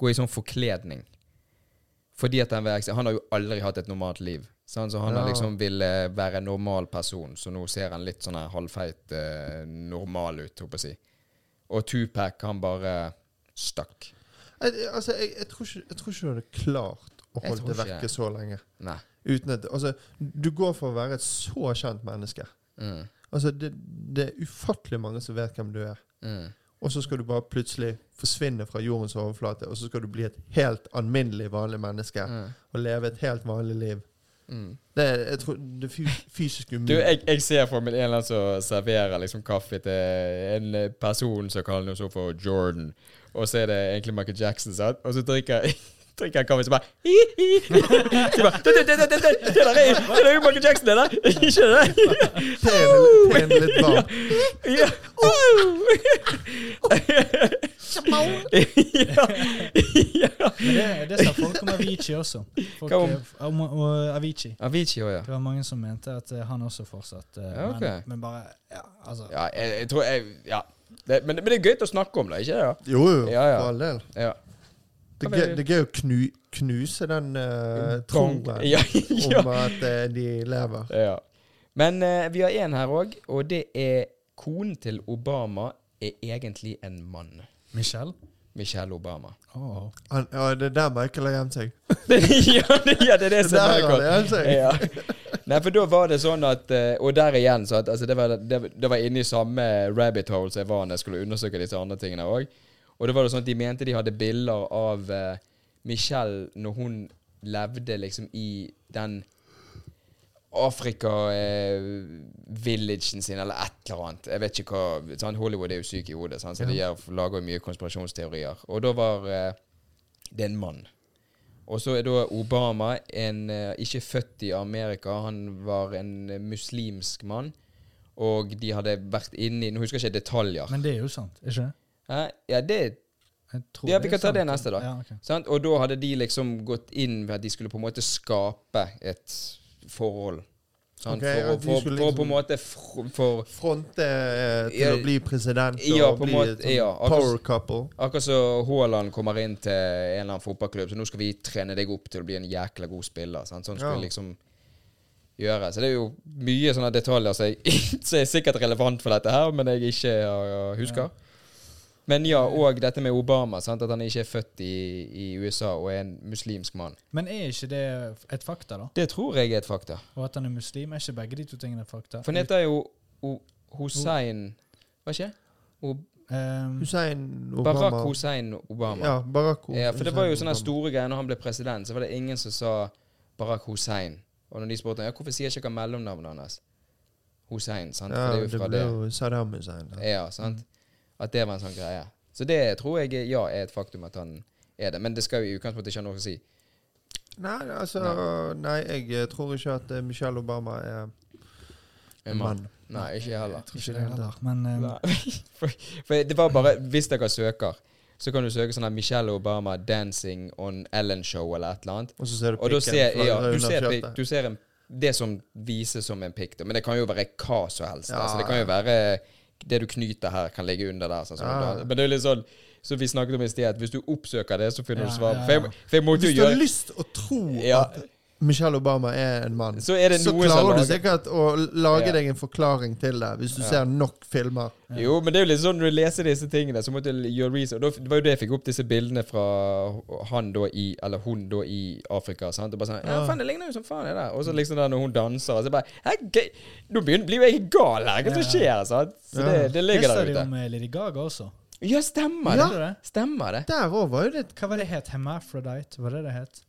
[SPEAKER 1] Går i sånn forkledning. Fordi at han, vil- han har jo aldri hatt et normalt liv. sant? så han har
[SPEAKER 2] Ja.
[SPEAKER 1] liksom ville være en normal person, så nå ser han litt sånn her halvfeit eh, normal ut, holdt jeg på å si. Og Tupac, han bare stakk.
[SPEAKER 2] Jeg, altså, jeg, jeg, tror ikke, jeg tror ikke du hadde klart å
[SPEAKER 1] Jeg
[SPEAKER 2] holde
[SPEAKER 1] tror
[SPEAKER 2] det
[SPEAKER 1] ikke
[SPEAKER 2] vekke
[SPEAKER 1] det.
[SPEAKER 2] så lenge.
[SPEAKER 1] Nei.
[SPEAKER 2] Uten at, altså, du går for å være et så kjent menneske.
[SPEAKER 1] Mm.
[SPEAKER 2] Altså, det, det er ufattelig mange som vet hvem du er.
[SPEAKER 1] Mm.
[SPEAKER 2] Og så skal du bare plutselig forsvinne fra jordens overflate, og så skal du bli et helt alminnelig vanlig menneske
[SPEAKER 1] Mm.
[SPEAKER 2] og leve et helt vanlig liv.
[SPEAKER 1] Mm.
[SPEAKER 2] Det er, jeg tror, det er fy- fysisk
[SPEAKER 1] Du,
[SPEAKER 2] umulig.
[SPEAKER 1] jeg, jeg ser for meg en eller annen som serverer liksom kaffe til en person som kaller seg for Jordan, og så er det egentlig Michael Jackson, sant? Og så drikker drikker han kaffe, så bare hi, hi. Så bare, Det det- det- det- det- det- det der er det der er jo Michael Jackson, det der! Ikke det?
[SPEAKER 2] Det er en- det er en litt varm.
[SPEAKER 1] Ja. Ja. Ja.
[SPEAKER 3] Men det, det sa folk om Avicii også. Folk,
[SPEAKER 1] Hva om-
[SPEAKER 3] eh, om, og Avicii.
[SPEAKER 1] Avicii òg, ja.
[SPEAKER 3] Det var mange som mente at eh, han også fortsatt eh,
[SPEAKER 1] Ja, ok.
[SPEAKER 3] men, men bare ja, altså,
[SPEAKER 1] Ja, jeg, jeg tror jeg Ja. Det, men, men det er gøy til å snakke om det, ikke det? Ja.
[SPEAKER 2] Jo, jo,
[SPEAKER 1] Ja, ja.
[SPEAKER 2] for all del.
[SPEAKER 1] ja.
[SPEAKER 2] Det er gøy- det er gøy å knu, knuse den eh, troen
[SPEAKER 1] Bang. Ja, ja.
[SPEAKER 2] om at eh, de lever.
[SPEAKER 1] Ja. Men eh, vi har en her òg, og det er konen til Obama er egentlig en mann.
[SPEAKER 3] Michelle?
[SPEAKER 1] Michelle Obama.
[SPEAKER 3] Oh.
[SPEAKER 2] Han, ja, det er der Michael har gjemt seg.
[SPEAKER 1] ja, det, ja, det er det
[SPEAKER 2] Det altså.
[SPEAKER 1] som
[SPEAKER 2] der
[SPEAKER 1] er
[SPEAKER 2] har han
[SPEAKER 1] godt.
[SPEAKER 2] gjemt seg.
[SPEAKER 1] Ja. Nei, for da var det sånn at eh, Og der igjen, så at altså, det, var, det, det var inne i samme rabbit hole som jeg var når jeg skulle undersøke disse andre tingene òg. Og da var det sånn at de mente de hadde bilder av eh, Michelle når hun levde liksom i den Afrika-villagen sin, eller et eller annet. Jeg vet ikke hva sant? Hollywood er jo syk i hodet, sant? så de gjør, lager jo mye konspirasjonsteorier. Og da var eh, det en mann. Og så er da Obama en eh, ikke født i Amerika, han var en eh, muslimsk mann. Og de hadde vært inne i Nå husker jeg ikke detaljer.
[SPEAKER 3] Men det er jo sant, ikke det?
[SPEAKER 1] Hæ? Ja, det
[SPEAKER 3] Jeg tror
[SPEAKER 1] Ja,
[SPEAKER 3] det
[SPEAKER 1] vi
[SPEAKER 3] er
[SPEAKER 1] kan ta
[SPEAKER 3] sant.
[SPEAKER 1] det neste da.
[SPEAKER 3] Ja, ok.
[SPEAKER 1] Sant? Og da hadde de liksom gått inn ved at de skulle på en måte skape et forhold. Sant?
[SPEAKER 2] Ok,
[SPEAKER 1] for, å-
[SPEAKER 2] at de
[SPEAKER 1] for,
[SPEAKER 2] skulle
[SPEAKER 1] for å på en
[SPEAKER 2] liksom-
[SPEAKER 1] måte fr- for
[SPEAKER 2] Fronte eh, til
[SPEAKER 1] Ja,
[SPEAKER 2] å bli president og
[SPEAKER 1] ja, på en
[SPEAKER 2] bli
[SPEAKER 1] måte,
[SPEAKER 2] et sånn
[SPEAKER 1] ja, akkurat-
[SPEAKER 2] power couple.
[SPEAKER 1] Akkurat som Haaland kommer inn til en eller annen fotballklubb, så nå skal vi trene deg opp til å bli en jækla god spiller. Sant? Sånn skulle
[SPEAKER 2] Ja.
[SPEAKER 1] vi liksom gjøre. Så det er jo mye sånne detaljer som jeg- som er sikkert relevant for dette her, men jeg ikke har- husker. Men ja, og dette med Obama, sant? at han ikke er født i, i USA og er en muslimsk mann.
[SPEAKER 3] Men er ikke det et fakta, da?
[SPEAKER 1] Det tror jeg er et fakta.
[SPEAKER 3] Og at han er muslim, er ikke begge de to tingene fakta?
[SPEAKER 1] For han heter jo O- Hussein Hva skjer? O-
[SPEAKER 3] Ehm,
[SPEAKER 2] Hussein Obama.
[SPEAKER 1] Barack Hussein Obama.
[SPEAKER 2] Ja, Barack O-
[SPEAKER 1] Ja, for det var jo sånn sånne
[SPEAKER 2] Obama.
[SPEAKER 1] store greier når han ble president, så var det ingen som sa Barack Hussein. Og når de spurte ja, hvorfor sier ikke han mellomnavnet hans, Hussein, sant?
[SPEAKER 2] Ja,
[SPEAKER 1] for det er
[SPEAKER 2] det
[SPEAKER 1] jo fra
[SPEAKER 2] ble
[SPEAKER 1] det.
[SPEAKER 2] jo Saddam Hussein. da.
[SPEAKER 1] Ja, sant? At det var en sånn greie. Så det tror jeg er- ja, er et faktum at han er det. Men det skal jo i utgangspunktet ikke ha noe å si.
[SPEAKER 2] Nei, altså Nei, jeg eh, tror ikke at eh, Michelle Obama er
[SPEAKER 1] En mann. Nei, ikke jeg heller.
[SPEAKER 3] jeg tror ikke det heller, men ehm,
[SPEAKER 1] Nei. For, for det var bare Hvis dere søker, så kan du søke sånn her Michelle Obama 'Dancing on Ellen Show' eller et eller annet.
[SPEAKER 2] Og så ser du
[SPEAKER 1] Og da
[SPEAKER 2] pikken
[SPEAKER 1] ser, ja,
[SPEAKER 2] flagre
[SPEAKER 1] du
[SPEAKER 2] under
[SPEAKER 1] ser,
[SPEAKER 2] skjørtet.
[SPEAKER 1] pikk- du ser en, det som vises som en pikk, da. men det kan jo være hva som helst.
[SPEAKER 2] Ja,
[SPEAKER 1] altså, det kan jo være det du knyter her, kan ligge under der. Sånn, som
[SPEAKER 2] Ja.
[SPEAKER 1] du- Men det er jo litt sånn som vi snakket om i sted, at hvis du oppsøker det, så finner du
[SPEAKER 3] Ja,
[SPEAKER 1] svar.
[SPEAKER 3] ja,
[SPEAKER 1] For jeg,
[SPEAKER 3] ja.
[SPEAKER 1] for jeg måtte jo
[SPEAKER 2] Hvis du har
[SPEAKER 1] gjøre
[SPEAKER 2] lyst å tro
[SPEAKER 1] Ja.
[SPEAKER 2] at Michelle Obama er en mann,
[SPEAKER 1] Så er det noe som
[SPEAKER 2] klarer du
[SPEAKER 1] lager-
[SPEAKER 2] sikkert å lage
[SPEAKER 1] Ja.
[SPEAKER 2] deg en forklaring til det, hvis du ser nok filmer.
[SPEAKER 1] Jo, men det er jo litt sånn når du leser disse tingene, så måtte du gjøre research. Og da- Det var jo det jeg fikk opp disse bildene fra han da i Eller hun da i Afrika. sant? Og bare sånn Ja, faen, det ligner jo som faen, det der. Og så liksom der når hun danser, og så bare «Hæ, gøy?» Nå begynner- blir jo jeg gal her. Hva som skjer? sant? Så det, det ligger
[SPEAKER 3] Visste
[SPEAKER 1] der
[SPEAKER 3] de om
[SPEAKER 1] ute.
[SPEAKER 3] eh, Lady Gaga også?
[SPEAKER 1] Ja, stemmer
[SPEAKER 3] Ja.
[SPEAKER 1] det. Stemmer det.
[SPEAKER 2] Der òg var jo det et
[SPEAKER 3] Hva var det het? Hemafrodite? Var det det het?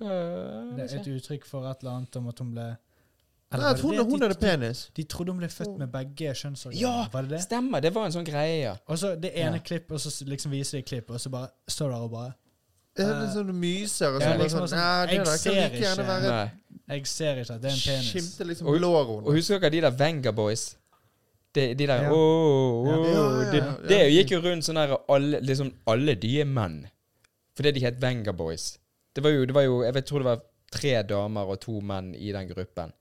[SPEAKER 3] Det er
[SPEAKER 1] Hva-
[SPEAKER 3] et uttrykk for et eller annet om at hun ble
[SPEAKER 2] Nei,
[SPEAKER 3] Eller var
[SPEAKER 2] at
[SPEAKER 3] det
[SPEAKER 2] hun,
[SPEAKER 3] det at
[SPEAKER 2] hun
[SPEAKER 3] de-
[SPEAKER 2] hadde penis.
[SPEAKER 3] De trodde hun ble født med begge kjønnsorganer.
[SPEAKER 1] Ja,
[SPEAKER 3] var det det?
[SPEAKER 1] stemmer. Det var en sånn greie, ja.
[SPEAKER 3] Og så det ene
[SPEAKER 1] Ja.
[SPEAKER 3] klipp, og så s- liksom viser de klipp, og så bare står der og bare
[SPEAKER 2] Det er litt sånn myser og
[SPEAKER 3] Eh, Ja,
[SPEAKER 2] sånn. bare
[SPEAKER 3] liksom
[SPEAKER 2] sånn,
[SPEAKER 3] sånn,
[SPEAKER 2] Nei, det
[SPEAKER 3] jeg
[SPEAKER 2] der kan
[SPEAKER 3] ser
[SPEAKER 2] like gjerne
[SPEAKER 3] ikke-
[SPEAKER 2] være
[SPEAKER 1] Nei.
[SPEAKER 3] Jeg ser ikke at det er en penis.
[SPEAKER 2] Skimte liksom
[SPEAKER 1] Og-
[SPEAKER 2] blåroen.
[SPEAKER 1] Og husker dere de der Venga Boys? Det, de der
[SPEAKER 2] Ja.
[SPEAKER 1] «Åh, åh,
[SPEAKER 2] Ja.
[SPEAKER 1] åh»,
[SPEAKER 2] Ja, ja,
[SPEAKER 1] Det,
[SPEAKER 2] ja,
[SPEAKER 1] det
[SPEAKER 2] ja.
[SPEAKER 1] gikk jo rundt sånn der alle, liksom, alle de er menn. Fordi de het Venga Boys. Det var jo, det var jo jeg vet, tror det var tre damer og to menn i den gruppen.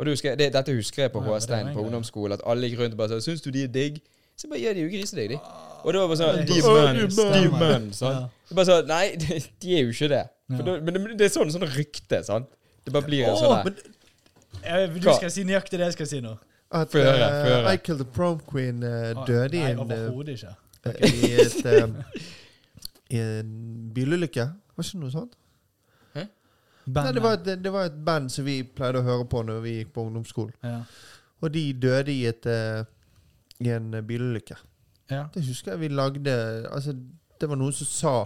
[SPEAKER 1] Og du husker, det, Dette husker jeg på
[SPEAKER 3] Å, ja, det var
[SPEAKER 1] Håstein
[SPEAKER 3] en
[SPEAKER 1] på
[SPEAKER 3] greie.
[SPEAKER 1] ungdomsskolen. At alle gikk rundt og bare sa 'Syns du de er digg?' Så bare gjør de jo grisedegg, de. Og det var bare sånn
[SPEAKER 3] Nei,
[SPEAKER 1] De er
[SPEAKER 2] stemmer,
[SPEAKER 1] menn. De er
[SPEAKER 3] stemmer.
[SPEAKER 1] menn. Sant?
[SPEAKER 3] Ah. Ja.
[SPEAKER 1] Det er bare sånn, Nei, de, de er jo ikke det. For
[SPEAKER 3] Ja.
[SPEAKER 1] da, men det, men det er sånn, sånn rykte, sant? Det bare blir en sånn der.
[SPEAKER 2] Åh, men
[SPEAKER 3] Eh, Du
[SPEAKER 1] Hva?
[SPEAKER 3] skal si nøyaktig det jeg skal si nå.
[SPEAKER 2] At
[SPEAKER 1] Få høre, få
[SPEAKER 2] eh,
[SPEAKER 1] høre.
[SPEAKER 2] I Killed the Prom Queen eh, døde i
[SPEAKER 3] Nei,
[SPEAKER 2] en, eh,
[SPEAKER 3] overhodet ikke.
[SPEAKER 2] i et eh, I en bilulykke. Var ikke noe sånt? Nei, det, var et, det var et band som vi pleide å høre på når vi gikk på ungdomsskolen.
[SPEAKER 3] ja.
[SPEAKER 2] Og de døde i, et, eh, i en eh, bilulykke.
[SPEAKER 3] Ja.
[SPEAKER 2] Det husker jeg vi lagde Altså, det var noen som sa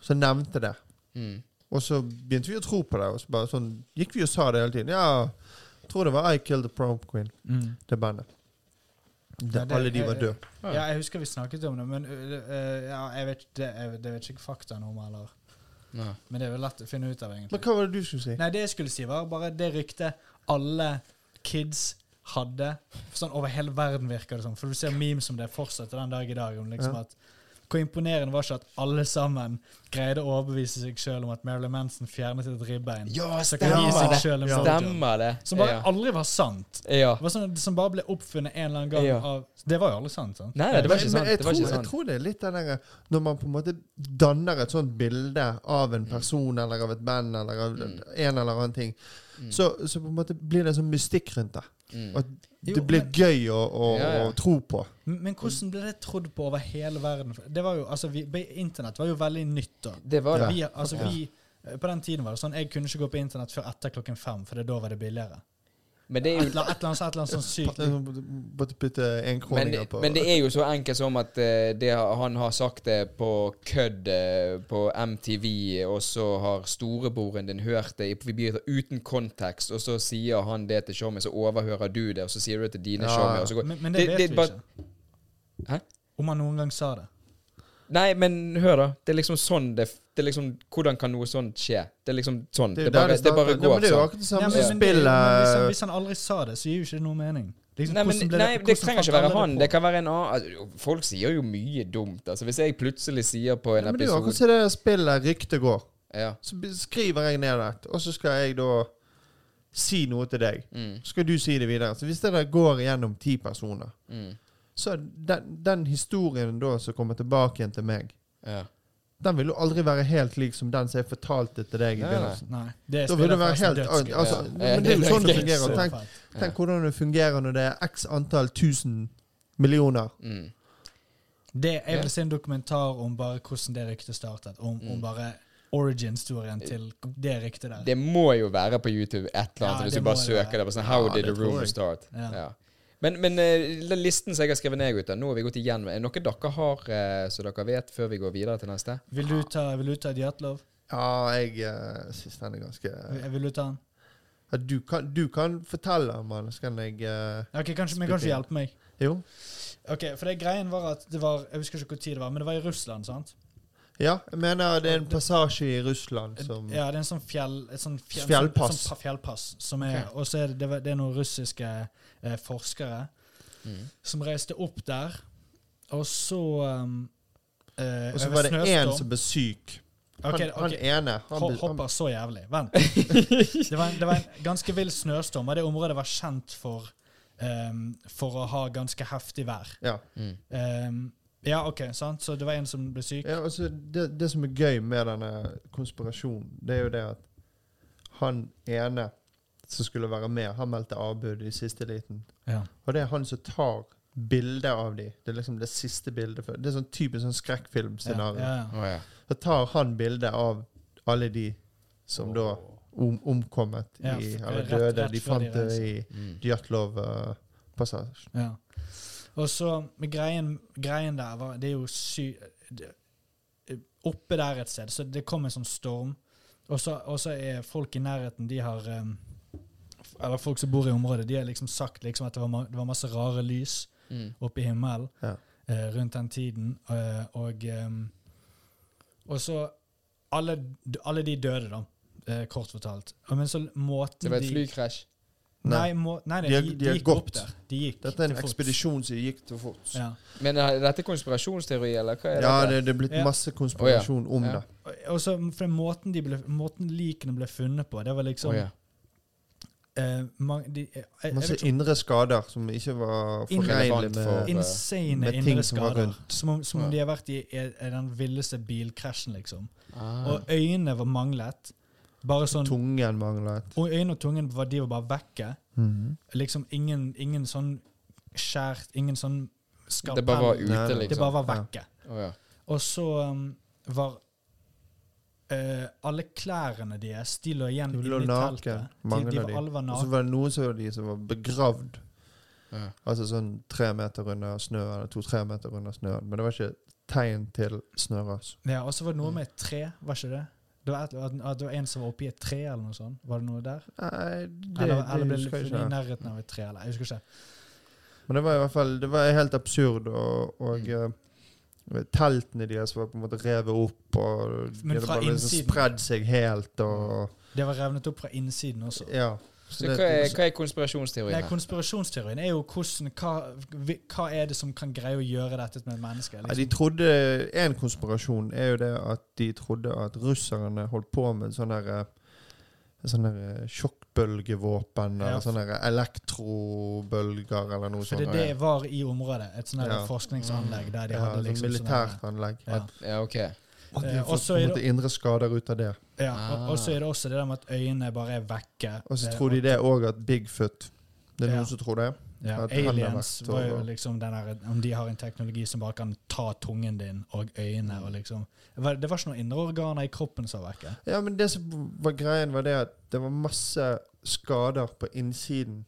[SPEAKER 2] Som nevnte det.
[SPEAKER 1] Mm.
[SPEAKER 2] Og så begynte vi å tro på det. Og så bare sånn gikk vi og sa det hele tiden. Ja, jeg tror det var I Killed the Prom Queen,
[SPEAKER 3] Mm.
[SPEAKER 2] det bandet. Det,
[SPEAKER 3] Ja, det-
[SPEAKER 2] alle de var døde.
[SPEAKER 1] Ja.
[SPEAKER 3] ja, jeg husker vi snakket om det, men øh, øh, ja, jeg vet, det, jeg, det vet ikke faktaen om, eller
[SPEAKER 1] Ja.
[SPEAKER 3] Men det er vel lett å finne ut av, egentlig.
[SPEAKER 2] Men hva var det du skulle si?
[SPEAKER 3] Nei, det jeg skulle si var bare det ryktet alle kids hadde. Sånn over hele verden virker det som. For du ser memes om det fortsatt den dag i dag. Om liksom
[SPEAKER 2] Ja.
[SPEAKER 3] at Hvor imponerende var ikke at alle sammen greide å overbevise seg sjøl om at Marilyn Manson fjernet et ribbein?
[SPEAKER 1] Ja,
[SPEAKER 3] Så kan gi
[SPEAKER 1] stemmer
[SPEAKER 3] seg
[SPEAKER 1] det!
[SPEAKER 3] selv en
[SPEAKER 2] Ja.
[SPEAKER 3] blowjob.
[SPEAKER 1] Stemmer det.
[SPEAKER 3] Som bare
[SPEAKER 1] ja.
[SPEAKER 3] aldri var sant.
[SPEAKER 1] ja.
[SPEAKER 3] Det var sånn, som bare ble oppfunnet en eller annen gang
[SPEAKER 1] Ja.
[SPEAKER 3] av Det var jo aldri sant, sant?
[SPEAKER 1] Nei, nei, det var
[SPEAKER 2] Men-
[SPEAKER 1] ikke
[SPEAKER 2] men
[SPEAKER 1] sant.
[SPEAKER 2] Jeg,
[SPEAKER 1] Det var
[SPEAKER 2] tror,
[SPEAKER 1] ikke
[SPEAKER 2] jeg
[SPEAKER 1] sant.
[SPEAKER 2] tror det er litt den derre Når man på en måte danner et sånt bilde av en person eller av et band eller av
[SPEAKER 1] Mm.
[SPEAKER 2] en eller annen ting, så, så på en måte blir det en sånn mystikk rundt det.
[SPEAKER 1] Mm.
[SPEAKER 2] Og at
[SPEAKER 3] Jo,
[SPEAKER 2] det blir
[SPEAKER 3] men-
[SPEAKER 2] gøy å, å,
[SPEAKER 1] Ja, ja.
[SPEAKER 2] å tro på.
[SPEAKER 3] Men, men hvordan ble det trodd på over hele verden? For Det var jo, altså, vi, Internett var jo veldig nytt da.
[SPEAKER 1] Det var det.
[SPEAKER 3] Vi, altså, vi, på den tiden var det sånn Jeg kunne ikke gå på internett før etter klokken fem, for det- da var det billigere.
[SPEAKER 1] Men det
[SPEAKER 3] Et
[SPEAKER 1] er jo
[SPEAKER 3] eller et eller annet, et eller annet sånn sykt
[SPEAKER 2] Bare putte
[SPEAKER 1] men
[SPEAKER 2] enkroninger
[SPEAKER 1] det,
[SPEAKER 2] på
[SPEAKER 1] men det er jo så enkelt som at eh, det, har- han har sagt det på kødd eh, på MTV, og så har storebroren din hørt det i begynnelsen uten kontekst, og så sier han det til showmet, så overhører du det, og så sier du det til dine
[SPEAKER 2] Ja,
[SPEAKER 1] showmet,
[SPEAKER 2] ja.
[SPEAKER 1] og så går
[SPEAKER 3] Men, men det vet vi
[SPEAKER 1] bare-
[SPEAKER 3] ikke.
[SPEAKER 1] Hæ?
[SPEAKER 3] Om han noen gang sa det.
[SPEAKER 1] Nei, men hør, da. Det er liksom sånn det, det er liksom, Hvordan kan noe sånt skje? Det er liksom sånn. Det,
[SPEAKER 2] Det er jo der
[SPEAKER 1] bare, det
[SPEAKER 2] starter.
[SPEAKER 1] bare
[SPEAKER 2] Ja,
[SPEAKER 1] går
[SPEAKER 2] men det er jo
[SPEAKER 1] sånn.
[SPEAKER 2] akkurat det samme
[SPEAKER 3] Nei, men,
[SPEAKER 2] som
[SPEAKER 3] men det, men hvis, han,
[SPEAKER 2] spillet eh,
[SPEAKER 3] hvis han aldri sa det, så gir jo ikke det noe mening. Liksom,
[SPEAKER 1] Nei, men,
[SPEAKER 3] hvordan ble
[SPEAKER 1] nei, det
[SPEAKER 3] hvordan
[SPEAKER 1] trenger ikke
[SPEAKER 3] fant
[SPEAKER 1] være
[SPEAKER 3] alle
[SPEAKER 1] han.
[SPEAKER 3] på?
[SPEAKER 1] Det kan være en annen altså, Folk sier jo mye dumt. Altså, Hvis jeg plutselig sier på
[SPEAKER 2] Ja,
[SPEAKER 1] en
[SPEAKER 2] men Det er jo akkurat
[SPEAKER 1] episode
[SPEAKER 2] som det der spillet ryktet går.
[SPEAKER 1] ja.
[SPEAKER 2] Så b- skriver jeg ned det, og så skal jeg da si noe til deg.
[SPEAKER 1] mm,
[SPEAKER 2] Så skal du si det videre. Så hvis det der går gjennom ti personer
[SPEAKER 1] mm,
[SPEAKER 2] Så den, den historien da som kommer tilbake igjen til meg,
[SPEAKER 1] ja.
[SPEAKER 2] den vil jo aldri være helt lik som den som jeg fortalte til deg i
[SPEAKER 1] Nei, nei.
[SPEAKER 2] begynnelsen.
[SPEAKER 3] Nei, det
[SPEAKER 2] Da vil det være helt annet.
[SPEAKER 3] dødskult.
[SPEAKER 2] Altså,
[SPEAKER 1] Ja.
[SPEAKER 2] Men det er jo sånn det
[SPEAKER 1] Ja.
[SPEAKER 2] fungerer. Tenk, tenk hvordan det fungerer når det er x antall tusen millioner.
[SPEAKER 1] Mm.
[SPEAKER 3] Det er vel sin dokumentar om bare hvordan det ryktet startet. Om, om bare origin-storyen til det ryktet der.
[SPEAKER 1] Mm. Det må jo være på YouTube et eller annet,
[SPEAKER 3] Ja,
[SPEAKER 1] hvis
[SPEAKER 3] det
[SPEAKER 1] du bare
[SPEAKER 3] må det
[SPEAKER 1] søker
[SPEAKER 3] være.
[SPEAKER 1] det. på sånn, How
[SPEAKER 2] Ja,
[SPEAKER 1] did
[SPEAKER 2] det
[SPEAKER 1] the
[SPEAKER 2] tror
[SPEAKER 1] room
[SPEAKER 2] jeg.
[SPEAKER 1] start? Ja.
[SPEAKER 3] Ja.
[SPEAKER 1] Men, men eh, den listen som jeg har skrevet ned, gutter, nå har vi gått igjen. Er det noe dere har eh, som dere vet, før vi går videre til neste?
[SPEAKER 3] Vil du ta, vil du ta Djatlov?
[SPEAKER 2] Ja, jeg uh, syns den er ganske
[SPEAKER 3] Vil- Vil du ta han?
[SPEAKER 2] ja, du, kan, du kan fortelle om den, så kan jeg eh,
[SPEAKER 3] Ok, kanskje, men kanskje hjelpe meg.
[SPEAKER 2] Jo.
[SPEAKER 3] Ok, for det greien var at det var, Jeg husker ikke hvor tid det var, men det var i Russland, sant?
[SPEAKER 2] Ja, jeg mener det er en passasje i Russland som
[SPEAKER 3] ja, det er en sånn fjell... Et sånn fjell
[SPEAKER 2] Mm. Fjellpass.
[SPEAKER 3] Sånn, pa- fjellpass som er, Og så er det, det, var- det er noen russiske eh, forskere
[SPEAKER 1] Mm.
[SPEAKER 3] som reiste opp der, og så um, eh,
[SPEAKER 2] Og så
[SPEAKER 3] over
[SPEAKER 2] var det én
[SPEAKER 3] snøstorm.
[SPEAKER 2] som ble syk. Han,
[SPEAKER 3] Ok, ok.
[SPEAKER 2] han ene. Han,
[SPEAKER 3] Ho-
[SPEAKER 2] ble- han,
[SPEAKER 3] Hopper så jævlig. Vent. Det var en, det var en ganske vill snøstorm, og det området var kjent for, ehm, for å ha ganske heftig vær.
[SPEAKER 2] ja.
[SPEAKER 1] Mm.
[SPEAKER 3] Ehm, ja, OK, sant? Så det var en som ble syk.
[SPEAKER 2] Ja, altså det, det som er gøy med denne konspirasjonen, det er jo det at han ene som skulle være med, han meldte avbud i siste liten.
[SPEAKER 3] Ja.
[SPEAKER 2] Og det er han som tar bilde av de. Det er liksom det siste bildet. For, det er sånn typisk sånn skrekkfilmscenario.
[SPEAKER 3] Ja, ja.
[SPEAKER 1] Å, ja.
[SPEAKER 2] Så tar han bilde av alle de som da om, omkommet,
[SPEAKER 3] Ja,
[SPEAKER 2] i,
[SPEAKER 3] f-
[SPEAKER 2] eller
[SPEAKER 3] rett-
[SPEAKER 2] døde.
[SPEAKER 3] rett
[SPEAKER 2] de
[SPEAKER 3] før de
[SPEAKER 2] fant det i
[SPEAKER 1] Mm.
[SPEAKER 2] Djatlov-passasjen.
[SPEAKER 3] Ja. Og så men greien, greien der var Det er jo sy... det- Oppe der et sted, så det kom en sånn storm. Og så og så er folk i nærheten, de har ehm, f- Eller folk som bor i området, de har liksom sagt liksom at det var, ma det var masse rare lys
[SPEAKER 1] Mm.
[SPEAKER 3] oppe i himmelen
[SPEAKER 2] Ja.
[SPEAKER 3] eh, rundt den tiden. eh, og, ehm, og så alle, alle de døde, da, eh, kort fortalt. Og Men så måten
[SPEAKER 1] Det var et
[SPEAKER 3] de-
[SPEAKER 1] flykrasj.
[SPEAKER 2] Nei.
[SPEAKER 3] Nei, må, nei,
[SPEAKER 2] De
[SPEAKER 3] nei de,
[SPEAKER 2] har-
[SPEAKER 3] de,
[SPEAKER 2] de har
[SPEAKER 3] gikk opp
[SPEAKER 2] gått.
[SPEAKER 3] der. De gikk
[SPEAKER 2] Dette er en
[SPEAKER 3] til fots.
[SPEAKER 2] ekspedisjon som gikk til fots.
[SPEAKER 3] Ja.
[SPEAKER 1] Men er dette konspirasjonsteori, eller hva er
[SPEAKER 2] Ja,
[SPEAKER 1] dette?
[SPEAKER 2] det, det er blitt
[SPEAKER 3] Ja.
[SPEAKER 2] masse konspirasjon om
[SPEAKER 1] Ja.
[SPEAKER 2] det.
[SPEAKER 3] Og- Og så for måten, de ble, måten likene ble funnet på, det var liksom
[SPEAKER 1] Å, ja.
[SPEAKER 3] eh, man, de, jeg, jeg,
[SPEAKER 2] Masse
[SPEAKER 3] vet ikke,
[SPEAKER 2] indre skader som ikke var
[SPEAKER 3] Indre-
[SPEAKER 2] forenlig
[SPEAKER 1] for-
[SPEAKER 2] med
[SPEAKER 3] insane
[SPEAKER 2] med ting
[SPEAKER 3] indre
[SPEAKER 2] som var
[SPEAKER 3] skader.
[SPEAKER 2] rundt.
[SPEAKER 3] Som om, som om
[SPEAKER 1] Ja.
[SPEAKER 3] de har vært i, i, i den villeste bilkrasjen, liksom.
[SPEAKER 1] Ah.
[SPEAKER 3] Og øynene var manglet. Bare sånn
[SPEAKER 2] Tungen manglet.
[SPEAKER 3] Og øynene og tungen var, de var bare vekke.
[SPEAKER 2] Mhm.
[SPEAKER 3] Liksom ingen, ingen sånn skjært, ingen sånn skarpell.
[SPEAKER 1] Det bare var
[SPEAKER 2] Nei,
[SPEAKER 1] ute,
[SPEAKER 2] nei.
[SPEAKER 1] liksom?
[SPEAKER 3] Det bare var
[SPEAKER 2] Ja.
[SPEAKER 3] vekke.
[SPEAKER 1] Å, ja.
[SPEAKER 3] Og så um, var eh, alle klærne deres De lå igjen
[SPEAKER 2] De lå
[SPEAKER 3] inni
[SPEAKER 2] naken,
[SPEAKER 3] teltet.
[SPEAKER 2] mange
[SPEAKER 3] de,
[SPEAKER 2] av
[SPEAKER 3] var,
[SPEAKER 2] de.
[SPEAKER 3] alle var
[SPEAKER 2] Og så
[SPEAKER 3] naken.
[SPEAKER 2] var det noen som, de, som var begravd.
[SPEAKER 1] Ja.
[SPEAKER 2] Altså sånn tre meter under snøen, eller to-tre meter under snøen. Men det var ikke tegn til altså. snøras.
[SPEAKER 3] Ja, og så var det
[SPEAKER 2] Mm.
[SPEAKER 3] noe med et tre, var ikke det? Det var, et, at det var en som var oppi et tre, eller noe sånt. Var det noe der?
[SPEAKER 2] Nei, det,
[SPEAKER 3] Eller, eller
[SPEAKER 2] det
[SPEAKER 3] ble
[SPEAKER 2] husker
[SPEAKER 3] det liksom
[SPEAKER 2] jeg
[SPEAKER 3] i
[SPEAKER 2] ikke.
[SPEAKER 3] nærheten av et tre? Eller, jeg husker ikke.
[SPEAKER 2] Men det var i hvert fall det var helt absurd, og, og
[SPEAKER 3] Mm.
[SPEAKER 2] eh, teltene deres var på en måte revet opp, og de
[SPEAKER 3] Men
[SPEAKER 2] hadde
[SPEAKER 3] fra
[SPEAKER 2] bare liksom
[SPEAKER 3] innsiden. Mm.
[SPEAKER 2] spredd seg helt, og Altså,
[SPEAKER 3] Det var revnet opp fra innsiden også.
[SPEAKER 2] Ja.
[SPEAKER 1] Så hva er, hva er konspirasjonsteorien
[SPEAKER 3] Nei,
[SPEAKER 1] her?
[SPEAKER 3] konspirasjonsteorien er jo hvordan, hva, vi, hva er det som kan greie å gjøre dette med et menneske?
[SPEAKER 2] Ja, de
[SPEAKER 3] Liksom.
[SPEAKER 2] trodde, En konspirasjon er jo det at de trodde at russerne holdt på med en sånn der eh, sånn der eh, sjokkbølgevåpen
[SPEAKER 3] Ja.
[SPEAKER 2] eller sånn der elektrobølger eller noe
[SPEAKER 3] For
[SPEAKER 2] sånt.
[SPEAKER 3] det, det var i området, et sånt her
[SPEAKER 2] Ja.
[SPEAKER 3] forskningsanlegg der de
[SPEAKER 2] ja,
[SPEAKER 3] hadde
[SPEAKER 2] sånn
[SPEAKER 3] liksom sånne her-
[SPEAKER 2] militært anlegg.
[SPEAKER 3] Ja.
[SPEAKER 1] Ja, ok.
[SPEAKER 2] Og de
[SPEAKER 3] Eh,
[SPEAKER 2] har fått
[SPEAKER 3] også
[SPEAKER 2] på
[SPEAKER 3] er
[SPEAKER 2] en måte indre skader ut av det.
[SPEAKER 3] Ja, og, og så er det også det der med at øynene bare er vekke.
[SPEAKER 2] Ah. Og så
[SPEAKER 3] Eh,
[SPEAKER 2] tror de det òg at Bigfoot Det er
[SPEAKER 3] Ja.
[SPEAKER 2] noen som tror det.
[SPEAKER 3] ja,
[SPEAKER 2] at han har
[SPEAKER 3] Aliens
[SPEAKER 2] vært
[SPEAKER 3] var jo
[SPEAKER 2] over.
[SPEAKER 3] liksom den der Om de har en teknologi som bare kan ta tungen din og øynene og liksom Det var det var ikke noen indre organer i kroppen som var vekke.
[SPEAKER 2] Ja, men det som var greien, var det at det var masse skader på innsiden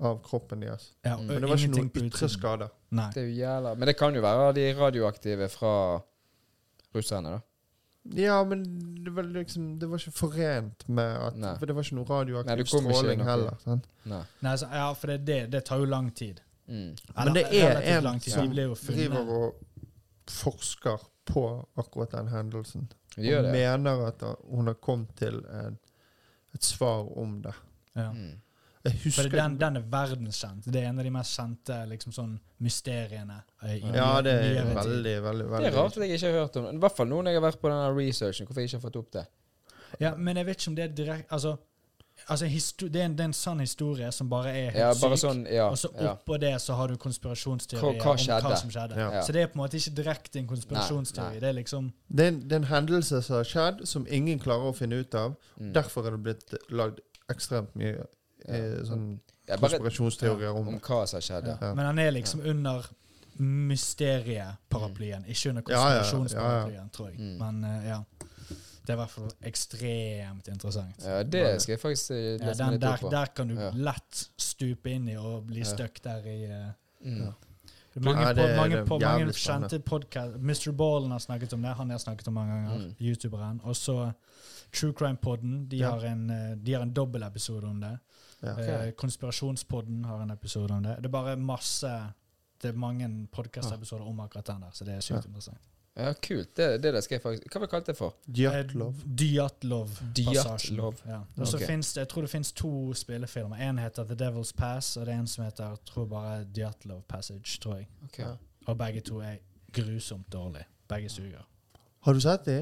[SPEAKER 2] av kroppen deres.
[SPEAKER 3] Ja, og
[SPEAKER 2] Mm, Men det var ikke noen
[SPEAKER 3] ingenting på
[SPEAKER 2] ytre
[SPEAKER 3] utsiden.
[SPEAKER 2] skader.
[SPEAKER 3] Nei.
[SPEAKER 1] Det er jo jævla Men det kan jo være de radioaktive fra russerne, da.
[SPEAKER 2] Ja, men det var liksom Det var ikke forent med at
[SPEAKER 1] Nei.
[SPEAKER 2] For det var ikke noe
[SPEAKER 1] Nei, det
[SPEAKER 2] radioaktiv
[SPEAKER 1] kom ikke
[SPEAKER 2] stråling
[SPEAKER 1] noe.
[SPEAKER 2] heller. Sant?
[SPEAKER 1] Nei.
[SPEAKER 3] Nei så, ja, for det, det, det tar jo lang tid.
[SPEAKER 1] Mm.
[SPEAKER 2] Men det
[SPEAKER 3] Eller
[SPEAKER 2] er
[SPEAKER 3] relativt
[SPEAKER 2] en
[SPEAKER 3] lang tid.
[SPEAKER 2] som
[SPEAKER 3] De ble jo funnet.
[SPEAKER 2] Driver og forsker på akkurat den hendelsen.
[SPEAKER 1] De gjør
[SPEAKER 2] og
[SPEAKER 1] det.
[SPEAKER 2] mener at da hun har kommet til en, et svar om det.
[SPEAKER 3] Ja.
[SPEAKER 1] Mm.
[SPEAKER 2] Jeg
[SPEAKER 3] For
[SPEAKER 2] husker
[SPEAKER 3] det- den, den er verdenskjent. Det er en av de mest kjente liksom, sånn, mysteriene. eh, i
[SPEAKER 2] Ja, det er
[SPEAKER 3] nyere tid.
[SPEAKER 2] veldig, veldig, veldig
[SPEAKER 1] Det er rart at jeg ikke har hørt om det. I hvert fall noen jeg har vært på denne researchen. Hvorfor jeg ikke har fått opp det.
[SPEAKER 3] Ja, men jeg vet ikke om det er direkte Altså, altså histo- det, er en, det er en sann historie som bare er helt
[SPEAKER 1] Ja,
[SPEAKER 3] syk.
[SPEAKER 1] bare sånn, ja.
[SPEAKER 3] og så
[SPEAKER 1] ja.
[SPEAKER 3] oppå det så har du konspirasjonsteorier
[SPEAKER 1] Hva- hva
[SPEAKER 3] om hva
[SPEAKER 1] skjedde?
[SPEAKER 3] som skjedde.
[SPEAKER 2] Ja.
[SPEAKER 3] Så det er på en måte ikke direkte en
[SPEAKER 1] Nei,
[SPEAKER 3] konspirasjonsteori.
[SPEAKER 1] nei.
[SPEAKER 3] Det er liksom
[SPEAKER 2] Det er, en, det er en hendelse som har skjedd, som ingen klarer å finne ut av.
[SPEAKER 1] Mm.
[SPEAKER 2] Derfor er det blitt lagd ekstremt mye eh,
[SPEAKER 1] Ja.
[SPEAKER 2] sånn
[SPEAKER 1] Ja, bare
[SPEAKER 2] konspirasjonsteorier om
[SPEAKER 1] om
[SPEAKER 2] det.
[SPEAKER 1] hva som skjedde.
[SPEAKER 3] ja.
[SPEAKER 2] Ja.
[SPEAKER 3] Men han er liksom under mysterieparaplyen, ikke under
[SPEAKER 2] Ja, ja, ja, ja.
[SPEAKER 3] konspirasjonsparaplyen, tror jeg.
[SPEAKER 1] Mm.
[SPEAKER 3] Men eh, ja. Det er i hvert fall ekstremt interessant.
[SPEAKER 1] Ja, det skal jeg faktisk eh, lese
[SPEAKER 3] Ja,
[SPEAKER 1] meg
[SPEAKER 3] den
[SPEAKER 1] litt
[SPEAKER 3] der,
[SPEAKER 1] opp på.
[SPEAKER 3] der kan du
[SPEAKER 1] Ja.
[SPEAKER 3] lett stupe inn i og bli
[SPEAKER 1] Ja.
[SPEAKER 3] stuck der i eh,
[SPEAKER 1] Mm.
[SPEAKER 2] Ja.
[SPEAKER 3] mange,
[SPEAKER 2] Ja,
[SPEAKER 3] pod-
[SPEAKER 2] det er-
[SPEAKER 3] mange,
[SPEAKER 2] det er
[SPEAKER 3] på, mange
[SPEAKER 2] jævlig spennende.
[SPEAKER 3] kjente podkast Mr. Ballen har snakket om det. Han har jeg snakket om mange ganger.
[SPEAKER 1] Mm.
[SPEAKER 3] Youtuberen. Og så True Crime Podden. De,
[SPEAKER 2] Ja.
[SPEAKER 3] har en, eh, de har en dobbelepisode om det.
[SPEAKER 2] Ja.
[SPEAKER 3] Eh, Konspirasjonspodden har en episode om det. Det er bare masse Det er mange podkastepisoder om akkurat den der, så det er sykt
[SPEAKER 2] Ja.
[SPEAKER 3] interessant.
[SPEAKER 1] Ja, kult. Det, det der skal jeg faktisk Hva var det kalt det for?
[SPEAKER 2] Djatlov.
[SPEAKER 3] Eh, Dyatlov-passasjen.
[SPEAKER 1] Dyatlov.
[SPEAKER 3] Ja. Og så
[SPEAKER 1] Ok.
[SPEAKER 3] finnes det, Jeg tror det fins to spillefilmer. Én heter The Devil's Pass, og det er en som heter jeg tror bare Dyatlov Passage, tror jeg.
[SPEAKER 1] Ok.
[SPEAKER 2] Ja.
[SPEAKER 3] Og begge to er grusomt dårlige. Begge suger.
[SPEAKER 2] Har du sett det?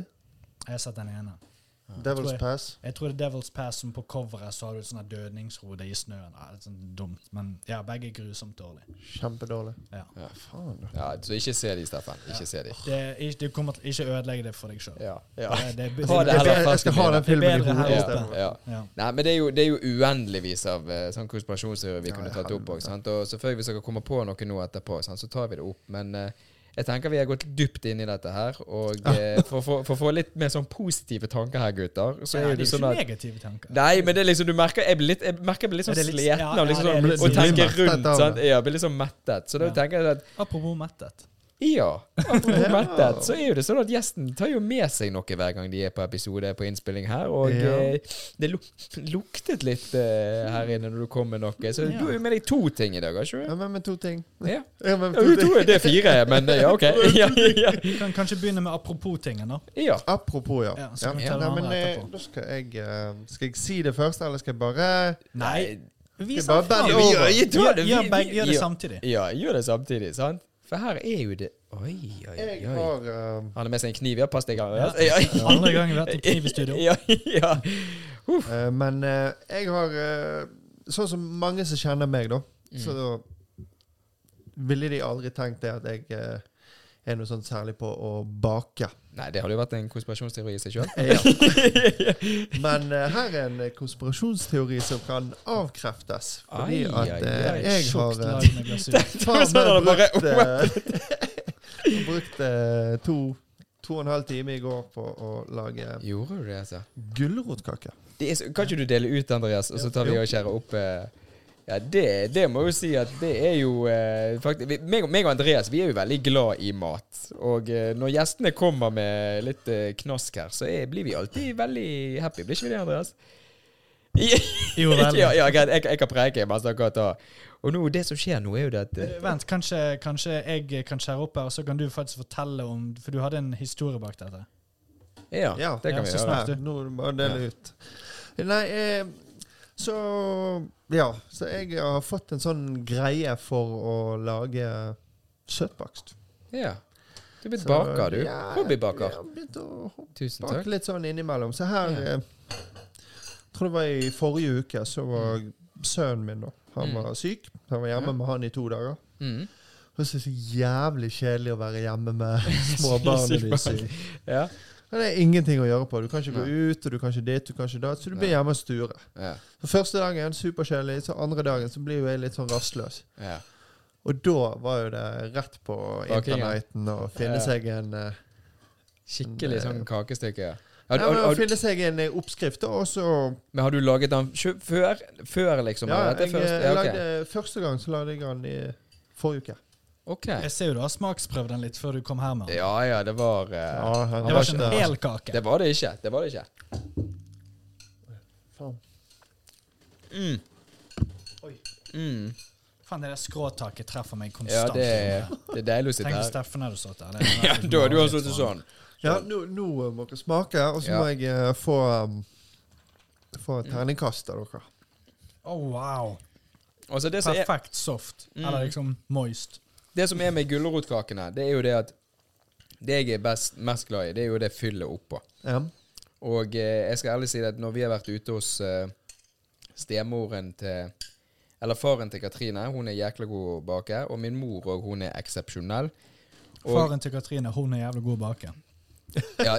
[SPEAKER 3] Jeg har sett den ene. Tror
[SPEAKER 2] Devil's
[SPEAKER 3] jeg.
[SPEAKER 2] Pass.
[SPEAKER 3] Jeg tror det er Devil's Pass som på coveret så har du et sånt her dødningshode i snøen. Ja, det er sånn dumt, men ja, begge er grusomt dårlige.
[SPEAKER 2] Kjempedårlig.
[SPEAKER 3] Ja.
[SPEAKER 1] Ja.
[SPEAKER 2] Faen. da.
[SPEAKER 1] ja, så ikke se de, Steffen. Ikke se de.
[SPEAKER 3] Det, er ikke- du kommer til ikke ødelegge det for deg sjøl.
[SPEAKER 1] Ja.
[SPEAKER 3] Det, det, det,
[SPEAKER 1] Ha det
[SPEAKER 2] Jeg,
[SPEAKER 1] heller
[SPEAKER 2] jeg, jeg skal ha den
[SPEAKER 3] Det er
[SPEAKER 2] filmen i
[SPEAKER 3] bedre her
[SPEAKER 2] hodet
[SPEAKER 1] Ja.
[SPEAKER 3] oppe.
[SPEAKER 2] istedenfor.
[SPEAKER 1] ja.
[SPEAKER 3] ja.
[SPEAKER 1] Nei, men det er jo, det er jo uendeligvis av eh, sånn konspirasjonsteorier vi
[SPEAKER 2] Ja,
[SPEAKER 1] kunne
[SPEAKER 2] i
[SPEAKER 1] tatt opp.
[SPEAKER 2] helvete.
[SPEAKER 1] også, Sant? Og selvfølgelig hvis dere kommer på noe nå etterpå, sant? så tar vi det opp. Men eh, jeg tenker vi har gått dypt inn i dette her. Og eh, for for- for å få litt mer sånn positive tanker her, gutter, så
[SPEAKER 3] Ja,
[SPEAKER 1] er jo
[SPEAKER 3] det
[SPEAKER 1] det
[SPEAKER 3] er jo
[SPEAKER 1] sånn
[SPEAKER 3] ikke
[SPEAKER 1] at
[SPEAKER 3] negative tanker.
[SPEAKER 1] Nei, men det er liksom, du merker jeg blir litt, jeg merker jeg blir litt sånn
[SPEAKER 3] Er det litt-
[SPEAKER 1] sliten
[SPEAKER 3] ja,
[SPEAKER 1] av liksom
[SPEAKER 3] ja, det er
[SPEAKER 1] sånn,
[SPEAKER 3] litt
[SPEAKER 1] å
[SPEAKER 2] sliten.
[SPEAKER 1] tenke
[SPEAKER 2] Blir mettet
[SPEAKER 1] rundt.
[SPEAKER 2] av
[SPEAKER 1] Sant?
[SPEAKER 2] det.
[SPEAKER 1] Ja, blir liksom mettet. Så da
[SPEAKER 3] Ja.
[SPEAKER 1] tenker jeg at
[SPEAKER 3] Apropos mettet.
[SPEAKER 1] ja, apropos
[SPEAKER 2] Ja.
[SPEAKER 1] mettet, så er jo det sånn at gjesten tar jo med seg noe hver gang de er på episode på innspilling her, og
[SPEAKER 2] Ja.
[SPEAKER 1] eh, det luk luktet litt eh, her inne når du kom med noe. Så
[SPEAKER 3] Ja.
[SPEAKER 1] du har jo med deg to ting i dag, har ikke du?
[SPEAKER 2] Ja, men med to ting.
[SPEAKER 1] Ja.
[SPEAKER 2] Ja, men
[SPEAKER 1] Ja,
[SPEAKER 2] to
[SPEAKER 1] jo,
[SPEAKER 2] ting.
[SPEAKER 1] to, det er fire, men eh, ja, ok. Ja, ja,
[SPEAKER 3] Vi kan kanskje begynne med apropos-tingen, da.
[SPEAKER 1] ja.
[SPEAKER 2] Apropos, ja.
[SPEAKER 3] Ja, så
[SPEAKER 2] ja.
[SPEAKER 3] kan vi ta det
[SPEAKER 2] Nei, men
[SPEAKER 3] andre
[SPEAKER 2] eh,
[SPEAKER 3] etterpå.
[SPEAKER 2] da skal jeg eh, Skal jeg si det først, eller skal jeg bare
[SPEAKER 1] Nei,
[SPEAKER 3] Vi
[SPEAKER 2] Det er
[SPEAKER 3] sa
[SPEAKER 2] bare
[SPEAKER 3] faen.
[SPEAKER 2] bend
[SPEAKER 1] vi
[SPEAKER 2] over.
[SPEAKER 1] gjør- vi
[SPEAKER 3] Gjør,
[SPEAKER 1] gjør det, vi-
[SPEAKER 3] gjør, begge,
[SPEAKER 1] vi-
[SPEAKER 3] gjør det
[SPEAKER 1] ja.
[SPEAKER 3] samtidig.
[SPEAKER 1] Ja, gjør det samtidig, sant? For her er jo det Oi, oi,
[SPEAKER 2] Jeg
[SPEAKER 1] oi.
[SPEAKER 2] har eh,
[SPEAKER 1] Han har med seg en kniv, ja. Pass deg, Anders.
[SPEAKER 3] Ja. Andre gang vi har hatt en kniv i studio.
[SPEAKER 1] Ja, ja.
[SPEAKER 2] eh, Men eh, jeg har eh, Sånn som mange som kjenner meg, da, så
[SPEAKER 1] Mm.
[SPEAKER 2] ville de aldri tenkt det at jeg eh, er noe sånn særlig på å bake.
[SPEAKER 1] Nei, det hadde jo vært en konspirasjonsteori i seg sjøl.
[SPEAKER 2] Eh, Ja. Men eh, her er en konspirasjonsteori som kan avkreftes.
[SPEAKER 1] Ai,
[SPEAKER 2] Fordi at
[SPEAKER 1] ai,
[SPEAKER 2] eh,
[SPEAKER 1] ai.
[SPEAKER 2] jeg
[SPEAKER 3] Tjukt
[SPEAKER 2] har eh,
[SPEAKER 3] lag med glasur.
[SPEAKER 2] Faen,
[SPEAKER 1] Sånn er det bare.
[SPEAKER 2] brukt, eh, brukt eh, to, to og en halv time i går på å lage
[SPEAKER 1] Gjorde du det, altså?
[SPEAKER 2] gulrotkake.
[SPEAKER 1] Det er så, kan ikke du dele ut, Andreas, og så tar vi
[SPEAKER 2] Jo.
[SPEAKER 1] og skjærer opp eh, Ja, det, det må jo si at det er jo eh, faktisk vi- meg, og- meg og Andreas vi er jo veldig glad i mat. Og eh, når gjestene kommer med litt eh, knask her, så er, blir vi alltid veldig happy. Blir ikke vi det, Andreas?
[SPEAKER 3] Jo, veldig.
[SPEAKER 1] ja, ja, greit. Jeg, jeg kan preike, men snakker da. Og nå, det som skjer nå, er jo det at eh,
[SPEAKER 3] Eh, Vent, kanskje, kanskje jeg kan skjære opp her, og så kan du faktisk fortelle om For du hadde en historie bak dette.
[SPEAKER 1] Ja,
[SPEAKER 2] Ja,
[SPEAKER 1] det
[SPEAKER 3] ja,
[SPEAKER 1] kan vi
[SPEAKER 3] så
[SPEAKER 1] gjøre.
[SPEAKER 3] snart.
[SPEAKER 2] Her, nå er det bare å dele ut. Nei, eh, så Ja. Så jeg har fått en sånn greie for å lage søtbakst.
[SPEAKER 1] Ja. Du er blitt
[SPEAKER 2] Så-
[SPEAKER 1] baker, du.
[SPEAKER 2] Ja,
[SPEAKER 1] Hobbybaker.
[SPEAKER 2] Jeg har begynt å
[SPEAKER 1] Tusen
[SPEAKER 2] bake
[SPEAKER 1] takk.
[SPEAKER 2] litt sånn innimellom. Så her
[SPEAKER 1] Ja.
[SPEAKER 2] eh, Tror det var i forrige uke, så var sønnen min, da. Han
[SPEAKER 1] Mm.
[SPEAKER 2] var syk. Han var hjemme med han i to dager.
[SPEAKER 1] Mm.
[SPEAKER 2] Jeg synes det er så jævlig kjedelig å være hjemme med små barn når de er syke.
[SPEAKER 1] Ja.
[SPEAKER 2] Men Det er ingenting å gjøre på. Du kan ikke gå ut, og du kan ikke dit, du kan ikke dat, så du blir hjemme og sture.
[SPEAKER 1] Ja.
[SPEAKER 2] Så første dagen superkjedelig, så andre dagen så blir jo jeg litt sånn rastløs.
[SPEAKER 1] ja.
[SPEAKER 2] Og da var jo det rett på
[SPEAKER 1] Baking, ja.
[SPEAKER 2] internetten å finne
[SPEAKER 1] Ja.
[SPEAKER 2] seg en eh,
[SPEAKER 1] Skikkelig sånn kakestykke. ja. Har,
[SPEAKER 2] ja,
[SPEAKER 1] har,
[SPEAKER 2] men å
[SPEAKER 1] har,
[SPEAKER 2] finne seg en eh, oppskrift, da, og så
[SPEAKER 1] men har du laget den sjø- før, før liksom?
[SPEAKER 2] Ja,
[SPEAKER 1] eller dette
[SPEAKER 2] jeg,
[SPEAKER 1] først?
[SPEAKER 2] eh,
[SPEAKER 1] Ja, ok.
[SPEAKER 2] lagde, første gang så lagde jeg den i forrige uke.
[SPEAKER 1] Ok.
[SPEAKER 3] Jeg ser jo du har smaksprøvd den litt før du kom her med den.
[SPEAKER 1] Ja ja, det var eh,
[SPEAKER 2] han
[SPEAKER 3] Det var ikke en hel kake.
[SPEAKER 1] Det var det ikke. Det var det ikke.
[SPEAKER 2] Faen.
[SPEAKER 1] Mm.
[SPEAKER 3] Oi.
[SPEAKER 1] Mm.
[SPEAKER 3] Faen, det der skråtaket treffer meg
[SPEAKER 1] Ja,
[SPEAKER 3] konstant.
[SPEAKER 1] det, det er deilig å sitte
[SPEAKER 3] Tenk hvis
[SPEAKER 1] her.
[SPEAKER 3] Steffen hadde stått der. Det
[SPEAKER 1] Ja, da er du har sittet sånn.
[SPEAKER 2] Ja, nå, nå må dere smake, og så
[SPEAKER 1] Ja. Mm.
[SPEAKER 2] må jeg eh, få um, Få et terningkast av dere.
[SPEAKER 3] Oh, wow.
[SPEAKER 1] Altså, det som er
[SPEAKER 3] Perfekt soft.
[SPEAKER 1] Mm.
[SPEAKER 3] Eller liksom moist.
[SPEAKER 1] Det som er med gulrotkakene, det er jo det at Det jeg er best, mest glad i, det er jo det fyllet oppå.
[SPEAKER 2] Ja.
[SPEAKER 1] Og eh, jeg skal ærlig si det at når vi har vært ute hos eh, stemoren til Eller faren til Katrine, hun er jækla god å bake, og min mor òg, hun er eksepsjonell. Og-
[SPEAKER 3] Faren til Katrine, hun er jævlig god å bake.
[SPEAKER 1] Ja,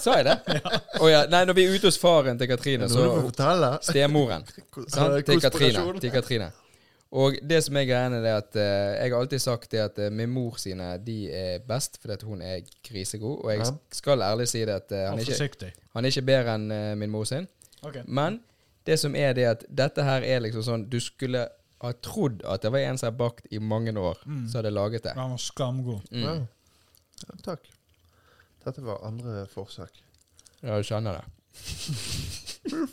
[SPEAKER 1] sa jeg det? Å ja. Nei, når vi er ute hos faren til Katrine,
[SPEAKER 2] Nå
[SPEAKER 1] så
[SPEAKER 2] må du fortelle.
[SPEAKER 1] Stemoren. sant? Til Katrine.
[SPEAKER 2] Konspirasjon.
[SPEAKER 1] Til Katrine. Og det som er greia, er det at eh, jeg har alltid sagt det at eh, min mor sine de er best, fordi at hun er grisegod. Og jeg
[SPEAKER 2] Ja.
[SPEAKER 1] skal ærlig si det at eh, han,
[SPEAKER 3] Og
[SPEAKER 1] er ikke,
[SPEAKER 3] forsiktig.
[SPEAKER 1] han er ikke bedre enn eh, min mor sin.
[SPEAKER 3] Ok.
[SPEAKER 1] Men det som er det at dette her er liksom sånn Du skulle ha trodd at det var en som har bakt i mange år, som hadde laget det. Mm.
[SPEAKER 3] Han var skamgod.
[SPEAKER 2] Mm. Ja. Ja, takk. Dette var andre forsøk.
[SPEAKER 1] Ja, du skjønner det.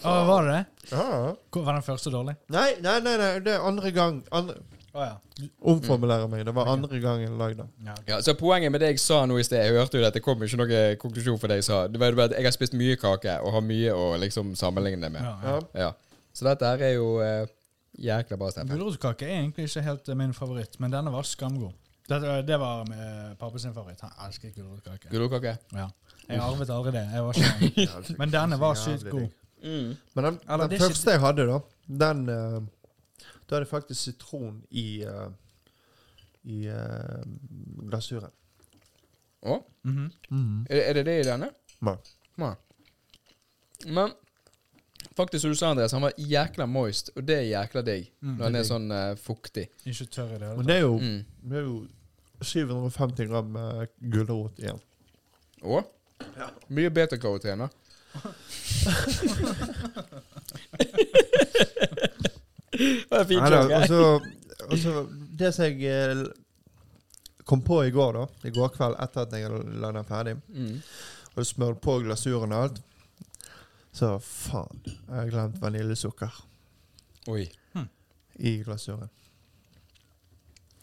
[SPEAKER 3] Å, var det det?
[SPEAKER 2] Ja.
[SPEAKER 3] Hvor- Var den første dårlig?
[SPEAKER 2] Nei, nei, nei, nei, det er andre gang. Andre,
[SPEAKER 3] Å ja.
[SPEAKER 2] omformulerer meg. Det var andre gang jeg lagde den.
[SPEAKER 3] ja. ok.
[SPEAKER 1] Ja, så Poenget med det jeg sa nå i sted Jeg hørte jo det, det kom jo ikke noen konklusjon for det jeg sa. Det var jo bare at Jeg har spist mye kake og har mye å liksom sammenligne det med.
[SPEAKER 3] Ja, ja.
[SPEAKER 2] Ja.
[SPEAKER 1] Ja. Så dette her er jo eh, jækla bra, Steffen.
[SPEAKER 3] Gulrotkake er egentlig ikke helt eh, min favoritt, men denne var skamgod. Det, det var eh, pappa sin favoritt. Han elsket gulrotkake.
[SPEAKER 1] Gulrotkake.
[SPEAKER 3] Ja. Jeg arvet aldri det. Jeg var ikke
[SPEAKER 2] Ja,
[SPEAKER 3] Men denne var
[SPEAKER 2] jævlig
[SPEAKER 3] sykt god.
[SPEAKER 2] digg.
[SPEAKER 1] Mm.
[SPEAKER 2] Men den, den
[SPEAKER 3] Eller, det er ikke-
[SPEAKER 2] første jeg hadde, da, den eh, Da hadde jeg faktisk sitron i eh, I eh, glasuren.
[SPEAKER 1] Å?
[SPEAKER 3] Mhm.
[SPEAKER 1] Er, er det det i denne?
[SPEAKER 2] Nei.
[SPEAKER 1] Nei. Men faktisk, som du sa, Andreas, han var jækla moist, og det er jækla digg
[SPEAKER 3] Mm,
[SPEAKER 1] når han
[SPEAKER 2] det er
[SPEAKER 1] er sånn eh, fuktig.
[SPEAKER 3] Ikke tørr i det
[SPEAKER 2] Men
[SPEAKER 3] hele tatt.
[SPEAKER 2] det er jo,
[SPEAKER 1] Mm.
[SPEAKER 2] det er jo 750 gram uh, gulrot igjen.
[SPEAKER 1] Å? Mye betakaroten, da. det var en fin
[SPEAKER 2] Neida,
[SPEAKER 1] joke.
[SPEAKER 2] og så- og så Det som jeg eh, kom på i går, da I går kveld etter at jeg la den ferdig,
[SPEAKER 1] Mm.
[SPEAKER 2] og smørte på glasuren og alt Så faen, jeg har glemt vaniljesukker
[SPEAKER 1] Oi.
[SPEAKER 2] i glasuren.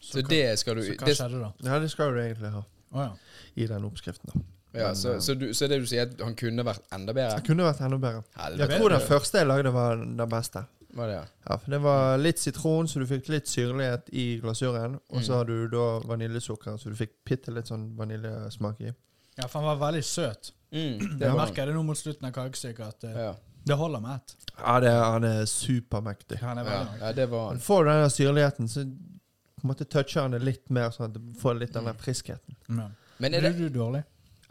[SPEAKER 1] Så det skal du
[SPEAKER 3] Så hva
[SPEAKER 1] det,
[SPEAKER 3] skjedde da?
[SPEAKER 2] Ja, det skal du egentlig ha
[SPEAKER 3] Å ja.
[SPEAKER 2] i den oppskriften. da
[SPEAKER 1] ja, så, så, du, så det du sier, at han kunne vært enda bedre?
[SPEAKER 2] Det kunne vært enda bedre. Jeg
[SPEAKER 1] Helvete.
[SPEAKER 2] tror den første jeg lagde, var den beste.
[SPEAKER 1] Var det, ja.
[SPEAKER 2] Ja, for det var litt sitron, så du fikk litt syrlighet i glasuren. Og
[SPEAKER 1] Mm.
[SPEAKER 2] så har du da vaniljesukker, så du fikk bitte litt sånn vaniljesmak i.
[SPEAKER 3] Ja, for han var veldig søt.
[SPEAKER 1] Mm, det
[SPEAKER 3] Jeg
[SPEAKER 1] var den.
[SPEAKER 3] merker det nå mot slutten av kakestykket at eh,
[SPEAKER 1] Ja,
[SPEAKER 3] det holder med ett.
[SPEAKER 2] Ja, det, han er supermektig.
[SPEAKER 3] Han er
[SPEAKER 1] ja,
[SPEAKER 3] veldig
[SPEAKER 1] ja, det var
[SPEAKER 2] Han
[SPEAKER 1] han.
[SPEAKER 2] får den der syrligheten, så på en måte toucher han det litt mer, sånn at du får litt den
[SPEAKER 1] Mm.
[SPEAKER 2] der friskheten.
[SPEAKER 3] ja.
[SPEAKER 1] Men er
[SPEAKER 3] Blir
[SPEAKER 1] det
[SPEAKER 3] du dårlig?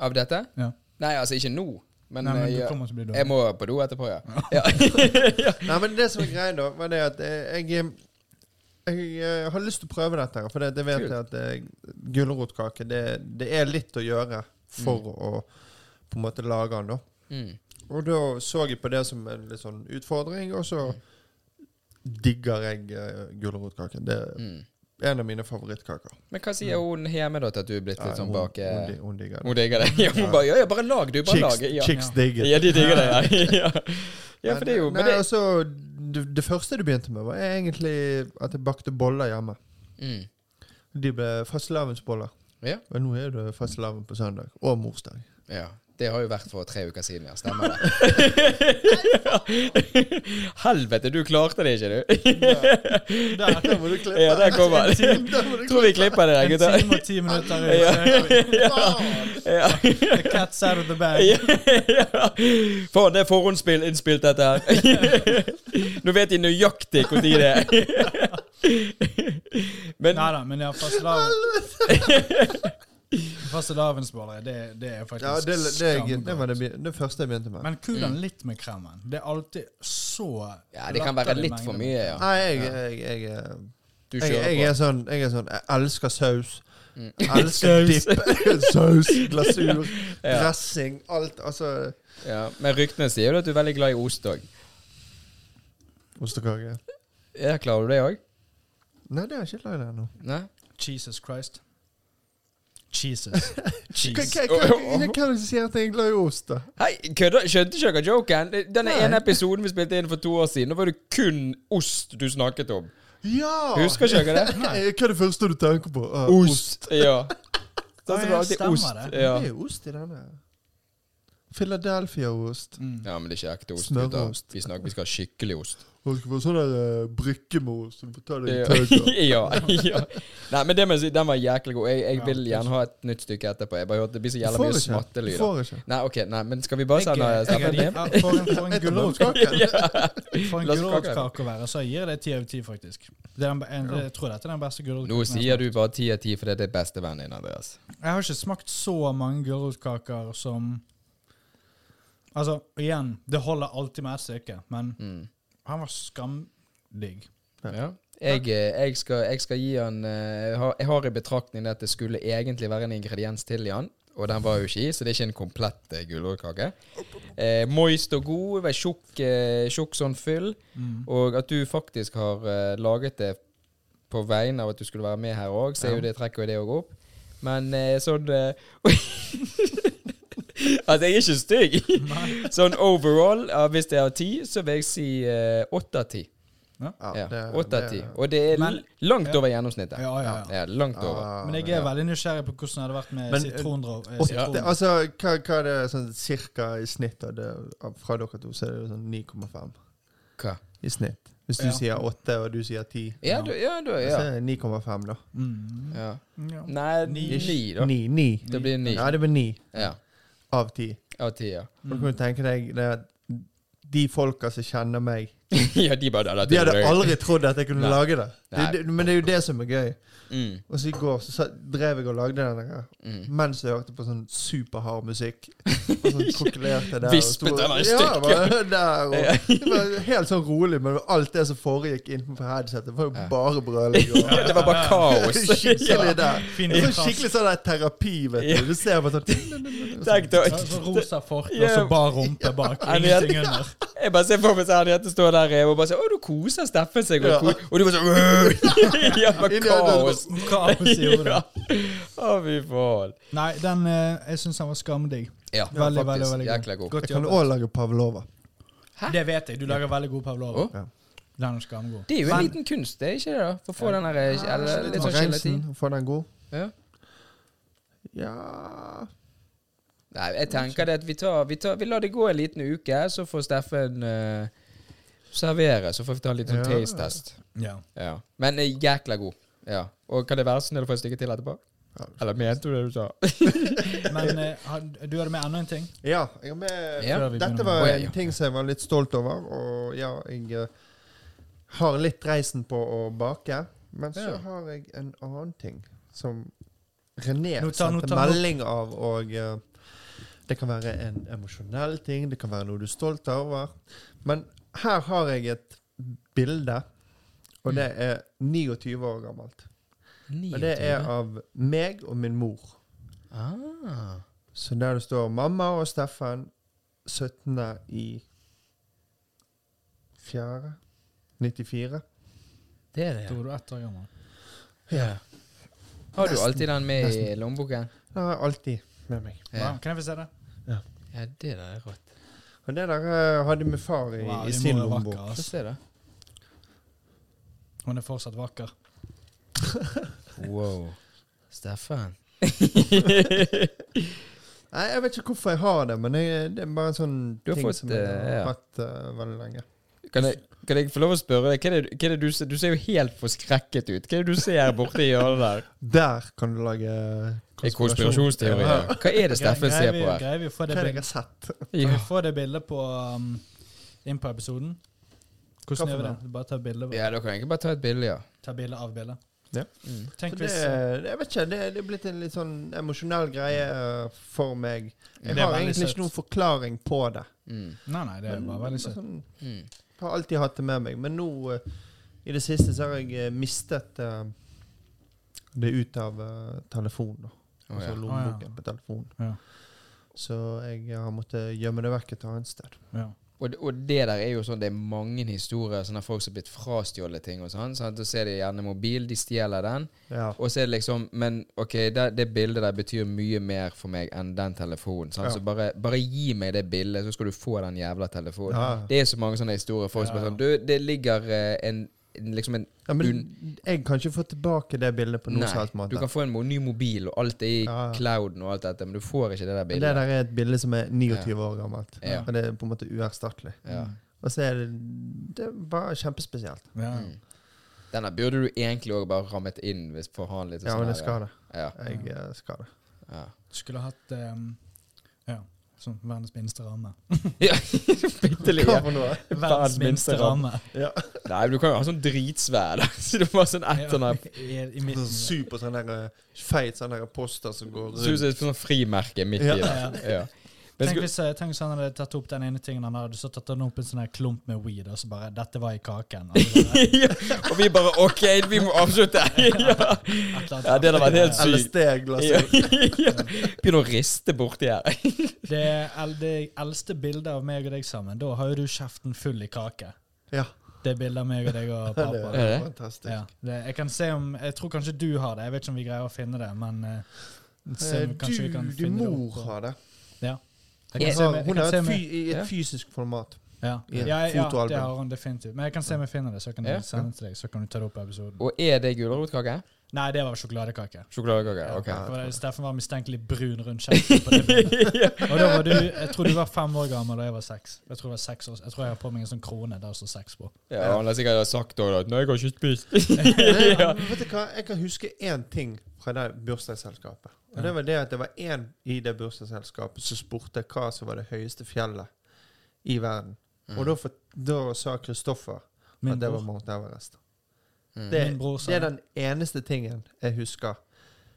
[SPEAKER 1] av dette?
[SPEAKER 3] Ja.
[SPEAKER 1] Nei, altså ikke nå. Men,
[SPEAKER 3] Nei, men
[SPEAKER 1] eh,
[SPEAKER 3] du
[SPEAKER 1] ja,
[SPEAKER 3] kommer til å bli
[SPEAKER 1] jeg
[SPEAKER 3] dårlig.
[SPEAKER 1] må på do etterpå, ja. ja.
[SPEAKER 2] Nei, men det som er greia, da, var det at eh, jeg jeg eh, har lyst til å prøve dette, her, for det, det vet
[SPEAKER 1] Kult.
[SPEAKER 2] jeg at eh, gulrotkake det, det er litt å gjøre for å på en måte lage den, da.
[SPEAKER 1] Mm.
[SPEAKER 2] Og da så jeg på det som en litt sånn utfordring, og så digger jeg uh, gulrotkaken. Det er
[SPEAKER 1] Mm.
[SPEAKER 2] en av mine favorittkaker.
[SPEAKER 1] Men hva sier hun hjemme, da, til at du er blitt litt sånn
[SPEAKER 2] hun,
[SPEAKER 1] bak eh,
[SPEAKER 2] hun, di- hun digger det.
[SPEAKER 1] Hun digger det? Ja, hun bare Ja, ja, bare lag, du. Bare
[SPEAKER 2] Chicks,
[SPEAKER 1] lag. Ja.
[SPEAKER 2] chicks
[SPEAKER 3] Ja.
[SPEAKER 2] digger
[SPEAKER 1] ja, de digger det, ja. ja. Ja, for det er jo
[SPEAKER 2] Nei,
[SPEAKER 1] men det,
[SPEAKER 2] altså, det, det første du begynte med, var egentlig at jeg bakte boller hjemme.
[SPEAKER 1] mm.
[SPEAKER 2] De ble fastelavnsboller.
[SPEAKER 1] Ja.
[SPEAKER 2] Og nå er det fastelavn på søndag. Og morsdag.
[SPEAKER 1] ja. Det har jo vært for tre uker siden, ja. Stemmer det. Helvete, du klarte det ikke, du.
[SPEAKER 2] Der, der må du klippe!
[SPEAKER 1] Ja, der kommer han.
[SPEAKER 2] Der må du
[SPEAKER 1] Tror vi klipper det der,
[SPEAKER 3] En
[SPEAKER 1] gutter.
[SPEAKER 3] time og ti minutter
[SPEAKER 1] Ja.
[SPEAKER 3] ut.
[SPEAKER 2] klippe.
[SPEAKER 1] Ja.
[SPEAKER 3] så The cat's out of the bag.
[SPEAKER 1] Ja. Faen, det er forhåndsspill innspilt, dette her. Nå vet de nøyaktig når det er. Men
[SPEAKER 3] Nei da, men ja, fastelavnsboller, det, det er faktisk
[SPEAKER 2] Ja, det, det, det,
[SPEAKER 3] skamgodt.
[SPEAKER 2] det var det,
[SPEAKER 1] altså.
[SPEAKER 2] be- det første jeg begynte med.
[SPEAKER 3] Men kul den litt med kremen. Det er alltid så
[SPEAKER 1] ja, det kan være
[SPEAKER 3] latterlig
[SPEAKER 1] litt for
[SPEAKER 3] mengde.
[SPEAKER 1] mye, ja.
[SPEAKER 2] Nei, jeg, jeg, jeg, jeg
[SPEAKER 1] Du
[SPEAKER 2] jeg,
[SPEAKER 1] kjører
[SPEAKER 2] jeg,
[SPEAKER 1] på.
[SPEAKER 2] er sånn, jeg er sånn Jeg elsker saus.
[SPEAKER 1] Mm.
[SPEAKER 2] Elsker
[SPEAKER 1] Saus.
[SPEAKER 2] dipp. saus, glasur,
[SPEAKER 1] Ja.
[SPEAKER 2] dressing, alt. Altså
[SPEAKER 1] Ja. Men ryktene sier jo at du er veldig glad i ost òg.
[SPEAKER 2] Ostekake.
[SPEAKER 1] Ja, klarer du det òg?
[SPEAKER 2] Nei, det har jeg ikke lagd ennå.
[SPEAKER 1] Nei?
[SPEAKER 3] Jesus Christ. Jesus.
[SPEAKER 2] Hva
[SPEAKER 3] Cheese.
[SPEAKER 2] hva- hva- hva er det som sier at jeg er glad i ost, da?
[SPEAKER 1] Hei, kødda, skjønte ikke dere joken? Denne
[SPEAKER 2] Nei.
[SPEAKER 1] ene episoden vi spilte inn for to år siden, da var det kun ost du snakket om.
[SPEAKER 2] Ja!
[SPEAKER 1] Husker ikke dere det?
[SPEAKER 2] Hva er det første du tenker på? Ah,
[SPEAKER 1] Ja.
[SPEAKER 3] Ja,
[SPEAKER 1] Sånn som det
[SPEAKER 3] ja,
[SPEAKER 1] alltid
[SPEAKER 3] stemmer
[SPEAKER 1] ost.
[SPEAKER 3] det.
[SPEAKER 1] Ja.
[SPEAKER 2] Det er jo ost i denne. Philadelphia-ost.
[SPEAKER 3] Mm.
[SPEAKER 1] ja, men det er ikke ekte ost.
[SPEAKER 2] Smørost.
[SPEAKER 1] gutter. Vi, snakker, vi skal ha skikkelig ost.
[SPEAKER 2] Og Det skal være sånn der eh, brikke med ost. Du får ta deg en
[SPEAKER 1] Ja.
[SPEAKER 2] tøyt. da.
[SPEAKER 1] ja, ja. Nei, men det må jeg si, den var jæklig god. Jeg, jeg
[SPEAKER 3] Ja,
[SPEAKER 1] vil gjerne ha et nytt stykke etterpå. Jeg bare hørte det blir så
[SPEAKER 2] Du
[SPEAKER 1] jævla
[SPEAKER 2] får
[SPEAKER 1] mye
[SPEAKER 2] ikke. Du
[SPEAKER 1] smattelyder.
[SPEAKER 2] får ikke.
[SPEAKER 1] Nei, ok, nei, men skal vi bare
[SPEAKER 3] Jeg-
[SPEAKER 1] sende
[SPEAKER 3] jeg er
[SPEAKER 1] Steffen hjem?
[SPEAKER 3] litt- ja, For en, for en
[SPEAKER 2] Jeg tar
[SPEAKER 3] gulrotkake
[SPEAKER 2] blomkake.
[SPEAKER 3] For en
[SPEAKER 1] La oss
[SPEAKER 3] gulrotkake å være, så gir jeg det ti av ti, faktisk. Det er den, be- en, jeg tror dette er den beste gulrotkaken.
[SPEAKER 1] Nå
[SPEAKER 3] jeg har
[SPEAKER 1] sier du bare ti av ti, for det er det beste vennen din, Andreas.
[SPEAKER 3] Jeg har ikke smakt så mange gulrotkaker som Altså, igjen, det holder alltid med ett stykke, men
[SPEAKER 1] Mm.
[SPEAKER 3] han var skamdigg.
[SPEAKER 1] Ja. Jeg, eh, jeg, skal, jeg skal gi han eh, jeg har- Jeg har i betraktning at det skulle egentlig være en ingrediens til i han, og den var jo ikke i, så det er ikke en komplett eh, gulrotkake. Eh, moist og god, vær tjukk, eh, tjukk sånn fyll,
[SPEAKER 3] Mm.
[SPEAKER 1] og at du faktisk har eh, laget det på vegne av at du skulle være med her òg, så er jo det trekker jo det òg opp. Men eh, sånn eh, Altså, jeg er ikke stygg. sånn overall, ja, hvis det er av ti, så vil jeg si eh, åtte av ti.
[SPEAKER 2] Ja,
[SPEAKER 1] Ja,
[SPEAKER 2] det-
[SPEAKER 1] 8 av
[SPEAKER 2] det-
[SPEAKER 1] 10. Og det er
[SPEAKER 3] Men-
[SPEAKER 1] l- langt
[SPEAKER 3] ja.
[SPEAKER 1] over gjennomsnittet.
[SPEAKER 3] Ja, ja, ja.
[SPEAKER 1] Ja, langt over.
[SPEAKER 2] Ah,
[SPEAKER 3] Men jeg
[SPEAKER 2] ja.
[SPEAKER 3] er veldig nysgjerrig på hvordan det hadde vært med
[SPEAKER 2] Men,
[SPEAKER 3] sitrondrop. eh,
[SPEAKER 2] Åtte,
[SPEAKER 3] sitron.
[SPEAKER 2] altså, hva, hva er det sånn cirka i snitt da? det, av- fra dere to? Så er det jo sånn 9,5
[SPEAKER 1] Hva?
[SPEAKER 2] i snitt. Hvis du
[SPEAKER 3] Ja.
[SPEAKER 2] sier 8 og du sier 10,
[SPEAKER 1] Ja, du, ja, du,
[SPEAKER 2] så
[SPEAKER 1] ja.
[SPEAKER 2] er det 9,5 da.
[SPEAKER 3] Mm.
[SPEAKER 1] ja.
[SPEAKER 3] Ja.
[SPEAKER 1] Nei,
[SPEAKER 3] Ni.
[SPEAKER 1] ni, da.
[SPEAKER 2] 9, 9.
[SPEAKER 1] Det blir ni.
[SPEAKER 2] Ja, det blir 9
[SPEAKER 1] Ja.
[SPEAKER 2] av 10.
[SPEAKER 1] Av ti, ja.
[SPEAKER 2] Og du kan jo tenke deg det at de folka som kjenner meg,
[SPEAKER 1] ja, de bare Mm. "Dette
[SPEAKER 2] de
[SPEAKER 1] er
[SPEAKER 2] hadde
[SPEAKER 1] løgn."
[SPEAKER 2] aldri trodd at jeg kunne
[SPEAKER 1] Nei.
[SPEAKER 2] lage det. det,
[SPEAKER 1] Nei.
[SPEAKER 2] det men det er jo det som er gøy.
[SPEAKER 1] Mm,
[SPEAKER 2] Og så i går så satt- drev jeg og lagde denne her.
[SPEAKER 1] mm.
[SPEAKER 2] Mens jeg hørte på sånn superhard musikk. Og sånn kokulerte der. og
[SPEAKER 1] Vispet
[SPEAKER 2] sto-
[SPEAKER 1] den i
[SPEAKER 2] Ja,
[SPEAKER 1] stykker.
[SPEAKER 2] bare der, og, det var helt sånn rolig, men alt det som foregikk innenfor headsetet, var jo
[SPEAKER 1] Ja.
[SPEAKER 2] bare brøling. Og,
[SPEAKER 1] Det var bare kaos.
[SPEAKER 2] skikkelig der.
[SPEAKER 3] Fin
[SPEAKER 2] Det var
[SPEAKER 3] kontrast.
[SPEAKER 2] skikkelig sånn der terapi, vet
[SPEAKER 1] Ja.
[SPEAKER 2] du. Du ser bare sånn
[SPEAKER 1] Tenk da.
[SPEAKER 3] Ja, så rosa fork og
[SPEAKER 1] Ja.
[SPEAKER 3] så bar rumpe bak.
[SPEAKER 1] Ja, men jeg-
[SPEAKER 3] Ingenting under.
[SPEAKER 1] Jeg bare ser for meg sånn Henriette står der eh, og bare sier 'Å, du koser Steffen seg', og,
[SPEAKER 2] Ja.
[SPEAKER 1] ko og du bare sånn Ja, bare
[SPEAKER 2] Inni øynene,
[SPEAKER 1] kaos.
[SPEAKER 3] Kaos i
[SPEAKER 1] Ja.
[SPEAKER 3] hodet.
[SPEAKER 1] Å, fy faen.
[SPEAKER 3] Nei, den eh, Jeg syns den var skamdigg.
[SPEAKER 1] Ja,
[SPEAKER 3] Veldig, veldig,
[SPEAKER 1] faktisk.
[SPEAKER 3] veldig god.
[SPEAKER 1] Jækla god.
[SPEAKER 3] Godt
[SPEAKER 2] Jeg kan
[SPEAKER 3] jobbet.
[SPEAKER 2] òg lage pavlova.
[SPEAKER 3] Det vet jeg. Du lager veldig god pavlova.
[SPEAKER 1] Å.
[SPEAKER 2] Ja.
[SPEAKER 3] Den er skamgod.
[SPEAKER 1] Det er jo en
[SPEAKER 3] Men-
[SPEAKER 1] liten kunst, det er ikke det? da? For å få den der eh, eller litt sånn
[SPEAKER 2] Rensen,
[SPEAKER 1] gelatin.
[SPEAKER 2] få den god.
[SPEAKER 1] Ja.
[SPEAKER 2] Ja
[SPEAKER 1] Nei, jeg tenker det at vi tar Vi, tar, vi lar det gå en liten uke, så får Steffen eh, servere, så får vi ta en liten
[SPEAKER 2] Ja.
[SPEAKER 1] sånn taste-test.
[SPEAKER 3] Ja.
[SPEAKER 1] Ja. Men eh, jækla god. Ja. Og kan det være sånn så snill å få et stykke til etterpå? Eller mente du det du sa?
[SPEAKER 3] Men eh, har- du hadde med enda en ting?
[SPEAKER 2] Ja, jeg har med
[SPEAKER 1] Ja.
[SPEAKER 3] Før vi
[SPEAKER 2] Dette
[SPEAKER 3] begynner.
[SPEAKER 2] var
[SPEAKER 1] Å, ja,
[SPEAKER 2] en
[SPEAKER 1] ja.
[SPEAKER 2] ting som jeg var litt stolt over, og ja, jeg eh, har litt reisen på å bake. Men så
[SPEAKER 1] Ja.
[SPEAKER 2] har jeg en annen ting som René
[SPEAKER 3] Nå tar- nå
[SPEAKER 2] sendte
[SPEAKER 3] tar- nå-
[SPEAKER 2] melding av, og eh, det kan være en emosjonell ting, det kan være noe du er stolt over. Men her har jeg et bilde, og det er 29 år gammelt. Og det er av meg og min mor.
[SPEAKER 1] ah.
[SPEAKER 2] Så der det står mamma og Steffen 17. i 4. 94.
[SPEAKER 1] Det er det.
[SPEAKER 3] Da var du ett år gammel.
[SPEAKER 2] Ja.
[SPEAKER 1] Har du alltid den med i lommeboken?
[SPEAKER 2] Det har jeg alltid med meg.
[SPEAKER 1] Ja.
[SPEAKER 3] Wow, kan jeg få se det?
[SPEAKER 1] ja, det der er rått.
[SPEAKER 2] Og det der eh, hadde min far i,
[SPEAKER 3] Wow,
[SPEAKER 2] i
[SPEAKER 3] din
[SPEAKER 2] sin
[SPEAKER 3] mor er
[SPEAKER 2] lommebok.
[SPEAKER 3] vakker,
[SPEAKER 1] Få
[SPEAKER 3] ass.
[SPEAKER 1] se, da.
[SPEAKER 3] Hun er fortsatt vakker.
[SPEAKER 1] Wow. Steffen.
[SPEAKER 2] Nei, Jeg vet ikke hvorfor jeg har det, men jeg, det er bare en sånn
[SPEAKER 1] Du har
[SPEAKER 2] ting
[SPEAKER 1] fått,
[SPEAKER 2] som jeg har
[SPEAKER 1] eh, ja.
[SPEAKER 2] hatt eh, veldig lenge.
[SPEAKER 1] Kan jeg, kan jeg få lov å spørre deg, hva er det, hva er det du ser? Du ser jo helt forskrekket ut. Hva er det du ser borte i hjørnet der?
[SPEAKER 2] Der kan du lage
[SPEAKER 1] I konspirasjonsteori.
[SPEAKER 2] Ja.
[SPEAKER 1] ja. Hva er det Steffen
[SPEAKER 3] Greier
[SPEAKER 1] ser
[SPEAKER 3] vi-
[SPEAKER 1] på her?
[SPEAKER 3] Greier vi å få
[SPEAKER 2] Hva
[SPEAKER 3] det
[SPEAKER 2] er det jeg
[SPEAKER 3] bildet,
[SPEAKER 2] har sett?
[SPEAKER 3] kan
[SPEAKER 1] Ja.
[SPEAKER 3] vi få det bildet på um, inn på episoden?
[SPEAKER 2] Hva for
[SPEAKER 3] Hvordan gjør vi det?
[SPEAKER 2] noe?
[SPEAKER 3] Du bare tar bilde
[SPEAKER 1] ja, da kan jeg bare ta et bilde, ja.
[SPEAKER 3] ta bilde av bildet.
[SPEAKER 2] Ja.
[SPEAKER 1] Mm.
[SPEAKER 3] Tenk
[SPEAKER 2] Så
[SPEAKER 3] hvis
[SPEAKER 2] det, jeg vet ikke, det, det er blitt en litt sånn emosjonell greie eh, for meg. Jeg
[SPEAKER 3] Det er
[SPEAKER 2] har
[SPEAKER 3] veldig
[SPEAKER 2] egentlig
[SPEAKER 3] søtt.
[SPEAKER 2] ikke noen forklaring på det.
[SPEAKER 1] Mm.
[SPEAKER 3] Nei, nei, det er
[SPEAKER 2] Men-
[SPEAKER 3] bare
[SPEAKER 2] men
[SPEAKER 3] veldig søtt.
[SPEAKER 2] sånn-
[SPEAKER 1] Mm.
[SPEAKER 2] Jeg har alltid hatt det med meg, men nå eh, i det siste så har jeg eh, mistet eh, det ut av eh, telefonen. da.
[SPEAKER 1] Å,
[SPEAKER 2] altså
[SPEAKER 1] ja.
[SPEAKER 2] lommeboken
[SPEAKER 3] Å, ja.
[SPEAKER 2] på telefonen.
[SPEAKER 3] Ja.
[SPEAKER 2] Så jeg eh, har måttet gjemme det vekk et annet sted.
[SPEAKER 3] Ja.
[SPEAKER 1] Og, og det der er jo sånn, det er mange historier sånn at folk som har blitt frastjålet ting og sånn. sant? Så ser de gjerne mobil, de stjeler den.
[SPEAKER 2] Ja.
[SPEAKER 1] Og så er det liksom Men OK, det, det bildet der betyr mye mer for meg enn den telefonen. Sant?
[SPEAKER 2] Ja.
[SPEAKER 1] Så bare, bare gi meg det bildet, så skal du få den jævla telefonen.
[SPEAKER 2] Ja.
[SPEAKER 1] Det er så mange sånne historier. Folk som
[SPEAKER 3] Ja.
[SPEAKER 1] er sånn Du, det ligger eh, en en- Liksom en
[SPEAKER 2] ja, men jeg kan ikke få tilbake det bildet på noen som
[SPEAKER 1] Nei.
[SPEAKER 2] helst måte.
[SPEAKER 1] Du kan få en mo- ny mobil, og alt er i
[SPEAKER 2] Ja, ja.
[SPEAKER 1] clouden og alt dette, men du får ikke det der
[SPEAKER 2] Men Det
[SPEAKER 1] bildet.
[SPEAKER 2] der er et bilde som er 29 år gammelt,
[SPEAKER 1] Ja.
[SPEAKER 2] og det er på en måte uerstattelig.
[SPEAKER 1] Ja.
[SPEAKER 2] Og så er det Det var kjempespesielt.
[SPEAKER 3] Ja.
[SPEAKER 1] Mm. Den der burde du egentlig òg bare rammet inn hvis forhandlet. og
[SPEAKER 2] Ja,
[SPEAKER 1] sånn
[SPEAKER 2] men jeg
[SPEAKER 1] her,
[SPEAKER 2] skal det.
[SPEAKER 1] Ja.
[SPEAKER 2] Jeg eh, skal det.
[SPEAKER 1] ja.
[SPEAKER 3] Skulle hatt um, ja, sånn verdens minste ramme.
[SPEAKER 1] Ja, bitte lille.
[SPEAKER 2] for noe?
[SPEAKER 3] Verdens minste ramme.
[SPEAKER 2] Ja.
[SPEAKER 1] Nei, men du kan jo ha sånn dritsvær, da. Så du må ha sånn ett sånn
[SPEAKER 3] Ja,
[SPEAKER 1] her
[SPEAKER 3] I, i midten.
[SPEAKER 2] Sånn super sånn der eh, feit sånn der poster som går
[SPEAKER 1] Så ut
[SPEAKER 2] rundt.
[SPEAKER 1] som et sånn frimerke midt
[SPEAKER 2] Ja.
[SPEAKER 1] i der. Ja. Men
[SPEAKER 3] Tenk
[SPEAKER 1] skulle,
[SPEAKER 3] hvis, eh, tenk hvis han hadde tatt opp den ene tingen han hadde, så tatt han opp en sånn her klump med weed, og så bare 'Dette var i kaken'. Og så bare,
[SPEAKER 1] ja. Og vi bare OK, vi må avslutte! Ja,
[SPEAKER 3] et eller annet
[SPEAKER 1] ja det hadde vært helt
[SPEAKER 2] Eller
[SPEAKER 1] sykt.
[SPEAKER 2] steg, la oss
[SPEAKER 1] Ja.
[SPEAKER 2] si.
[SPEAKER 1] Ja. Begynner å riste borti her.
[SPEAKER 3] Det er el- det eldste bildet av meg og deg sammen. Da har jo du kjeften full i kake.
[SPEAKER 2] Ja.
[SPEAKER 3] Det er bildet av meg og deg og
[SPEAKER 2] Det
[SPEAKER 3] pappa.
[SPEAKER 1] Er
[SPEAKER 2] er
[SPEAKER 1] det?
[SPEAKER 2] fantastisk.
[SPEAKER 3] Ja, det, jeg kan se om Jeg tror kanskje du har det. Jeg vet ikke om vi greier å finne det, men eh, se
[SPEAKER 2] Eh,
[SPEAKER 3] om kanskje vi kan
[SPEAKER 2] Du, din
[SPEAKER 3] finne det
[SPEAKER 2] mor
[SPEAKER 3] opp på-
[SPEAKER 2] har det.
[SPEAKER 3] Ja. Jeg
[SPEAKER 1] Ja,
[SPEAKER 3] kan se
[SPEAKER 2] Har-
[SPEAKER 3] om jeg- jeg
[SPEAKER 2] Hun
[SPEAKER 3] kan
[SPEAKER 2] har
[SPEAKER 3] se
[SPEAKER 2] et,
[SPEAKER 3] om
[SPEAKER 2] fy,
[SPEAKER 3] jeg-
[SPEAKER 2] i
[SPEAKER 1] Ja.
[SPEAKER 2] et fysisk format.
[SPEAKER 3] Ja,
[SPEAKER 2] i et
[SPEAKER 3] ja, ja
[SPEAKER 2] fotoalbum.
[SPEAKER 3] det har hun definitivt. Men jeg kan se om jeg finner det, så kan
[SPEAKER 1] Ja,
[SPEAKER 3] jeg sende det til deg. Så kan du ta det opp i episoden.
[SPEAKER 1] Og er det gulrotkake?
[SPEAKER 3] Nei, det var sjokoladekake.
[SPEAKER 1] Sjokoladekake?
[SPEAKER 3] Ja,
[SPEAKER 1] OK.
[SPEAKER 3] det var det. Steffen var mistenkelig brun rundt kjeften. på det bildet. Og da var du Jeg tror du var fem år gammel, og jeg var seks. Jeg tror jeg, var seks år, jeg tror jeg har på meg en sånn krone der det står seks på.
[SPEAKER 1] Ja, han har sikkert sagt òg at 'Nei, jeg har ikke spist'.
[SPEAKER 2] Nei, Vet du hva? Jeg kan huske én ting fra det bursdagsselskapet. Og det var det at det var én i det bursdagsselskapet som spurte hva som var det høyeste fjellet i verden.
[SPEAKER 1] Mm.
[SPEAKER 2] Og da, for, da sa Kristoffer
[SPEAKER 3] Min
[SPEAKER 2] at det var
[SPEAKER 3] bror.
[SPEAKER 2] Mount Everest.
[SPEAKER 1] Mm.
[SPEAKER 2] Det,
[SPEAKER 3] Min bror sa
[SPEAKER 2] det er
[SPEAKER 3] det.
[SPEAKER 2] den eneste tingen jeg husker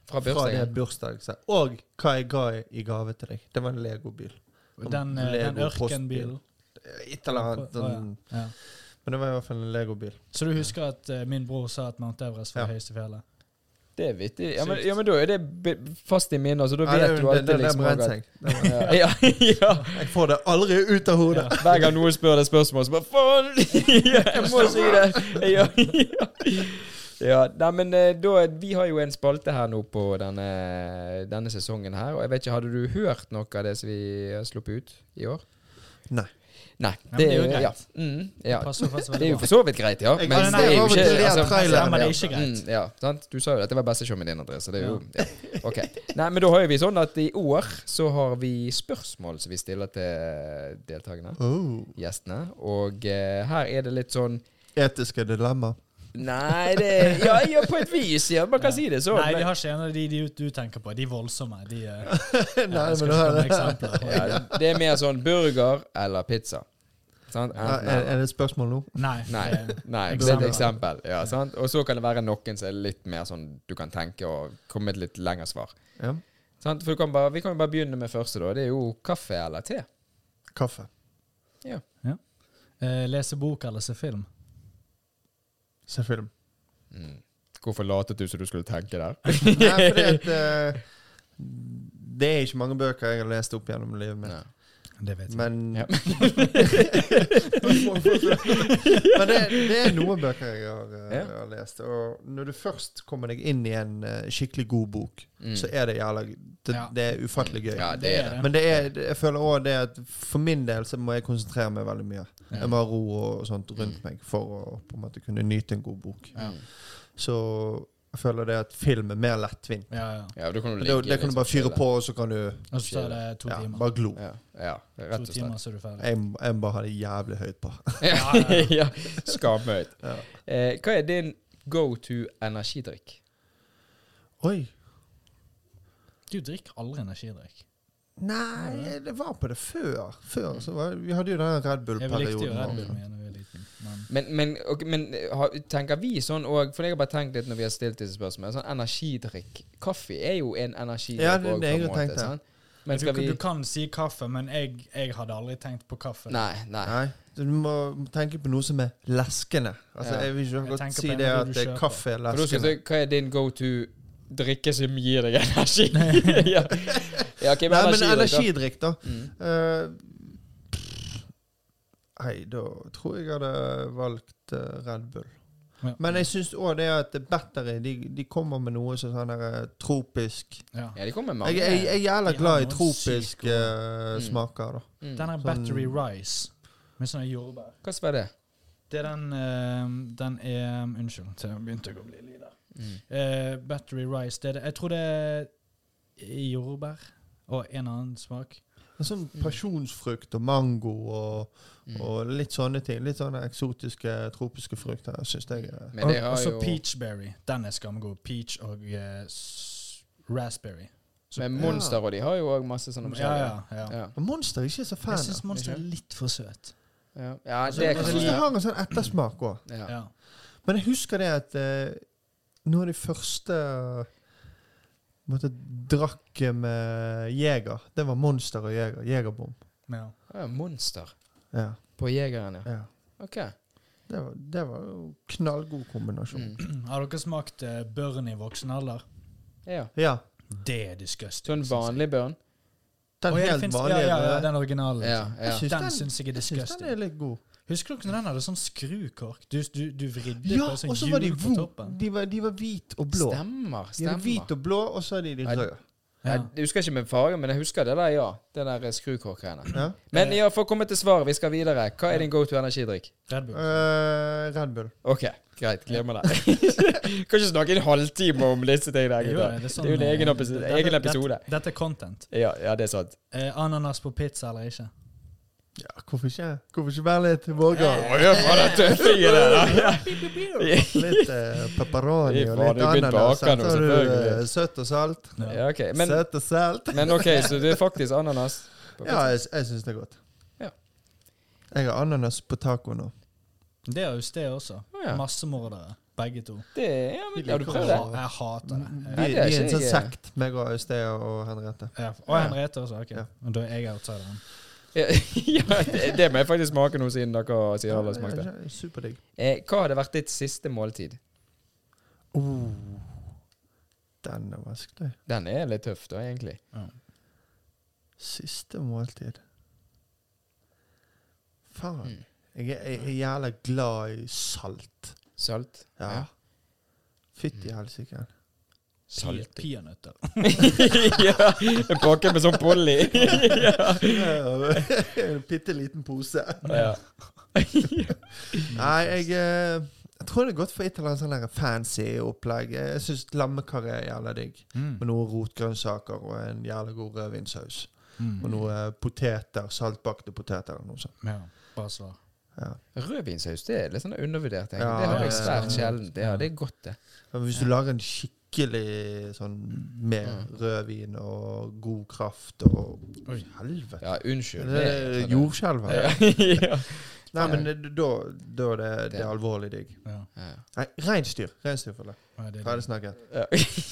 [SPEAKER 1] Fra
[SPEAKER 2] fra det
[SPEAKER 1] bursdagen.
[SPEAKER 2] bursdagsselskapet. Og hva jeg ga i- i gave til deg. Det var en legobil.
[SPEAKER 3] Den, eh, den
[SPEAKER 2] Lego postbil.
[SPEAKER 3] ørkenbilen.
[SPEAKER 2] Et eller annet.
[SPEAKER 3] Å, ja.
[SPEAKER 2] sånn-
[SPEAKER 3] Ja.
[SPEAKER 2] Men det var i hvert fall en legobil.
[SPEAKER 3] Så du husker at eh, min bror sa at Mount Everest var
[SPEAKER 2] Ja.
[SPEAKER 3] det høyeste fjellet?
[SPEAKER 1] Det er vittig. Ja men,
[SPEAKER 3] Sykt.
[SPEAKER 1] ja, men da er det be- fast i minnet, så da
[SPEAKER 2] Ja,
[SPEAKER 1] vet
[SPEAKER 2] det-
[SPEAKER 1] du
[SPEAKER 2] det-
[SPEAKER 1] alltid
[SPEAKER 2] det- det
[SPEAKER 1] liksom
[SPEAKER 2] brant
[SPEAKER 1] at-
[SPEAKER 2] seg. Det
[SPEAKER 1] Ja,
[SPEAKER 2] var-
[SPEAKER 1] ja, ja.
[SPEAKER 2] Jeg får det aldri ut av hodet.
[SPEAKER 1] Hver gang noen spør det spørsmålet, så bare faen! Jeg må si det! Ja, ja. ja nei, men eh, da Vi har jo en spalte her nå på denne, denne sesongen her, og jeg vet ikke Hadde du hørt noe av det som vi har sluppet ut i år?
[SPEAKER 2] Nei.
[SPEAKER 1] Nei.
[SPEAKER 3] men det er jo greit.
[SPEAKER 1] Ja. Mm, ja.
[SPEAKER 3] passer jo faktisk
[SPEAKER 1] Det er
[SPEAKER 3] veldig
[SPEAKER 1] jo
[SPEAKER 3] bra.
[SPEAKER 1] for så vidt greit, ja.
[SPEAKER 2] Jeg-
[SPEAKER 1] Men
[SPEAKER 3] Ja, den
[SPEAKER 1] det er jo
[SPEAKER 3] er
[SPEAKER 2] jo
[SPEAKER 1] ikke
[SPEAKER 2] veldig
[SPEAKER 1] altså,
[SPEAKER 2] lett trailer.
[SPEAKER 3] Ja, men det er ikke greit.
[SPEAKER 1] Mm, ja, sant? Du sa jo at det var beste showet din, André, så det er jo ja. Ok. Nei, men da har jo vi sånn at i år så har vi spørsmål som vi stiller til deltakerne,
[SPEAKER 2] Oh.
[SPEAKER 1] gjestene, og eh, her er det litt sånn
[SPEAKER 2] Etiske dilemma.
[SPEAKER 1] Nei, det Ja, ja, på et vis, ja. Man kan si det sånn.
[SPEAKER 3] Nei, de
[SPEAKER 1] men-
[SPEAKER 3] har ikke en av de, de du tenker på. De voldsomme. De, eh,
[SPEAKER 2] Nei,
[SPEAKER 3] jeg
[SPEAKER 2] men da
[SPEAKER 3] skal ikke komme
[SPEAKER 2] er
[SPEAKER 3] med
[SPEAKER 2] det
[SPEAKER 3] eksempler.
[SPEAKER 1] ja, det er mer sånn burger eller pizza. Sant?
[SPEAKER 2] Ja,
[SPEAKER 1] Enten
[SPEAKER 2] er,
[SPEAKER 1] eller.
[SPEAKER 2] er det et spørsmål nå?
[SPEAKER 3] Nei. eh,
[SPEAKER 1] Nei,
[SPEAKER 3] det-
[SPEAKER 1] nei det er et eksempel. Ja, sant? Og så kan det være noen som er litt mer sånn du kan tenke og komme med et litt lengre svar.
[SPEAKER 2] Ja.
[SPEAKER 1] Sant? For du kan bare, vi kan jo bare begynne med første, da. Det er jo kaffe eller te.
[SPEAKER 2] Kaffe.
[SPEAKER 1] Ja.
[SPEAKER 3] Eh, lese bok eller se film?
[SPEAKER 2] Se film.
[SPEAKER 1] Mm. Hvorfor latet du som du skulle tenke der?
[SPEAKER 2] Nei, fordi at eh, Det er ikke mange bøker jeg har lest opp gjennom livet mitt.
[SPEAKER 1] Nei.
[SPEAKER 3] Det vet jeg.
[SPEAKER 2] Men
[SPEAKER 1] Ja.
[SPEAKER 2] Men det, det er noen bøker jeg har, eh,
[SPEAKER 1] Ja.
[SPEAKER 2] har lest. Og når du først kommer deg inn i en eh, skikkelig god bok,
[SPEAKER 1] Mm.
[SPEAKER 2] så er det jævla Det,
[SPEAKER 3] Ja.
[SPEAKER 2] det er ufattelig gøy.
[SPEAKER 1] Ja, det er det.
[SPEAKER 2] Men det er, det- jeg føler også det at for min del så må jeg konsentrere meg veldig mye.
[SPEAKER 3] Ja.
[SPEAKER 2] Jeg må ha ro og sånt rundt meg for å på en måte kunne nyte en god bok.
[SPEAKER 3] Ja.
[SPEAKER 1] Mm.
[SPEAKER 2] Så jeg føler det at film er mer lettvint.
[SPEAKER 3] Ja, ja.
[SPEAKER 1] Ja, da kan du
[SPEAKER 2] Det,
[SPEAKER 1] ligge
[SPEAKER 2] det kan
[SPEAKER 1] liksom
[SPEAKER 2] du bare fyre
[SPEAKER 1] stille.
[SPEAKER 2] på, og så kan du
[SPEAKER 3] Og så er det to
[SPEAKER 2] ja,
[SPEAKER 3] timer.
[SPEAKER 2] bare glo.
[SPEAKER 1] Ja, ja,
[SPEAKER 3] to
[SPEAKER 1] rett og
[SPEAKER 3] timer,
[SPEAKER 1] slett.
[SPEAKER 3] så er du ferdig.
[SPEAKER 2] Jeg, må- jeg må bare ha det jævlig høyt på.
[SPEAKER 1] Ja, ja. Skamhøyt.
[SPEAKER 2] Ja.
[SPEAKER 1] Eh, hva er din go to energidrikk?
[SPEAKER 2] Oi!
[SPEAKER 3] Du drikker aldri energidrikk.
[SPEAKER 2] Nei, det var på det før. Før så var, Vi hadde jo den Red
[SPEAKER 3] Jeg likte jo
[SPEAKER 2] Bull-perioden.
[SPEAKER 3] Red Bull
[SPEAKER 2] også.
[SPEAKER 3] mye da jeg var liten. Men
[SPEAKER 1] Men, men, ok, men har- tenker vi sånn òg For jeg har bare tenkt litt når vi har stilt disse spørsmålene. Sånn energidrikk Kaffe er jo en energidrikk
[SPEAKER 2] Ja, det er
[SPEAKER 1] også,
[SPEAKER 2] det jeg
[SPEAKER 1] på en
[SPEAKER 2] har
[SPEAKER 1] måte,
[SPEAKER 2] tenkt, ja.
[SPEAKER 1] sant? Men skal
[SPEAKER 3] du,
[SPEAKER 1] vi
[SPEAKER 3] du kan si kaffe, men jeg, jeg hadde aldri tenkt på kaffe.
[SPEAKER 1] Nei, nei.
[SPEAKER 2] Nei, du må må tenke på noe som er leskende. Altså,
[SPEAKER 1] Ja.
[SPEAKER 2] Jeg vil ikke
[SPEAKER 3] Jeg
[SPEAKER 2] godt
[SPEAKER 3] tenker
[SPEAKER 2] si
[SPEAKER 3] på en
[SPEAKER 2] det
[SPEAKER 3] av
[SPEAKER 2] at
[SPEAKER 3] de du
[SPEAKER 2] eh,
[SPEAKER 3] kjøper.
[SPEAKER 2] kaffe er
[SPEAKER 1] For da skal
[SPEAKER 2] leskende.
[SPEAKER 1] jeg si, Hva er din go to drikke som gir deg energi? ja. ja, ok, men
[SPEAKER 2] Nei, men
[SPEAKER 1] energidrikk,
[SPEAKER 2] energidrikk, da.
[SPEAKER 1] da. Mm.
[SPEAKER 2] Eh, pff, Nei, da tror jeg jeg hadde valgt eh, Red Bull.
[SPEAKER 3] Ja.
[SPEAKER 2] Men jeg syns òg det at Battery de, de kommer med noe som sånn her eh, tropisk
[SPEAKER 3] Ja.
[SPEAKER 1] Ja, de kommer med
[SPEAKER 2] Jeg,
[SPEAKER 1] mange.
[SPEAKER 2] jeg, jeg er jævla
[SPEAKER 3] De har
[SPEAKER 2] glad i
[SPEAKER 3] noen sykt
[SPEAKER 2] tropiske eh,
[SPEAKER 1] Mm.
[SPEAKER 2] smaker, da.
[SPEAKER 1] Mm.
[SPEAKER 3] Den her Battery Rice med sånne jordbær.
[SPEAKER 1] Hva som er det?
[SPEAKER 3] Det er den eh, Den er Unnskyld, så jeg begynte jeg å bli lider.
[SPEAKER 1] Mm.
[SPEAKER 3] Eh, battery Rice det er, det- Jeg tror det er jordbær og en annen smak.
[SPEAKER 2] En sånn
[SPEAKER 3] Mm.
[SPEAKER 2] pasjonsfrukt og mango og,
[SPEAKER 1] Mm.
[SPEAKER 2] og litt sånne ting. Litt sånne eksotiske, tropiske frukter syns jeg er
[SPEAKER 1] Men
[SPEAKER 3] Og
[SPEAKER 1] det
[SPEAKER 3] og
[SPEAKER 1] har
[SPEAKER 3] så
[SPEAKER 1] jo
[SPEAKER 3] peachberry. Den er skamgod. Peach og eh, s- raspberry.
[SPEAKER 1] Men Monster og de har jo òg masse sånne
[SPEAKER 3] Ja,
[SPEAKER 1] forskjellige.
[SPEAKER 3] ja, ja.
[SPEAKER 1] Ja,
[SPEAKER 2] Men Monster er ikke så
[SPEAKER 3] Jeg
[SPEAKER 2] fan
[SPEAKER 3] syns
[SPEAKER 2] av.
[SPEAKER 3] Monster er
[SPEAKER 1] Ikke?
[SPEAKER 3] litt for søt.
[SPEAKER 1] ja. ja
[SPEAKER 3] Altså,
[SPEAKER 1] det
[SPEAKER 2] Jeg
[SPEAKER 1] kan
[SPEAKER 2] syns det
[SPEAKER 1] være.
[SPEAKER 2] har en sånn ettersmak òg.
[SPEAKER 1] Ja.
[SPEAKER 3] Ja.
[SPEAKER 2] Men jeg husker det at eh, noen av de første eh, måtte, drakk med Jeger, det var Monster og Jeger. Jegerbom.
[SPEAKER 3] Ja.
[SPEAKER 1] Ja, Monster
[SPEAKER 2] Ja,
[SPEAKER 1] på Jegeren, ja.
[SPEAKER 2] ja.
[SPEAKER 1] Ok.
[SPEAKER 2] Det var, det var jo knallgod kombinasjon.
[SPEAKER 1] Mm.
[SPEAKER 3] Har dere smakt eh, børn i voksen alder?
[SPEAKER 1] Ja.
[SPEAKER 2] Ja.
[SPEAKER 3] Det er
[SPEAKER 1] Sånn
[SPEAKER 3] disgusting.
[SPEAKER 1] vanlig børn.
[SPEAKER 2] Den
[SPEAKER 3] Å, ja, det
[SPEAKER 2] helt
[SPEAKER 3] finnes-
[SPEAKER 2] vanlige.
[SPEAKER 3] Ja, ja, ja,
[SPEAKER 2] den,
[SPEAKER 3] den originale.
[SPEAKER 1] Ja,
[SPEAKER 3] Liksom.
[SPEAKER 1] ja.
[SPEAKER 2] Jeg syns
[SPEAKER 3] Den
[SPEAKER 2] den-
[SPEAKER 3] syns jeg er
[SPEAKER 2] jeg syns den
[SPEAKER 3] disgusting.
[SPEAKER 2] er litt god.
[SPEAKER 3] Husker dere når den hadde sånn skrukork? Du, du, du vridde
[SPEAKER 2] Ja,
[SPEAKER 3] på en
[SPEAKER 2] og så
[SPEAKER 3] sånn
[SPEAKER 2] var de
[SPEAKER 3] hjul på
[SPEAKER 2] vo-
[SPEAKER 3] toppen.
[SPEAKER 2] de var, de var hvit og blå.
[SPEAKER 1] Stemmer.
[SPEAKER 2] De
[SPEAKER 1] stemmer.
[SPEAKER 2] hadde hvit og blå, og så hadde de de
[SPEAKER 1] Nei,
[SPEAKER 2] røde.
[SPEAKER 1] Ja.
[SPEAKER 3] Ja.
[SPEAKER 1] Jeg husker ikke med farge, men jeg husker det der, ja. Det der skrukorkgreiene.
[SPEAKER 2] Ja.
[SPEAKER 1] Men ja, for å komme til svaret, vi skal videre. Hva er din go to energidrikk?
[SPEAKER 3] Red Bull.
[SPEAKER 2] Eh, Red Bull.
[SPEAKER 1] Ok, greit. Glemmer det. kan ikke snakke en halvtime om disse tingene.
[SPEAKER 3] Jo,
[SPEAKER 1] gutter.
[SPEAKER 3] det er sånn,
[SPEAKER 1] Det er jo en
[SPEAKER 3] eh,
[SPEAKER 1] egen episode.
[SPEAKER 3] dette-
[SPEAKER 1] Egen episode.
[SPEAKER 3] Dette, dette er content.
[SPEAKER 1] Ja, ja, det er sant.
[SPEAKER 3] Eh, ananas på pizza eller ikke?
[SPEAKER 2] Ja, hvorfor ikke? Hvorfor ikke være litt vågal?
[SPEAKER 1] Oi, faen, den tøffingen der, da. Ja.
[SPEAKER 2] Litt eh, pepperoni
[SPEAKER 1] Fy
[SPEAKER 2] og
[SPEAKER 1] faen,
[SPEAKER 2] litt
[SPEAKER 1] du begynte å
[SPEAKER 2] ananas.
[SPEAKER 1] ake nå,
[SPEAKER 2] Så har du eh,
[SPEAKER 1] selvfølgelig.
[SPEAKER 2] søtt og salt.
[SPEAKER 1] Ja, ok. Men,
[SPEAKER 2] søtt og salt.
[SPEAKER 1] men ok, så det er faktisk ananas.
[SPEAKER 2] Ja, jeg, jeg syns det er godt.
[SPEAKER 1] Ja.
[SPEAKER 2] Jeg har ananas på taco nå.
[SPEAKER 3] Det er jo det også.
[SPEAKER 1] Å, ja.
[SPEAKER 3] Massemordere, begge to.
[SPEAKER 1] Det er, ja, men, ja, du prøver det.
[SPEAKER 2] Ja.
[SPEAKER 3] Jeg hater det.
[SPEAKER 2] Vi,
[SPEAKER 1] Nei,
[SPEAKER 2] vi
[SPEAKER 1] det er
[SPEAKER 2] er en
[SPEAKER 1] ikke jeg-
[SPEAKER 2] sånn sekt, meg og Øystea og Henriette.
[SPEAKER 3] Ja, og Henriette også. ok.
[SPEAKER 2] Ja.
[SPEAKER 3] Og Da er jeg outsideren.
[SPEAKER 1] Ja, det- det må jeg faktisk smake nå, siden dere sier alle har smakt det.
[SPEAKER 2] Ja, Superdigg.
[SPEAKER 1] Eh, Hva hadde vært ditt siste måltid?
[SPEAKER 2] Oh, den er vanskelig.
[SPEAKER 1] Den er litt tøff, da, egentlig.
[SPEAKER 2] Siste måltid. Faen.
[SPEAKER 1] Mm.
[SPEAKER 2] Jeg er, jeg er jævla glad i salt.
[SPEAKER 1] Salt?
[SPEAKER 2] Ja. Fytti helsike.
[SPEAKER 1] Salting.
[SPEAKER 3] Peanøtter.
[SPEAKER 1] ja, en pakke med sånn polly.
[SPEAKER 2] En bitte liten pose.
[SPEAKER 1] ja.
[SPEAKER 2] Nei, jeg, eh, jeg tror det er godt for et eller annet sånn der fancy opplegg. Jeg syns lammekarri er jævla digg.
[SPEAKER 1] Mm.
[SPEAKER 3] Mm.
[SPEAKER 2] Med noen rotgrønnsaker og en jævla god rødvinsaus.
[SPEAKER 3] Mm.
[SPEAKER 2] Og noen poteter, saltbakte poteter eller noe sånt.
[SPEAKER 3] Ja, bra svar.
[SPEAKER 2] Ja.
[SPEAKER 1] Rødvinsaus det er litt sånn undervurdert. egentlig.
[SPEAKER 2] Ja,
[SPEAKER 1] det har
[SPEAKER 2] det
[SPEAKER 1] jeg
[SPEAKER 2] er
[SPEAKER 1] svært
[SPEAKER 3] sant.
[SPEAKER 1] sjelden. Det, ja, det er godt, det.
[SPEAKER 2] Men hvis du lager en skikkelig sånn med rødvin og god kraft og
[SPEAKER 3] Oi.
[SPEAKER 2] Helvete.
[SPEAKER 1] Ja, unnskyld. sånn
[SPEAKER 2] Det er jordskjelv her.
[SPEAKER 1] ja.
[SPEAKER 2] Nei, men det- da, da er det, det er
[SPEAKER 1] Det-
[SPEAKER 2] alvorlig digg.
[SPEAKER 3] Ja.
[SPEAKER 1] Ja.
[SPEAKER 2] Nei, reinsdyr. Reinsdyr, føler jeg.
[SPEAKER 3] Ja, det er
[SPEAKER 2] Ferdig
[SPEAKER 3] det.
[SPEAKER 2] snakket.
[SPEAKER 1] Ja.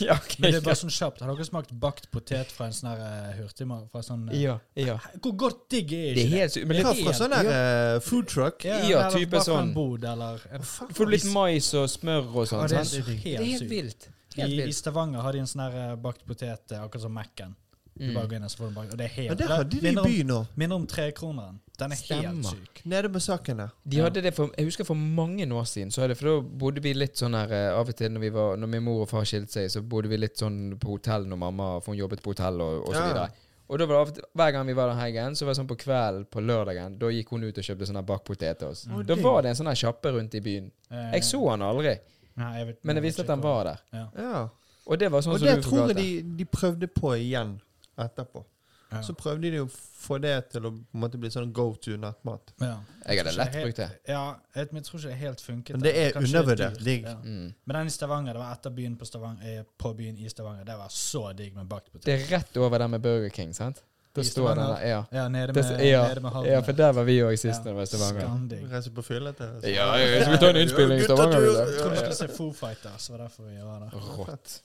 [SPEAKER 1] ja, ok.
[SPEAKER 3] Men det er bare sånn kjapt. Har dere smakt bakt potet fra en sånn her, eh, hurtigmat? Fra sånn, eh,
[SPEAKER 1] ja, ja.
[SPEAKER 3] Hvor godt digg er ikke
[SPEAKER 1] Det er helt sykt. Men det
[SPEAKER 2] Hva
[SPEAKER 1] er
[SPEAKER 2] fra sånn der eh, food truck?
[SPEAKER 1] Ja,
[SPEAKER 3] eller
[SPEAKER 1] type
[SPEAKER 3] bare fra
[SPEAKER 1] sånn.
[SPEAKER 3] en bod, eller en
[SPEAKER 1] Får du litt mais og smør og
[SPEAKER 3] Ja,
[SPEAKER 1] sånn?
[SPEAKER 3] det er
[SPEAKER 1] sant?
[SPEAKER 3] så helt
[SPEAKER 1] Det er helt
[SPEAKER 3] sykt.
[SPEAKER 1] vilt. Helt
[SPEAKER 3] I, I
[SPEAKER 1] vilt.
[SPEAKER 3] Stavanger har de en sånn her eh, bakt potet, eh, akkurat som Mac-en. Du
[SPEAKER 1] Mm.
[SPEAKER 3] bare går inn og så får du bakt, og det er helt
[SPEAKER 2] Men det hadde de i
[SPEAKER 3] minner om-
[SPEAKER 2] byen nå.
[SPEAKER 3] Minner om trekroneren. Den er
[SPEAKER 1] Stemmer.
[SPEAKER 3] helt syk.
[SPEAKER 2] Nede med saken der.
[SPEAKER 1] De hadde det for, jeg husker for mange år siden, så hadde, for da bodde vi litt sånn her eh, Av og til når, vi var, når min mor og far skilte seg, så bodde vi litt sånn på hotell når mamma For hun jobbet på hotell og, og så
[SPEAKER 2] Ja.
[SPEAKER 1] videre. Og da var det av og til, Hver gang vi var der helgen, så var det sånn på kvelden på lørdagen, da gikk hun ut og kjøpte sånne bakt potet til oss.
[SPEAKER 2] Mm.
[SPEAKER 1] Da var det en sånn her kjappe rundt i byen.
[SPEAKER 3] Eh,
[SPEAKER 1] Jeg så han aldri,
[SPEAKER 3] nei, jeg vet-
[SPEAKER 1] men
[SPEAKER 3] jeg
[SPEAKER 1] jeg
[SPEAKER 3] vet
[SPEAKER 1] visste at
[SPEAKER 3] ikke
[SPEAKER 1] han
[SPEAKER 3] hvor-
[SPEAKER 1] var der.
[SPEAKER 2] Ja.
[SPEAKER 1] Og det var sånn
[SPEAKER 2] Og
[SPEAKER 1] som
[SPEAKER 2] det
[SPEAKER 1] du
[SPEAKER 2] tror jeg
[SPEAKER 1] forklarte.
[SPEAKER 2] de, de prøvde på igjen etterpå.
[SPEAKER 3] Ja.
[SPEAKER 2] Så prøvde de å få det til å på en måte bli sånn go to nattmat.
[SPEAKER 3] Ja.
[SPEAKER 1] Jeg hadde lett
[SPEAKER 3] Helt-
[SPEAKER 1] brukt det.
[SPEAKER 3] Ja, jeg, men jeg tror ikke det helt funket.
[SPEAKER 2] Men det er
[SPEAKER 3] Kanskje
[SPEAKER 2] undervurdert
[SPEAKER 3] dyrt,
[SPEAKER 2] digg.
[SPEAKER 3] ja.
[SPEAKER 1] Mm.
[SPEAKER 3] Men den i Stavanger, det var etter byen på, Stavanger, eh, på byen i Stavanger. Det var så digg med bakt potet.
[SPEAKER 1] Det er rett over der med Burger King, sant? Da
[SPEAKER 3] I
[SPEAKER 1] står den
[SPEAKER 3] Stavanger?
[SPEAKER 1] der. Ja.
[SPEAKER 3] Ja, nede med,
[SPEAKER 1] Det, ja,
[SPEAKER 3] nede med havnen.
[SPEAKER 1] ja, for der var vi òg sist når det var Stavanger.
[SPEAKER 3] Skandig.
[SPEAKER 2] Reise på fylla til
[SPEAKER 1] Ja, ja, skal vi ta en innspilling i Stavanger?
[SPEAKER 3] Jeg
[SPEAKER 1] eller?
[SPEAKER 3] tror vi skulle se Foo Fighters, det var derfor vi var der.
[SPEAKER 1] Rått.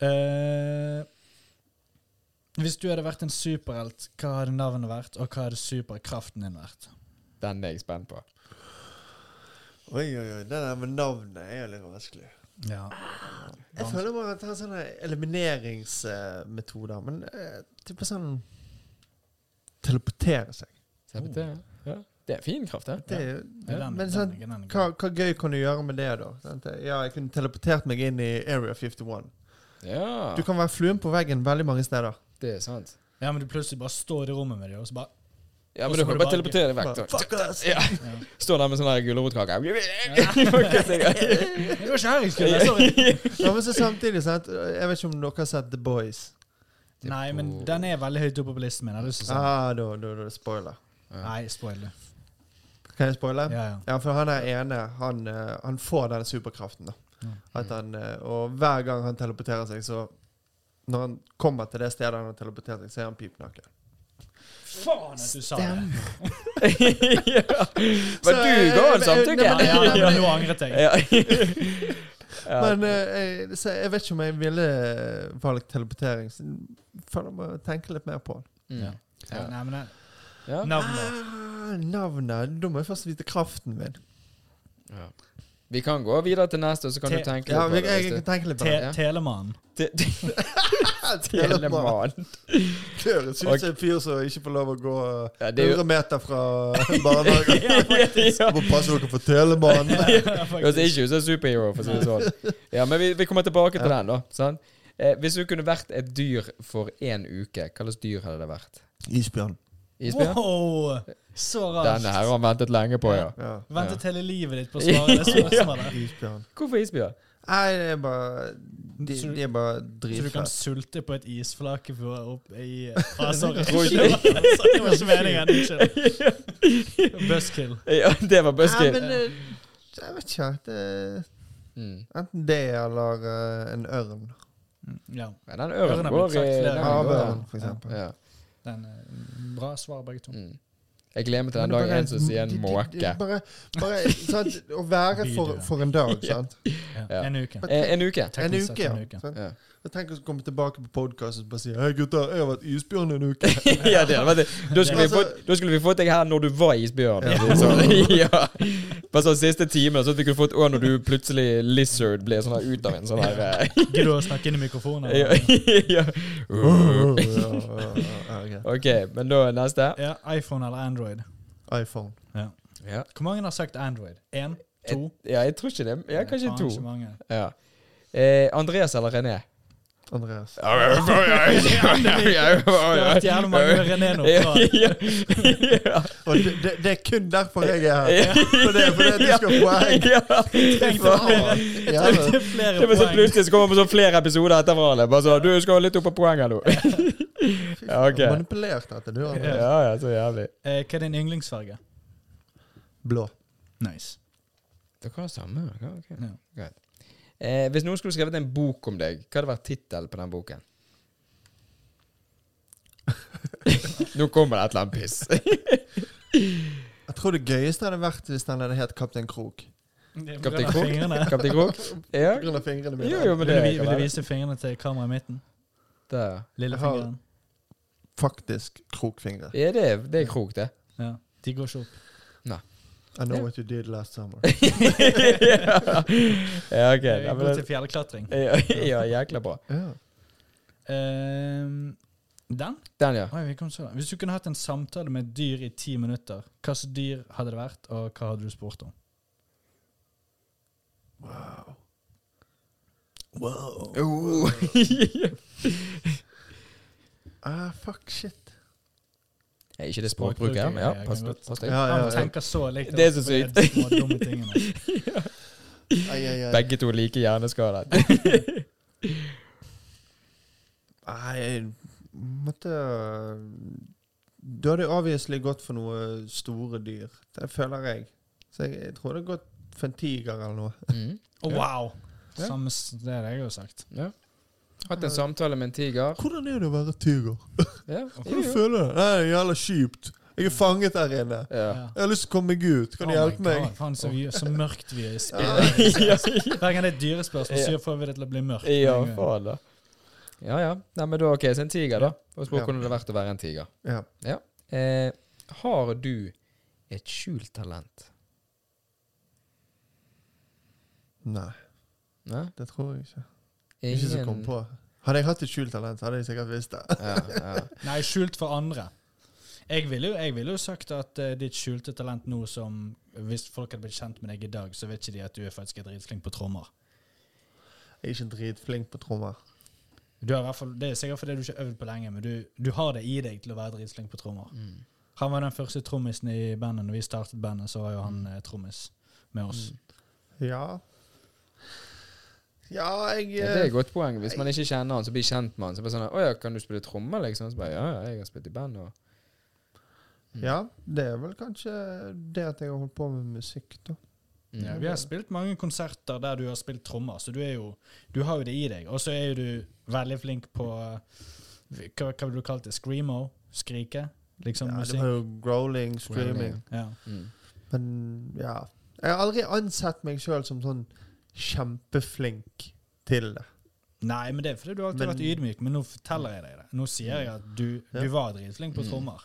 [SPEAKER 3] Eh, hvis du hadde vært en superhelt, hva hadde navnet vært, og hva hadde superkraften din vært?
[SPEAKER 1] Den er jeg spent på.
[SPEAKER 2] Oi, oi, oi. Det der med navnet er jo litt vanskelig.
[SPEAKER 3] Ja.
[SPEAKER 2] Jeg føler bare at det er sånne elimineringsmetoder. Men eh, type sånn Teleportere seg.
[SPEAKER 1] Ser du det? Ja. Det er fin kraft, det.
[SPEAKER 2] Det er jo
[SPEAKER 3] Den, den,
[SPEAKER 2] Men sånn,
[SPEAKER 3] den, den,
[SPEAKER 2] hva, hva gøy kan du gjøre med det, da? Sant? Ja, jeg kunne teleportert meg inn i Area 51.
[SPEAKER 1] Ja,
[SPEAKER 2] Du kan være fluen på veggen veldig mange steder.
[SPEAKER 1] det er sant.
[SPEAKER 3] Ja, men du plutselig bare står i rommet med dem, og så bare
[SPEAKER 1] Ja,
[SPEAKER 3] Og
[SPEAKER 1] men du
[SPEAKER 3] så må
[SPEAKER 1] kan
[SPEAKER 3] du
[SPEAKER 1] bare
[SPEAKER 3] bare-
[SPEAKER 1] teleportere deg
[SPEAKER 2] Bare,
[SPEAKER 1] vekk. da.
[SPEAKER 2] Fuck us!
[SPEAKER 1] Ja.
[SPEAKER 3] ja.
[SPEAKER 1] Står der med sånn her gulrotkake.
[SPEAKER 3] Jeg var ikke her i skolen, sorry.
[SPEAKER 2] Ja, men så samtidig, sant? Jeg vet ikke om dere har sett The Boys.
[SPEAKER 3] Nei, men den er veldig høyt oppe på listen min. Har du lyst
[SPEAKER 1] Sånn.
[SPEAKER 3] til å si
[SPEAKER 2] Ah, da, da, da, spoiler.
[SPEAKER 1] Ah.
[SPEAKER 3] den? Nei, spoiler.
[SPEAKER 2] Kan jeg spoile?
[SPEAKER 3] Ja, ja.
[SPEAKER 2] Ja, for han er ene. Han, eh, han får den superkraften, da.
[SPEAKER 3] Ja.
[SPEAKER 2] At han, eh, og hver gang han teleporterer seg, så Når han kommer til det stedet han har teleportert seg, så er han pipnaken.
[SPEAKER 3] Faen at du sa det!
[SPEAKER 1] ja. Men du
[SPEAKER 2] Så, eh,
[SPEAKER 1] ga
[SPEAKER 2] eh,
[SPEAKER 1] en
[SPEAKER 2] nei,
[SPEAKER 1] samtykke?
[SPEAKER 3] Ja, ja, men nå angret jeg.
[SPEAKER 1] Ja. Ja.
[SPEAKER 2] Men eh, jeg, så jeg vet ikke om jeg ville valgt teleportering. Så jeg føler jeg må tenke litt mer på det.
[SPEAKER 1] Mm.
[SPEAKER 3] Ja, Nei, men det-
[SPEAKER 1] Ja.
[SPEAKER 3] Navnet.
[SPEAKER 2] Ah, navnet Da må jeg først vite kraften min.
[SPEAKER 1] Ja. Vi kan gå videre til neste, og så kan du
[SPEAKER 3] Te-
[SPEAKER 1] tenke
[SPEAKER 2] Ja,
[SPEAKER 1] litt
[SPEAKER 2] jeg,
[SPEAKER 1] på det.
[SPEAKER 2] jeg,
[SPEAKER 1] hvis
[SPEAKER 2] kan tenke litt på
[SPEAKER 3] Te
[SPEAKER 2] det.
[SPEAKER 1] Ja.
[SPEAKER 3] Telemann.
[SPEAKER 1] du- Te- Telemann.
[SPEAKER 2] Det høres ut som en fyr som ikke får lov å gå
[SPEAKER 1] Ja, det er jo-
[SPEAKER 2] 100 meter fra barnehagen.
[SPEAKER 3] Ja, faktisk.
[SPEAKER 2] Må passe dere for Telemann.
[SPEAKER 3] Ja,
[SPEAKER 1] Det ser
[SPEAKER 3] faktisk.
[SPEAKER 1] ikke ut som en superhero, for å si det sånn. Ja, men vi, vi kommer tilbake til den, da. Sant? Eh, hvis du kunne vært et dyr for én uke, hva slags dyr hadde det vært?
[SPEAKER 2] Isbjørn.
[SPEAKER 1] Isbjørn?
[SPEAKER 3] Wow! Så
[SPEAKER 1] Denne her
[SPEAKER 3] raskt.
[SPEAKER 1] har han ventet lenge på, ja.
[SPEAKER 2] Ja,
[SPEAKER 3] Ventet hele livet ditt på å svare det spørsmålet.
[SPEAKER 2] isbjørn.
[SPEAKER 1] Hvorfor isbjørn?
[SPEAKER 2] Nei, det er bare De,
[SPEAKER 3] Så du-
[SPEAKER 2] de er bare
[SPEAKER 3] Så du kan
[SPEAKER 2] dritfete.
[SPEAKER 3] sulte på et isflake for å opp i ah, Sorry.
[SPEAKER 1] Tror ikke-
[SPEAKER 3] Det var- det var ikke meningen. Unnskyld. Buzzkill.
[SPEAKER 1] Ja, det var
[SPEAKER 2] Nei,
[SPEAKER 1] Buskin.
[SPEAKER 2] men eh, jeg vet ikke. Det er
[SPEAKER 1] Mm.
[SPEAKER 2] enten det eller eh, en ørn.
[SPEAKER 3] Ja.
[SPEAKER 1] Men Den
[SPEAKER 3] Ørnen
[SPEAKER 1] ørnen
[SPEAKER 3] har
[SPEAKER 1] går
[SPEAKER 3] blitt
[SPEAKER 1] i
[SPEAKER 3] sagt
[SPEAKER 1] den
[SPEAKER 3] flere ganger.
[SPEAKER 1] går, ja.
[SPEAKER 2] Havørn, for eksempel.
[SPEAKER 1] Ja.
[SPEAKER 3] Den, eh, bra svar, begge to.
[SPEAKER 1] Mm. Jeg gleder meg til
[SPEAKER 2] Men
[SPEAKER 1] den
[SPEAKER 2] det er
[SPEAKER 1] dagen
[SPEAKER 2] bare-
[SPEAKER 1] en som sier en
[SPEAKER 2] de- de- de-
[SPEAKER 1] måke.
[SPEAKER 2] Bare, bare sant, å være for,
[SPEAKER 3] Video.
[SPEAKER 2] for en dag, sant.
[SPEAKER 1] Ja.
[SPEAKER 3] Ja. En uke.
[SPEAKER 1] Eh, En uke.
[SPEAKER 2] En
[SPEAKER 3] Teknisk sett
[SPEAKER 2] uke, ja.
[SPEAKER 3] en uke.
[SPEAKER 2] sant?
[SPEAKER 1] Ja.
[SPEAKER 2] Og Tenk å komme tilbake på podkasten og bare si 'Hei, gutter, jeg har vært isbjørn en uke'.
[SPEAKER 1] ja, det, hadde vært det. Da, skulle vi
[SPEAKER 2] Altså-
[SPEAKER 1] fått, da skulle vi fått deg her når du var isbjørn.
[SPEAKER 3] Ja.
[SPEAKER 1] Ja. Sånn, ja. Bare sånn siste time, så at vi kunne fått år når du plutselig lizard ble sånn her ut av en sånn her eh,
[SPEAKER 3] Gidder du å snakke inn i mikrofonen?
[SPEAKER 1] ja,
[SPEAKER 3] eller?
[SPEAKER 1] ja.
[SPEAKER 2] Ja, ja, ja, ja, ok.
[SPEAKER 1] Ok, men da er neste.
[SPEAKER 3] Ja, iPhone eller Android?
[SPEAKER 2] iPhone.
[SPEAKER 1] Ja.
[SPEAKER 3] Hvor mange har sagt Android? Én? To?
[SPEAKER 1] Ja, jeg tror ikke det. Ja, kanskje
[SPEAKER 3] Faen,
[SPEAKER 1] to.
[SPEAKER 3] ikke mange.
[SPEAKER 1] Ja. Eh, Andreas eller René?
[SPEAKER 2] Andreas.
[SPEAKER 3] Det har vært jævlig mange med René nå.
[SPEAKER 1] Ja,
[SPEAKER 3] bra.
[SPEAKER 1] ja, ja.
[SPEAKER 2] Og det, det, det er kun derfor jeg er her. For det er fordi at du skal få poeng.
[SPEAKER 1] Ja.
[SPEAKER 3] Tenkte flere-
[SPEAKER 2] Ja,
[SPEAKER 3] tenkte flere
[SPEAKER 1] Det var så
[SPEAKER 3] poeng.
[SPEAKER 1] plutselig så kommer det sånn flere episoder etter hverandre. Bare så, du skal litt opp på poeng her nå. Ja, ok.
[SPEAKER 2] Manipulert dette, du. Andreas.
[SPEAKER 1] Ja, ja, så jævlig.
[SPEAKER 3] Eh, Hva er din yndlingsfarge?
[SPEAKER 2] Blå.
[SPEAKER 3] Nice.
[SPEAKER 1] Dere har samme? Ja, ok.
[SPEAKER 3] Ja.
[SPEAKER 1] Greit. Eh, hvis noen skulle skrevet en bok om deg, hva hadde vært tittelen på den boken? nå kommer det et eller annet piss.
[SPEAKER 2] Jeg tror det gøyeste hadde vært hvis den hadde hett Kaptein Krok.
[SPEAKER 3] Det er på
[SPEAKER 1] Kaptein
[SPEAKER 3] grunn av
[SPEAKER 1] Krok?
[SPEAKER 3] fingrene.
[SPEAKER 1] Kaptein Krok? Ja.
[SPEAKER 2] På grunn av fingrene mine.
[SPEAKER 1] Jo, jo, men
[SPEAKER 3] Vil
[SPEAKER 1] det
[SPEAKER 3] du, vi-
[SPEAKER 1] kan
[SPEAKER 3] vil du
[SPEAKER 1] være.
[SPEAKER 3] vise fingrene til kameraet i midten?
[SPEAKER 1] Der.
[SPEAKER 3] Lillefingeren.
[SPEAKER 2] Faktisk krokfingre.
[SPEAKER 1] Ja, det, er- det er Krok, det.
[SPEAKER 3] Ja. De går ikke opp.
[SPEAKER 2] I know what you did last summer.
[SPEAKER 1] ja, ok.
[SPEAKER 3] Okay,
[SPEAKER 1] Ja, men
[SPEAKER 3] går Eh, til
[SPEAKER 1] det-
[SPEAKER 3] fjellklatring.
[SPEAKER 1] ja, ja, jækla bra.
[SPEAKER 2] Ja.
[SPEAKER 3] Ehm, den?
[SPEAKER 1] Den, ja.
[SPEAKER 3] Oi, vi kom så langt. Hvis du kunne hatt en samtale med et dyr i ti minutter, hva slags dyr hadde det vært, og hva hadde du spurt om?
[SPEAKER 2] Wow.
[SPEAKER 1] Oh.
[SPEAKER 2] Ah, fuck shit.
[SPEAKER 1] Er ikke det språkbruket? Ja, men ja, pass, pass deg.
[SPEAKER 2] Ja, ja,
[SPEAKER 3] Han
[SPEAKER 2] ja.
[SPEAKER 3] tenker så likt.
[SPEAKER 1] Det er så
[SPEAKER 3] på de
[SPEAKER 1] sykt.
[SPEAKER 3] små, dumme tingene.
[SPEAKER 2] Ai, ai, ai.
[SPEAKER 1] Begge to like hjerneskadet.
[SPEAKER 2] Nei, jeg måtte Du hadde obviously gått for noe store dyr. Det føler jeg. Så jeg, jeg tror det hadde gått for en tiger eller noe.
[SPEAKER 1] Mm.
[SPEAKER 3] Å, wow!
[SPEAKER 1] Ja.
[SPEAKER 3] Samme, s- det er det jeg har sagt.
[SPEAKER 1] Ja. Hatt en samtale med en tiger.
[SPEAKER 2] Hvordan er det å være tiger?
[SPEAKER 1] Ja.
[SPEAKER 2] Hvordan føler du det? Nei, det er jævla kjipt. Jeg er fanget her inne.
[SPEAKER 1] Ja.
[SPEAKER 2] Jeg har lyst til å komme meg ut. Kan du
[SPEAKER 3] Oh my
[SPEAKER 2] hjelpe meg?
[SPEAKER 3] God, Faen, så, vi- så mørkt vi er i
[SPEAKER 1] Ja.
[SPEAKER 3] spillet. Hver gang det er et dyrespørsmål, så
[SPEAKER 1] Ja.
[SPEAKER 3] får vi det til å bli mørkt. med
[SPEAKER 1] Ja,
[SPEAKER 3] en gang.
[SPEAKER 1] faen, da. Ja, ja. Nei, men da, ok, så en tiger, da. Og spør
[SPEAKER 2] Ja.
[SPEAKER 1] hvordan det har vært å være en tiger.
[SPEAKER 2] Ja.
[SPEAKER 1] Eh, har du et skjult talent?
[SPEAKER 2] Nei,
[SPEAKER 1] Nei?
[SPEAKER 2] det tror jeg ikke. Ikke som kom på. Hadde jeg hatt et skjult talent, hadde jeg sikkert visst det.
[SPEAKER 1] Ja, ja.
[SPEAKER 3] Nei, skjult for andre. Jeg ville jo, jeg ville jo sagt at eh, ditt skjulte talent nå som Hvis folk hadde blitt kjent med deg i dag, så vet ikke de at du er faktisk er dritflink på trommer.
[SPEAKER 2] Jeg er ikke dritflink på trommer.
[SPEAKER 3] Du har i hvert fall, Det er sikkert fordi du ikke har øvd på lenge, men du, du har det i deg til å være dritflink på trommer.
[SPEAKER 1] Mm.
[SPEAKER 3] Han var den første trommisen i bandet. Når vi startet bandet, så var jo
[SPEAKER 2] Mm.
[SPEAKER 3] han eh, trommis med oss.
[SPEAKER 2] Ja Ja, jeg
[SPEAKER 1] Ja, det er et godt poeng. Hvis man ikke kjenner han, så blir kjent med han. Så bare sånn, Å ja, kan du spille trommer, liksom? Så bare, ja, ja, jeg har spilt i band. Og...
[SPEAKER 2] eh, Ja, det er vel kanskje det at jeg har holdt på med musikk, da.
[SPEAKER 1] Mm.
[SPEAKER 3] Ja, vi har spilt mange konserter der du har spilt trommer, så du, er jo, du har jo det i deg. Og så er jo du veldig flink på eh, Hva, hva ville du kalt det? Screamo? Skrike? Liksom
[SPEAKER 2] Ja, det
[SPEAKER 3] musikk?
[SPEAKER 2] var jo growling, streaming.
[SPEAKER 3] Ja.
[SPEAKER 1] Mm.
[SPEAKER 2] Men ja Jeg har aldri ansett meg sjøl som sånn kjempeflink til det.
[SPEAKER 3] Nei, men det er fordi du alltid har
[SPEAKER 2] Men-
[SPEAKER 3] vært ydmyk, men nå forteller jeg deg det. Nå sier jeg at du,
[SPEAKER 2] Ja.
[SPEAKER 3] du var dritflink på
[SPEAKER 1] Mm.
[SPEAKER 3] trommer.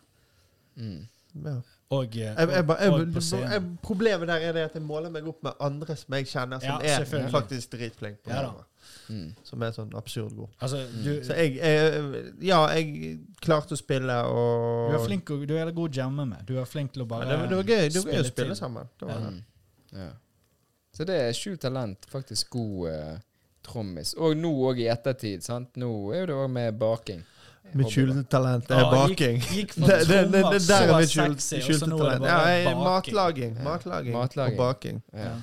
[SPEAKER 1] Mm.
[SPEAKER 2] Ja.
[SPEAKER 3] Og, eh,
[SPEAKER 2] Jeg, jeg,
[SPEAKER 3] og,
[SPEAKER 2] ba- jeg,
[SPEAKER 3] og på
[SPEAKER 2] jeg,
[SPEAKER 3] scenen.
[SPEAKER 2] problemet der er det at jeg måler meg opp med andre som jeg kjenner, som
[SPEAKER 3] Ja,
[SPEAKER 2] er
[SPEAKER 3] selvfølgelig.
[SPEAKER 2] faktisk dritflink på
[SPEAKER 3] Ja da.
[SPEAKER 2] det.
[SPEAKER 1] Mm.
[SPEAKER 2] Som er sånn absurd god.
[SPEAKER 3] Altså,
[SPEAKER 1] Mm.
[SPEAKER 3] du,
[SPEAKER 2] Så jeg, jeg Ja, jeg klarte å spille og
[SPEAKER 3] du er flink og du er god å jamme med. Du er flink til å
[SPEAKER 2] Ja,
[SPEAKER 3] bare
[SPEAKER 2] det, var- det var gøy, det var gøy å
[SPEAKER 3] spille
[SPEAKER 2] spille
[SPEAKER 3] til.
[SPEAKER 2] sammen. Det var, det.
[SPEAKER 1] Mm. Ja. Så det er skjult talent, faktisk god eh, trommis. Og nå òg i ettertid, sant. Nå er jo det òg med baking.
[SPEAKER 2] Mitt skjulte talent er
[SPEAKER 3] Ja,
[SPEAKER 2] baking.
[SPEAKER 3] Gikk,
[SPEAKER 2] Det,
[SPEAKER 3] gikk fra
[SPEAKER 2] det, det,
[SPEAKER 3] trommer
[SPEAKER 2] det der er
[SPEAKER 3] så
[SPEAKER 2] mitt skjul-
[SPEAKER 3] sexy, og så
[SPEAKER 2] skjulte
[SPEAKER 3] nå er det
[SPEAKER 2] talent. Ja,
[SPEAKER 3] bare
[SPEAKER 2] jeg, matlaging,
[SPEAKER 3] baking.
[SPEAKER 1] Ja.
[SPEAKER 2] matlaging og
[SPEAKER 1] Matlaging.
[SPEAKER 2] baking.
[SPEAKER 1] Ja.
[SPEAKER 3] Ja.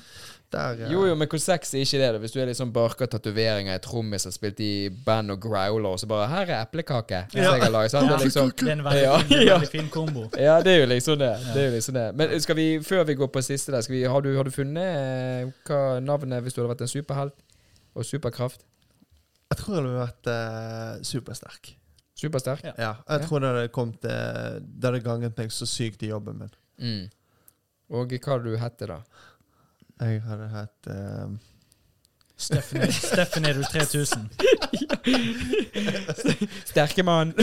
[SPEAKER 2] Der, eh, ja.
[SPEAKER 1] Jo, jo, men hvor sexy er ikke det? da Hvis du er litt sånn barka tatoveringer i trommis har spilt i band og growler, og så bare 'Her er eplekake'. som
[SPEAKER 2] Ja.
[SPEAKER 1] jeg har laget, sant? Det
[SPEAKER 3] Ja.
[SPEAKER 1] er liksom
[SPEAKER 3] Det er en veldig,
[SPEAKER 1] Ja,
[SPEAKER 3] fin, det er en
[SPEAKER 1] ja.
[SPEAKER 3] veldig fin kombo.
[SPEAKER 1] Ja, det er jo liksom det. det, er jo liksom det. Men skal vi, før vi går på siste der, skal vi, har, du, har du funnet eh, hva navnet hvis du hadde vært en superhelt? Og superkraft?
[SPEAKER 2] Jeg tror jeg hadde vært eh, supersterk.
[SPEAKER 1] Supersterk?
[SPEAKER 3] Ja.
[SPEAKER 2] Ja, jeg
[SPEAKER 1] Ja.
[SPEAKER 2] tror det hadde kommet eh, Det hadde ganget meg så sykt i jobben min.
[SPEAKER 1] Mm. Og hva hadde du hett da?
[SPEAKER 2] Jeg hadde hatt eh,
[SPEAKER 3] Steffen er- Steffen er du 3000.
[SPEAKER 1] Sterkemann!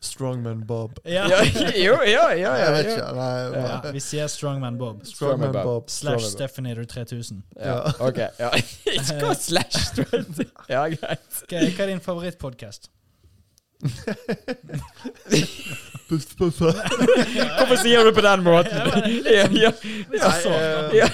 [SPEAKER 2] Strongman Bob.
[SPEAKER 3] Ja.
[SPEAKER 1] ja, jo, ja, ja,
[SPEAKER 2] jeg
[SPEAKER 1] ja,
[SPEAKER 2] vet
[SPEAKER 1] ja.
[SPEAKER 2] ikke. Nei,
[SPEAKER 3] Ja,
[SPEAKER 2] bare-
[SPEAKER 3] vi sier Strongman Bob.
[SPEAKER 2] Strongman
[SPEAKER 1] Strongman Bob.
[SPEAKER 2] Bob.
[SPEAKER 3] Slash
[SPEAKER 1] Strongman Bob.
[SPEAKER 3] Steffen er du 3000.
[SPEAKER 1] ja. Ok. Ja. Hva slash? du vet? Ja, greit.
[SPEAKER 3] Hva hva er din favorittpodkast?
[SPEAKER 2] Puff, puff, puff.
[SPEAKER 1] Hvorfor sier du det på den måten? Ja, ja.
[SPEAKER 3] Litt sånn
[SPEAKER 2] Nei,
[SPEAKER 3] sårt.
[SPEAKER 2] eh,
[SPEAKER 1] Ja.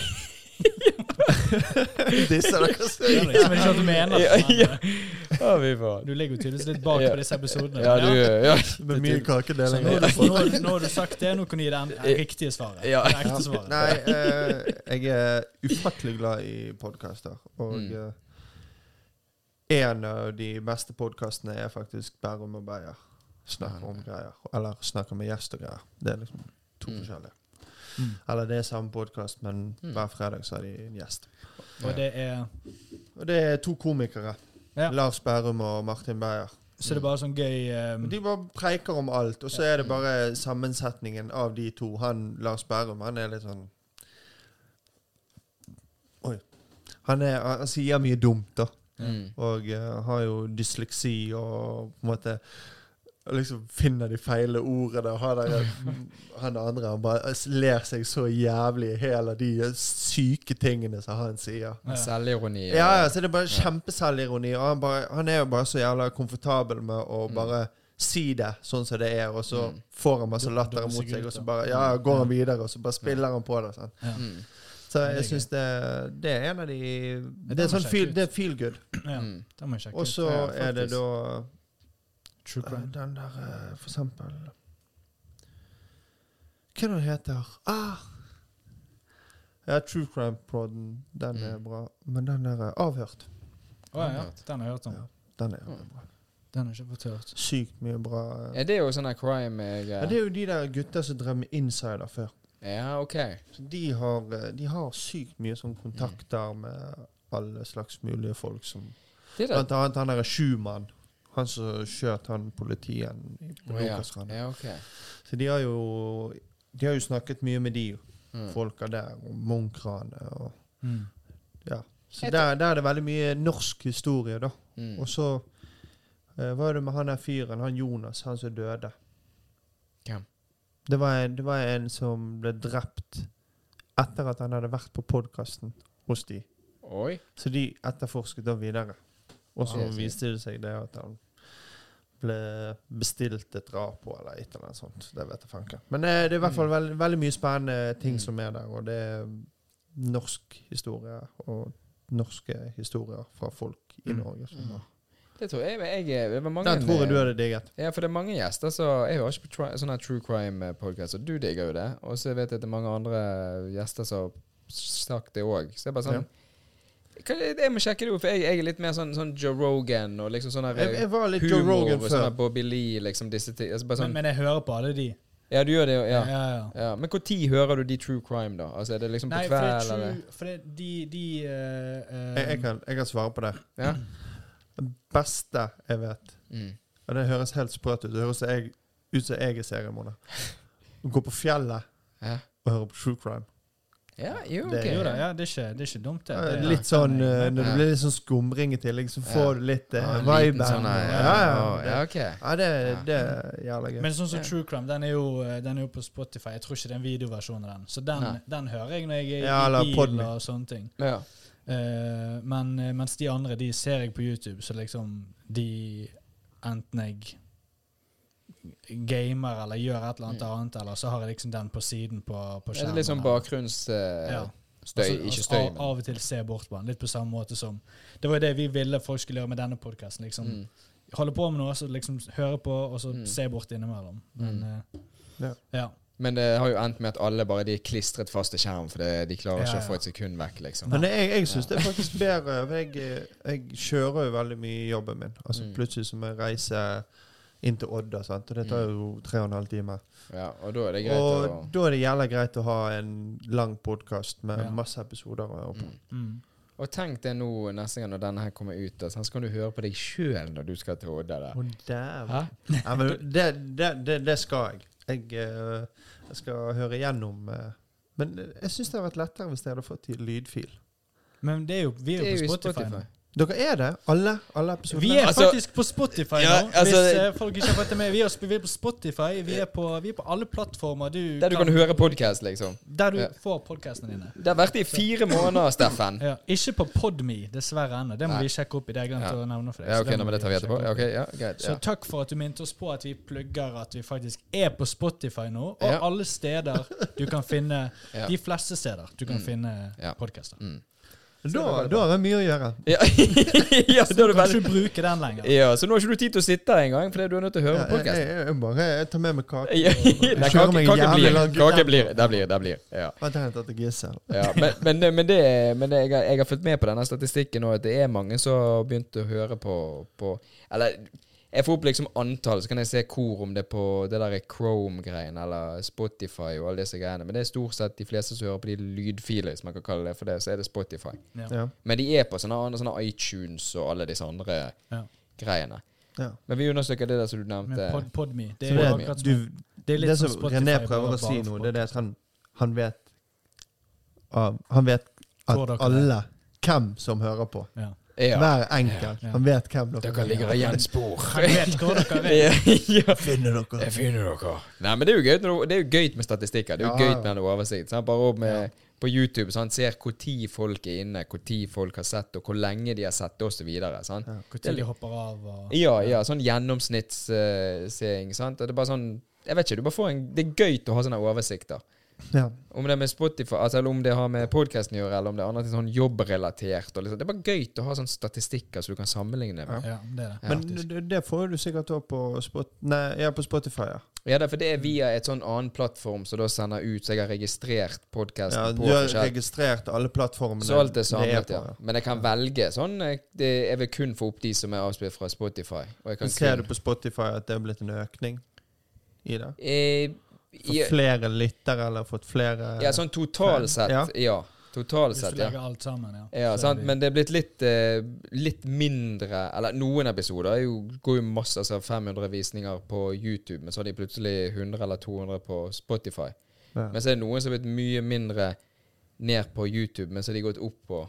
[SPEAKER 2] Disse dere
[SPEAKER 3] Det er liksom ikke at du mener
[SPEAKER 1] Ja,
[SPEAKER 3] det,
[SPEAKER 1] ja.
[SPEAKER 3] men,
[SPEAKER 1] Å, fy faen.
[SPEAKER 3] Du ligger jo tydeligvis litt bak
[SPEAKER 1] Ja.
[SPEAKER 3] på disse episodene.
[SPEAKER 1] Ja, du
[SPEAKER 3] men
[SPEAKER 1] ja.
[SPEAKER 2] Med mye
[SPEAKER 3] Så
[SPEAKER 2] kakedeling.
[SPEAKER 3] nå, har du- nå, har du- nå har du sagt det, nå kan du gi deg det riktige svaret.
[SPEAKER 1] Ja.
[SPEAKER 3] Det ekte svaret.
[SPEAKER 2] Nei, eh, jeg er ufattelig glad i podkaster. Og
[SPEAKER 1] Mm.
[SPEAKER 2] eh, en av de beste podkastene er faktisk Bærum og Beyer. Snakker om greier. Eller snakker med gjest og greier. Det er liksom to
[SPEAKER 1] Mm.
[SPEAKER 2] forskjellige.
[SPEAKER 3] Mm.
[SPEAKER 2] Eller det er samme podkast, men
[SPEAKER 1] Mm.
[SPEAKER 2] hver fredag så har de en gjest.
[SPEAKER 3] Og det er,
[SPEAKER 2] Og det er to komikere.
[SPEAKER 3] Ja.
[SPEAKER 2] Lars Bærum og Martin Beyer.
[SPEAKER 3] så det er bare sånn gøy um,
[SPEAKER 2] De bare preiker om alt, og så er det bare sammensetningen av de to. Han Lars Bærum, han er litt sånn Oi. Han, er, han sier mye dumt, da.
[SPEAKER 1] Mm.
[SPEAKER 2] Og eh, har jo dysleksi og på en måte liksom finner de feile ordene. og Han, der, han andre han bare ler seg så jævlig i hæl av de syke tingene som han sier.
[SPEAKER 3] Ja.
[SPEAKER 1] Selvironi. og-
[SPEAKER 2] Ja, ja, så det er bare kjempeselvironi. Og han, bare, han er jo bare så jævla komfortabel med å bare si det sånn som det er, og så
[SPEAKER 1] Mm.
[SPEAKER 2] får han masse
[SPEAKER 3] Dumme-
[SPEAKER 2] latter
[SPEAKER 3] dumme
[SPEAKER 2] mot seg, og
[SPEAKER 3] sekunder.
[SPEAKER 2] så bare ja, går han videre, og så bare spiller han på det. Sånn.
[SPEAKER 3] ja.
[SPEAKER 1] Mm.
[SPEAKER 2] Så
[SPEAKER 3] det er
[SPEAKER 2] jeg
[SPEAKER 3] gøy.
[SPEAKER 2] syns det, det er en av de Det
[SPEAKER 3] den
[SPEAKER 2] er
[SPEAKER 3] må
[SPEAKER 2] sånn
[SPEAKER 3] sjekke
[SPEAKER 2] feel,
[SPEAKER 3] ut.
[SPEAKER 2] det er feel good.
[SPEAKER 3] ja,
[SPEAKER 1] Mm.
[SPEAKER 3] det må jeg sjekke
[SPEAKER 2] Og
[SPEAKER 3] ut.
[SPEAKER 2] så
[SPEAKER 1] Ja,
[SPEAKER 2] er det
[SPEAKER 1] faktisk.
[SPEAKER 2] da
[SPEAKER 3] True
[SPEAKER 2] eh,
[SPEAKER 3] crime.
[SPEAKER 2] den der eh, For eksempel Hva er det den heter ah. Ja, True Crime-proden, den er
[SPEAKER 1] Mm.
[SPEAKER 2] bra. Men den der eh, Avhørt,
[SPEAKER 3] Å ja, ja, den har jeg hørt om.
[SPEAKER 2] Ja. den er
[SPEAKER 1] Mm.
[SPEAKER 2] bra.
[SPEAKER 3] Den har jeg ikke fått hørt.
[SPEAKER 2] Sykt mye bra. eh,
[SPEAKER 1] Ja, det er jo sånn her crime-greier.
[SPEAKER 2] Ja, det er jo de der gutta som drev med insider før.
[SPEAKER 1] Ja, ok.
[SPEAKER 2] Så de, har, eh, de har sykt mye sånn kontakter
[SPEAKER 1] Mm.
[SPEAKER 2] med alle slags mulige folk. Som,
[SPEAKER 1] Det der.
[SPEAKER 2] blant annet han derre Schumann. Han som skjøt han politien i på
[SPEAKER 1] Å, ja.
[SPEAKER 2] Lukasrand.
[SPEAKER 1] ja, ok.
[SPEAKER 2] Så de har jo de har jo snakket mye med de
[SPEAKER 1] Mm.
[SPEAKER 2] folka der, og Munch-ranet og
[SPEAKER 3] Mm.
[SPEAKER 2] Ja. Så
[SPEAKER 1] Jeg
[SPEAKER 2] der, der er det veldig mye norsk historie, da.
[SPEAKER 1] Mm.
[SPEAKER 2] Og så eh, var det med han der fyren, han Jonas, han som døde.
[SPEAKER 1] Hvem?
[SPEAKER 2] Det var, en, det var en som ble drept etter at han hadde vært på podkasten hos de.
[SPEAKER 1] Oi.
[SPEAKER 2] Så de etterforsket da videre. Og så
[SPEAKER 1] Ah, jeg ser.
[SPEAKER 2] viste det seg det at han ble bestilt et drap på, eller et eller annet sånt. Det vet jeg fanken. Men eh, det er i hvert fall veld, veldig mye spennende ting
[SPEAKER 1] Mm.
[SPEAKER 2] som er der, og det er norsk historie og norske historier fra folk i
[SPEAKER 3] Mm.
[SPEAKER 2] Norge. Som
[SPEAKER 1] Mm.
[SPEAKER 2] har.
[SPEAKER 1] Det tror jeg, jeg, jeg det var mange,
[SPEAKER 2] Den tror jeg du hadde digget.
[SPEAKER 1] Ja, for det er mange gjester, så jeg hører ikke på tri- sånne true crime-podkast, og du digger jo det. Og så vet jeg at det er mange andre gjester som har sagt det òg. Så det er bare sånn Hva er det- Jeg må sjekke det ut, for jeg, jeg er litt mer sånn, sånn Joe Rogan og liksom sånn her
[SPEAKER 2] Jeg, jeg var litt
[SPEAKER 1] humor
[SPEAKER 2] Joe Rogan
[SPEAKER 1] og sånn her
[SPEAKER 2] før.
[SPEAKER 1] Bobby Lee, liksom disse ting. Altså bare
[SPEAKER 3] Men,
[SPEAKER 1] sånn
[SPEAKER 3] men jeg hører på alle de.
[SPEAKER 1] Ja, du gjør det jo, ja.
[SPEAKER 3] ja, ja.
[SPEAKER 1] ja. Men når hører du de true crime, da? Altså Er det liksom på
[SPEAKER 3] Nei, for det er
[SPEAKER 1] kveld, eller?
[SPEAKER 3] true For det, de, de eh,
[SPEAKER 2] Jeg, jeg,
[SPEAKER 3] eh,
[SPEAKER 2] kan, jeg kan svare på det.
[SPEAKER 1] Ja.
[SPEAKER 2] Det beste jeg vet,
[SPEAKER 1] Mm.
[SPEAKER 2] og det høres helt sprøtt ut, det høres jeg, ut som jeg er seriemorder, gå på fjellet
[SPEAKER 1] ja.
[SPEAKER 2] og høre på true crime.
[SPEAKER 1] Ja, jo,
[SPEAKER 2] Det
[SPEAKER 1] ok.
[SPEAKER 2] er
[SPEAKER 3] Jo da, ja, det er ikke, det er ikke dumt, det.
[SPEAKER 2] Ja,
[SPEAKER 3] det.
[SPEAKER 2] Litt sånn eh,
[SPEAKER 3] Ja.
[SPEAKER 2] Når
[SPEAKER 1] Ja.
[SPEAKER 2] det blir litt sånn skumring i tillegg, så
[SPEAKER 1] Ja.
[SPEAKER 2] får du litt uh,
[SPEAKER 1] Ja, en liten
[SPEAKER 2] vibe.
[SPEAKER 1] sånn her,
[SPEAKER 2] ja,
[SPEAKER 1] ja,
[SPEAKER 2] ja,
[SPEAKER 1] ja,
[SPEAKER 2] ja.
[SPEAKER 1] ok.
[SPEAKER 2] ja, det, det er jævla gøy.
[SPEAKER 3] Men sånn som
[SPEAKER 1] Ja.
[SPEAKER 3] True Crime, den er, jo, eh, den er jo på Spotify. Jeg tror ikke det er en videoversjon av den. Så den,
[SPEAKER 1] Nei.
[SPEAKER 3] den hører jeg når jeg er
[SPEAKER 2] Ja, eller
[SPEAKER 3] i bil
[SPEAKER 2] Podme.
[SPEAKER 3] og sånne ting.
[SPEAKER 1] Ja.
[SPEAKER 3] Eh, men eh, mens de andre, de ser jeg på YouTube, så liksom de enten jeg gamer eller gjør et eller annet
[SPEAKER 1] Mm.
[SPEAKER 3] annet, eller så har jeg liksom den på siden på, på
[SPEAKER 1] Det
[SPEAKER 3] skjermen.
[SPEAKER 1] er litt sånn
[SPEAKER 3] eller-
[SPEAKER 1] bakgrunnsstøy.
[SPEAKER 3] Ja. Altså-
[SPEAKER 1] ikke
[SPEAKER 3] altså
[SPEAKER 1] støy,
[SPEAKER 3] av, av og til se bort på den, litt på samme måte som Det var jo det vi ville folk skulle gjøre med denne podkasten. Liksom.
[SPEAKER 1] men mm.
[SPEAKER 3] Holde på med noe, så liksom høre på, og så
[SPEAKER 1] Mm.
[SPEAKER 3] se bort innimellom. Men, eh,
[SPEAKER 2] Ja.
[SPEAKER 3] ja.
[SPEAKER 1] Men det har jo endt med at alle bare de er klistret fast til skjermen, for det, de klarer
[SPEAKER 3] Ja,
[SPEAKER 1] ikke
[SPEAKER 3] ja.
[SPEAKER 1] å få et sekund vekk, liksom.
[SPEAKER 2] Men jeg, jeg syns det er faktisk bedre. for Jeg, eh, jeg kjører jo veldig mye i jobben min. Altså
[SPEAKER 1] Mm.
[SPEAKER 2] Plutselig så må jeg reise inn til Odda, sant? og det tar jo tre og en halv time.
[SPEAKER 1] Ja, og da er det greit
[SPEAKER 2] Og
[SPEAKER 1] å
[SPEAKER 2] da er det jævla greit å ha en lang podkast med
[SPEAKER 3] Ja.
[SPEAKER 2] masse episoder. å høre på.
[SPEAKER 1] mm.
[SPEAKER 3] Mm.
[SPEAKER 1] Og tenk det nå neste gang når denne her kommer ut, da, sånn, så kan du høre på deg sjøl når du skal til Odda der.
[SPEAKER 2] Å, dæven.
[SPEAKER 1] Hæ?
[SPEAKER 2] Ja, men det, det, det, det skal jeg. Jeg, eh, jeg skal høre igjennom eh, Men jeg syns det hadde vært lettere hvis jeg hadde fått i lydfil.
[SPEAKER 3] Men det er jo, vi er jo på Spotify. nå.
[SPEAKER 2] Dere er det, alle, alle episodene.
[SPEAKER 3] Vi er
[SPEAKER 1] Altså-
[SPEAKER 3] faktisk på Spotify nå,
[SPEAKER 1] Ja, altså-
[SPEAKER 3] hvis eh, folk ikke har fått det med. Vi er, sp- vi er på Spotify, vi er på, vi er på alle plattformer du
[SPEAKER 1] Der du kan høre podkast, liksom.
[SPEAKER 3] der du
[SPEAKER 1] Ja.
[SPEAKER 3] får podkastene dine.
[SPEAKER 1] Det har vært i fire måneder, Steffen.
[SPEAKER 3] Ja, ikke på Podme, dessverre ennå. Det må
[SPEAKER 1] Nei.
[SPEAKER 3] vi sjekke opp i. Det jeg glemte
[SPEAKER 1] Ja.
[SPEAKER 3] å nevne for deg.
[SPEAKER 1] Ja,
[SPEAKER 3] så
[SPEAKER 1] ok, nå,
[SPEAKER 3] må
[SPEAKER 1] men det tar vi etterpå.
[SPEAKER 3] sjekke
[SPEAKER 1] Ja,
[SPEAKER 3] opp.
[SPEAKER 1] ok, ja, greit.
[SPEAKER 3] Så
[SPEAKER 1] Ja.
[SPEAKER 3] takk for at du minte oss på at vi plugger at vi faktisk er på Spotify nå, og
[SPEAKER 1] Ja.
[SPEAKER 3] alle steder du kan finne
[SPEAKER 1] Ja.
[SPEAKER 3] De fleste steder du kan
[SPEAKER 1] Mm.
[SPEAKER 3] finne
[SPEAKER 1] Ja.
[SPEAKER 3] podkaster.
[SPEAKER 1] Mm.
[SPEAKER 2] Da, Altså, da har jeg mye å gjøre.
[SPEAKER 1] Ja, ja, da er
[SPEAKER 3] Du
[SPEAKER 1] du
[SPEAKER 3] kan
[SPEAKER 1] veldig
[SPEAKER 3] ikke bruke den lenger.
[SPEAKER 1] Ja, så nå har ikke du tid til å sitte her engang, fordi du er nødt til å høre
[SPEAKER 2] Ja,
[SPEAKER 1] på
[SPEAKER 2] jeg, jeg,
[SPEAKER 1] podkasten.
[SPEAKER 2] jeg, bare, jeg tar med meg kake.
[SPEAKER 1] Ja, Nei,
[SPEAKER 2] kjører
[SPEAKER 1] kake,
[SPEAKER 2] meg
[SPEAKER 1] kake
[SPEAKER 2] jævlig
[SPEAKER 1] blir.
[SPEAKER 2] langt.
[SPEAKER 1] Kake blir. Det blir. Det blir. Ja.
[SPEAKER 2] Vent, jeg henter til Gisel.
[SPEAKER 1] ja. Men, men, men, det, men det, jeg, har, jeg har fulgt med på denne statistikken nå, at det er mange som har begynt å høre på, på Eller jeg får opp liksom antall, så kan jeg se hvor om det er på det der Chrome-greiene eller Spotify og alle disse greiene. Men det er stort sett de fleste som hører på de lydfiler, hvis man kan kalle det for det, så er det Spotify.
[SPEAKER 2] Ja.
[SPEAKER 1] Men de er på sånne, andre- sånne iTunes og alle disse andre
[SPEAKER 3] Ja.
[SPEAKER 1] greiene.
[SPEAKER 2] Ja.
[SPEAKER 1] Men vi undersøker det der som du
[SPEAKER 3] Med
[SPEAKER 1] nevnte.
[SPEAKER 3] pod, Podme. Det
[SPEAKER 2] Så
[SPEAKER 3] er jo
[SPEAKER 1] det-
[SPEAKER 3] akkurat
[SPEAKER 2] Du,
[SPEAKER 3] som det er litt
[SPEAKER 2] det
[SPEAKER 3] som
[SPEAKER 2] som
[SPEAKER 3] Spotify,
[SPEAKER 2] René
[SPEAKER 3] bare
[SPEAKER 2] prøver å si
[SPEAKER 3] bare
[SPEAKER 2] nå,
[SPEAKER 3] for
[SPEAKER 2] det er det at han, han vet ah, Han vet
[SPEAKER 3] Hvor dere
[SPEAKER 2] at
[SPEAKER 3] er.
[SPEAKER 2] alle hvem som hører på.
[SPEAKER 3] Ja.
[SPEAKER 1] Ja.
[SPEAKER 2] Hver enkelt.
[SPEAKER 3] Ja.
[SPEAKER 2] Han vet hvem dere,
[SPEAKER 1] Dere ligger igjen spor.
[SPEAKER 3] Jeg vet hvor dere er.
[SPEAKER 1] Ja, ja.
[SPEAKER 2] Finner dere.
[SPEAKER 1] Jeg finner dere. Nei, men det er jo gøy, når du- det er jo gøy med statistikker. Det er jo
[SPEAKER 2] Ja,
[SPEAKER 1] gøy
[SPEAKER 2] ja.
[SPEAKER 1] med en oversikt. Sant? Bare opp med, på YouTube, sant? ser når folk er inne, når folk har sett, og hvor lenge de har sett, osv.
[SPEAKER 2] Ja.
[SPEAKER 3] Hvor tid de hopper av og
[SPEAKER 1] Ja, ja, sånn gjennomsnittsseing. sant? Og det er bare sånn Jeg vet ikke, du bare får en Det er gøy å ha sånne oversikter.
[SPEAKER 2] Ja.
[SPEAKER 1] Om det er med Spotify, altså, eller om det har med podkasten å gjøre, eller om det er annet sånn jobbrelatert. Og liksom. Det er bare gøy å ha sånne statistikker som du kan sammenligne med.
[SPEAKER 3] Ja, det er det.
[SPEAKER 1] Ja.
[SPEAKER 2] Men det, det får du sikkert òg på, Spot, nei, ja, på Spotify. Ja.
[SPEAKER 1] Ja, det er for det er via et sånn annen plattform som da sender ut, så jeg har registrert podkasten
[SPEAKER 2] Ja, du
[SPEAKER 1] på
[SPEAKER 2] har
[SPEAKER 1] forskjell.
[SPEAKER 2] registrert alle plattformene.
[SPEAKER 1] Så alt er samlet,
[SPEAKER 2] på,
[SPEAKER 1] ja. Men jeg kan velge sånn eh, det, Jeg vil kun få opp de som er avspilt fra Spotify. Og jeg
[SPEAKER 2] Men
[SPEAKER 1] kan
[SPEAKER 2] Ser du
[SPEAKER 1] kun,
[SPEAKER 2] på Spotify at det er blitt en økning i det?
[SPEAKER 1] eh,
[SPEAKER 2] Fått
[SPEAKER 1] ja,
[SPEAKER 2] flere lyttere, eller fått flere
[SPEAKER 1] ja, sånn totalt sett.
[SPEAKER 2] Ja.
[SPEAKER 1] Ja. Totalt
[SPEAKER 3] Hvis du
[SPEAKER 1] sett, ja.
[SPEAKER 3] legger alt sammen, ja.
[SPEAKER 1] Ja,
[SPEAKER 3] Så er
[SPEAKER 1] sant?
[SPEAKER 3] det-
[SPEAKER 1] Men det er blitt litt, eh, litt mindre Eller noen episoder er jo, går jo masse altså 500 visninger på YouTube, men så har de plutselig 100 eller 200 på Spotify.
[SPEAKER 2] Ja.
[SPEAKER 1] Men så er det noen som har blitt mye mindre ned på YouTube, men så har de gått opp på,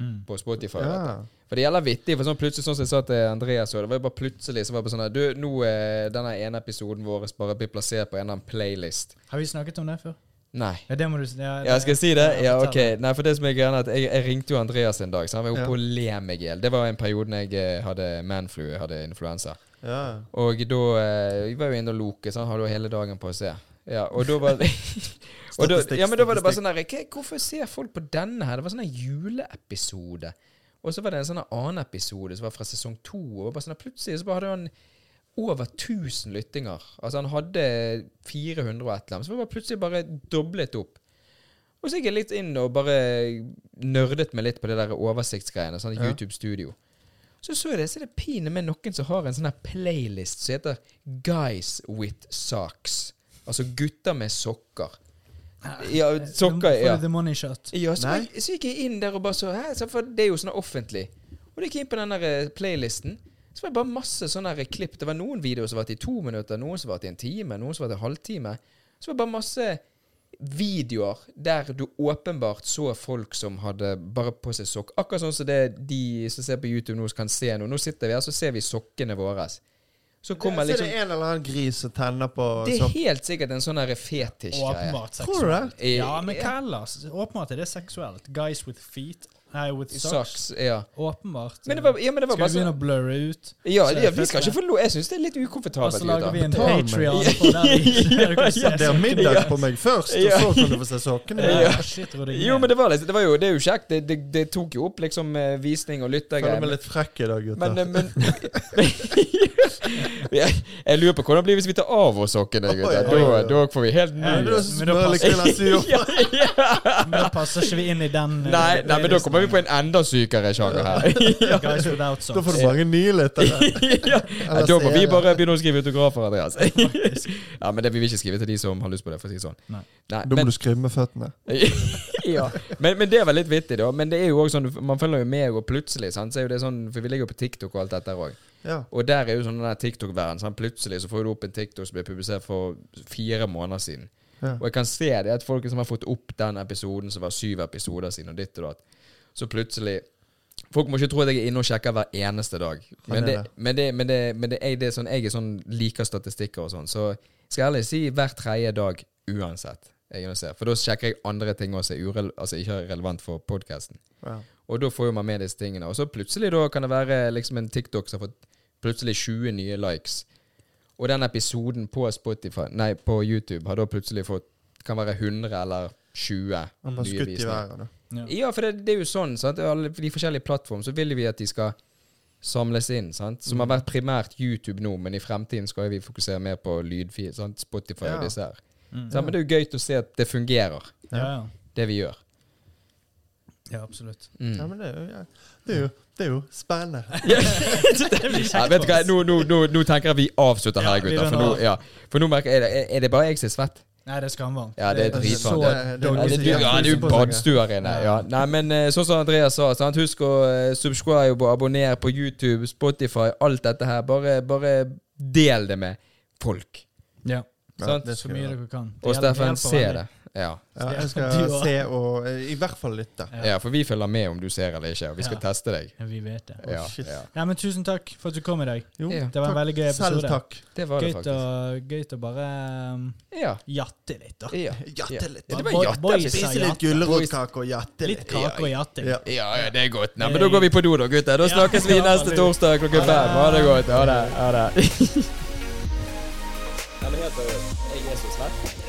[SPEAKER 3] Mm.
[SPEAKER 1] på Spotify. vet du.
[SPEAKER 2] Ja.
[SPEAKER 1] For det gjelder vittig. For sånn plutselig, sånn som jeg sa til Andreas, og det var jo bare plutselig så var det bare sånn her, Du, nå er denne ene episoden vår bare blir plassert på en eller annen playlist.
[SPEAKER 3] Har vi snakket om det før?
[SPEAKER 1] Nei.
[SPEAKER 3] Ja, det må du si.
[SPEAKER 1] Ja, skal jeg si det? Ja,
[SPEAKER 3] fortell
[SPEAKER 1] ok. Nei, for det som er greia, er at jeg, jeg ringte jo Andreas en dag, så han var jo
[SPEAKER 2] Ja.
[SPEAKER 1] på å le meg i hjel. Det var en periode når jeg eh, hadde manflu, jeg hadde influensa.
[SPEAKER 2] Ja.
[SPEAKER 1] Og da eh, jeg var jo inne og loket, så han hadde jo hele dagen på å se. Ja, og da var og da,
[SPEAKER 2] Statistikk,
[SPEAKER 1] ja, men da var det bare
[SPEAKER 2] statistikk.
[SPEAKER 1] sånn der, «Hva- Hvorfor ser folk på denne her? Det var sånn en juleepisode. Og så var det en sånn annen episode som var fra sesong to. Og bare sånn der, plutselig så bare hadde han over 1000 lyttinger. Altså han hadde 400 og et eller annet. Så var det bare plutselig bare doblet opp. Og så gikk jeg litt inn og bare nørdet meg litt på det der oversiktsgreiene. Sånn
[SPEAKER 2] Ja.
[SPEAKER 1] YouTube Studio. Så så jeg det, så er det pine med noen som har en sånn her playlist som heter Guys with Socks. Altså gutter med sokker. Ja,
[SPEAKER 3] eh,
[SPEAKER 1] sokker,
[SPEAKER 3] For
[SPEAKER 1] ja.
[SPEAKER 3] the money shot.
[SPEAKER 1] Ja, så,
[SPEAKER 2] Nei.
[SPEAKER 1] jeg, så gikk jeg inn der og bare så Hæ? Så for det er jo sånn offentlig. Og da gikk jeg inn på den der eh, playlisten. Så var det bare masse sånne her klipp. Det var noen videoer som varte i to minutter, noen som varte i en time, noen som varte i en halvtime. Så var det bare masse videoer der du åpenbart så folk som hadde bare på seg sokk. Akkurat sånn som det de som ser på YouTube nå, kan se nå. Nå sitter vi her, så ser vi sokkene våre. Så kommer
[SPEAKER 2] Så er det
[SPEAKER 1] liksom
[SPEAKER 2] en eller annen gris som tenner på
[SPEAKER 1] Det er
[SPEAKER 2] sopp-
[SPEAKER 1] helt sikkert en sånn her fetisj-greie.
[SPEAKER 3] Åpenbart
[SPEAKER 2] Tror du
[SPEAKER 3] seksuelt.
[SPEAKER 2] det?
[SPEAKER 3] Ja, men hva ellers? Åpenbart er det seksuelt. Guys with feet. Nei, with socks.
[SPEAKER 1] Saks, ja.
[SPEAKER 3] Åpenbart.
[SPEAKER 1] Men det var, ja, men det var
[SPEAKER 3] Skal
[SPEAKER 1] bare
[SPEAKER 3] vi
[SPEAKER 1] sånn
[SPEAKER 3] begynne å blurre ut?
[SPEAKER 1] Ja,
[SPEAKER 3] Så er
[SPEAKER 1] ja
[SPEAKER 3] det
[SPEAKER 1] vi skal
[SPEAKER 3] fest,
[SPEAKER 1] ikke få lov. Jeg syns det er litt
[SPEAKER 3] Og så
[SPEAKER 1] ukomfortabelt.
[SPEAKER 3] lager vi en
[SPEAKER 2] Betal meg.
[SPEAKER 3] Patrion på der vi der du kan se
[SPEAKER 1] Ja,
[SPEAKER 2] Det er
[SPEAKER 3] sokkene.
[SPEAKER 2] middag på meg først, og
[SPEAKER 1] Ja.
[SPEAKER 2] så kan du få se sokkene.
[SPEAKER 3] Ja, shit, Rodrigo.
[SPEAKER 1] Jo, men det var, litt- det var jo, det er jo kjekt. Det, det, det tok jo opp liksom eh, visning og
[SPEAKER 2] Føler meg
[SPEAKER 1] lyttergreier.
[SPEAKER 2] litt frekk i dag, gutter.
[SPEAKER 1] Men, eh, men, jeg, jeg lurer på hvordan det blir hvis vi tar av oss sokkene, gutter.
[SPEAKER 2] Oi, oi,
[SPEAKER 1] Da,
[SPEAKER 2] oi.
[SPEAKER 1] da får vi helt
[SPEAKER 2] Ja,
[SPEAKER 1] ny
[SPEAKER 2] men da
[SPEAKER 3] Men da
[SPEAKER 2] smører
[SPEAKER 3] passer-
[SPEAKER 2] kvinner sur.
[SPEAKER 1] ja, ja.
[SPEAKER 3] Men da passer ikke vi inn i den. eh,
[SPEAKER 1] Nei, nei, men da kommer vi på en enda sykere sjanger her.
[SPEAKER 3] playlisten. Guys without
[SPEAKER 2] Da får
[SPEAKER 3] socks.
[SPEAKER 2] du mange nye lyttere.
[SPEAKER 1] ja. Nei, Da må vi bare begynne å skrive autografer, Andreas. ja, men det vil vi ikke skrive til de som har lyst på det, for å si det sånn.
[SPEAKER 3] Nei.
[SPEAKER 1] Nei,
[SPEAKER 2] Da må du skrive med føttene.
[SPEAKER 1] ja. men, men det var litt vittig, da. Men det er jo også sånn, man følger jo med, og plutselig sant? Så er jo det sånn, For vi ligger jo på TikTok og alt dette her òg.
[SPEAKER 2] Ja.
[SPEAKER 1] Og der er jo sånn den der TikTok-verden. sant? Plutselig så får du opp en TikTok som ble publisert for fire måneder siden.
[SPEAKER 2] Ja.
[SPEAKER 1] Og jeg kan se det at folk som har fått opp den episoden som var syv episoder siden, og ditt og datt, så plutselig Folk må ikke tro at jeg er inne og sjekker hver eneste dag. Men,
[SPEAKER 2] er
[SPEAKER 1] det,
[SPEAKER 2] det.
[SPEAKER 1] men, det, men, det, men det, jeg, det er sånn, jeg er sånn liker statistikker og sånn. Så skal jeg ærlig si hver tredje dag uansett. Jeg er inne og ser. For da sjekker jeg andre ting også, som er urel- altså ikke er relevant for podkasten.
[SPEAKER 2] Ja.
[SPEAKER 1] Og da får jo man med disse tingene. Og så plutselig da kan det være liksom en TikTok som har fått plutselig 20 nye likes. Og den episoden på Spotify, nei, på YouTube har da plutselig fått kan være 100 eller 20
[SPEAKER 2] Han
[SPEAKER 1] nye
[SPEAKER 2] har skutt i
[SPEAKER 1] visninger.
[SPEAKER 2] været. da.
[SPEAKER 1] Ja, for det, det er jo sånn, sant. Alle de forskjellige plattformene, så vil vi at de skal samles inn, sant. Som
[SPEAKER 2] Mm.
[SPEAKER 1] har vært primært YouTube nå, men i fremtiden skal jo vi fokusere mer på lydfil, sant. Spotify
[SPEAKER 2] Ja.
[SPEAKER 1] og disse her.
[SPEAKER 3] Mm.
[SPEAKER 1] Sant? Men det er jo gøy å se at det fungerer,
[SPEAKER 3] Ja, ja.
[SPEAKER 1] det vi gjør.
[SPEAKER 3] ja, absolutt.
[SPEAKER 1] Mm.
[SPEAKER 2] Ja, men det er jo, ja. det er jo, det er jo spennende.
[SPEAKER 1] Ja, vet du hva, nå, nå, nå, nå tenker jeg vi avslutter her,
[SPEAKER 3] Ja, vi
[SPEAKER 1] gutter. For nå,
[SPEAKER 3] runder
[SPEAKER 1] ja. for nå merker jeg er det, er det bare jeg som er svett?
[SPEAKER 3] Nei, det er skamvarmt.
[SPEAKER 1] Ja, det er
[SPEAKER 2] Altså,
[SPEAKER 1] dritvarmt.
[SPEAKER 2] så-
[SPEAKER 1] Ja,
[SPEAKER 2] er
[SPEAKER 1] Ja,
[SPEAKER 2] mange
[SPEAKER 1] det
[SPEAKER 2] som
[SPEAKER 1] er jo-
[SPEAKER 2] gjerne
[SPEAKER 1] ja, det er
[SPEAKER 2] fryser
[SPEAKER 1] jo
[SPEAKER 2] på seg.
[SPEAKER 1] badstuer inne. Ja. Nei, men eh, sånn som Andreas sa, sant? husk å eh, subscribe og abonnere på YouTube, Spotify, alt dette her. Bare, bare del det med folk.
[SPEAKER 3] Ja,
[SPEAKER 2] Ja,
[SPEAKER 1] sant?
[SPEAKER 2] det
[SPEAKER 3] Så
[SPEAKER 2] skal jeg
[SPEAKER 3] mye
[SPEAKER 2] gjøre.
[SPEAKER 3] dere kan.
[SPEAKER 1] Og Steffen, se
[SPEAKER 3] ser
[SPEAKER 1] det. Ja.
[SPEAKER 2] Ja, jeg skal
[SPEAKER 3] Du også.
[SPEAKER 2] se og eh, i hvert fall lytte.
[SPEAKER 3] Ja.
[SPEAKER 1] ja, for vi følger med om du ser eller ikke, og vi skal
[SPEAKER 3] Ja.
[SPEAKER 1] teste deg.
[SPEAKER 3] Vi vet det.
[SPEAKER 1] Ja,
[SPEAKER 2] shit.
[SPEAKER 1] ja.
[SPEAKER 3] Nei, men tusen takk for at du kom i dag.
[SPEAKER 2] Jo,
[SPEAKER 1] Ja.
[SPEAKER 3] Det var en
[SPEAKER 2] takk.
[SPEAKER 3] veldig gøy
[SPEAKER 2] Selv
[SPEAKER 3] episode.
[SPEAKER 2] takk.
[SPEAKER 1] Det var det
[SPEAKER 3] Gøyt å,
[SPEAKER 1] faktisk.
[SPEAKER 3] gøyt å bare um,
[SPEAKER 1] Ja.
[SPEAKER 3] jatte litt, da.
[SPEAKER 1] Ja,
[SPEAKER 2] Jatte litt.
[SPEAKER 1] Ja, det
[SPEAKER 3] Boy-
[SPEAKER 1] var
[SPEAKER 3] boys
[SPEAKER 1] jatte.
[SPEAKER 3] sa
[SPEAKER 2] Spise
[SPEAKER 3] jatte.
[SPEAKER 2] litt gulrotkake og jatte
[SPEAKER 3] Litt
[SPEAKER 2] litt.
[SPEAKER 3] kake og jatting.
[SPEAKER 2] Ja.
[SPEAKER 1] Ja, ja, det er godt. Nei, men da går vi på do, da, gutter. Da
[SPEAKER 3] Ja.
[SPEAKER 1] snakkes vi neste torsdag klokken fem. Ha det godt. Ha det. Ha det. Jeg er så svett.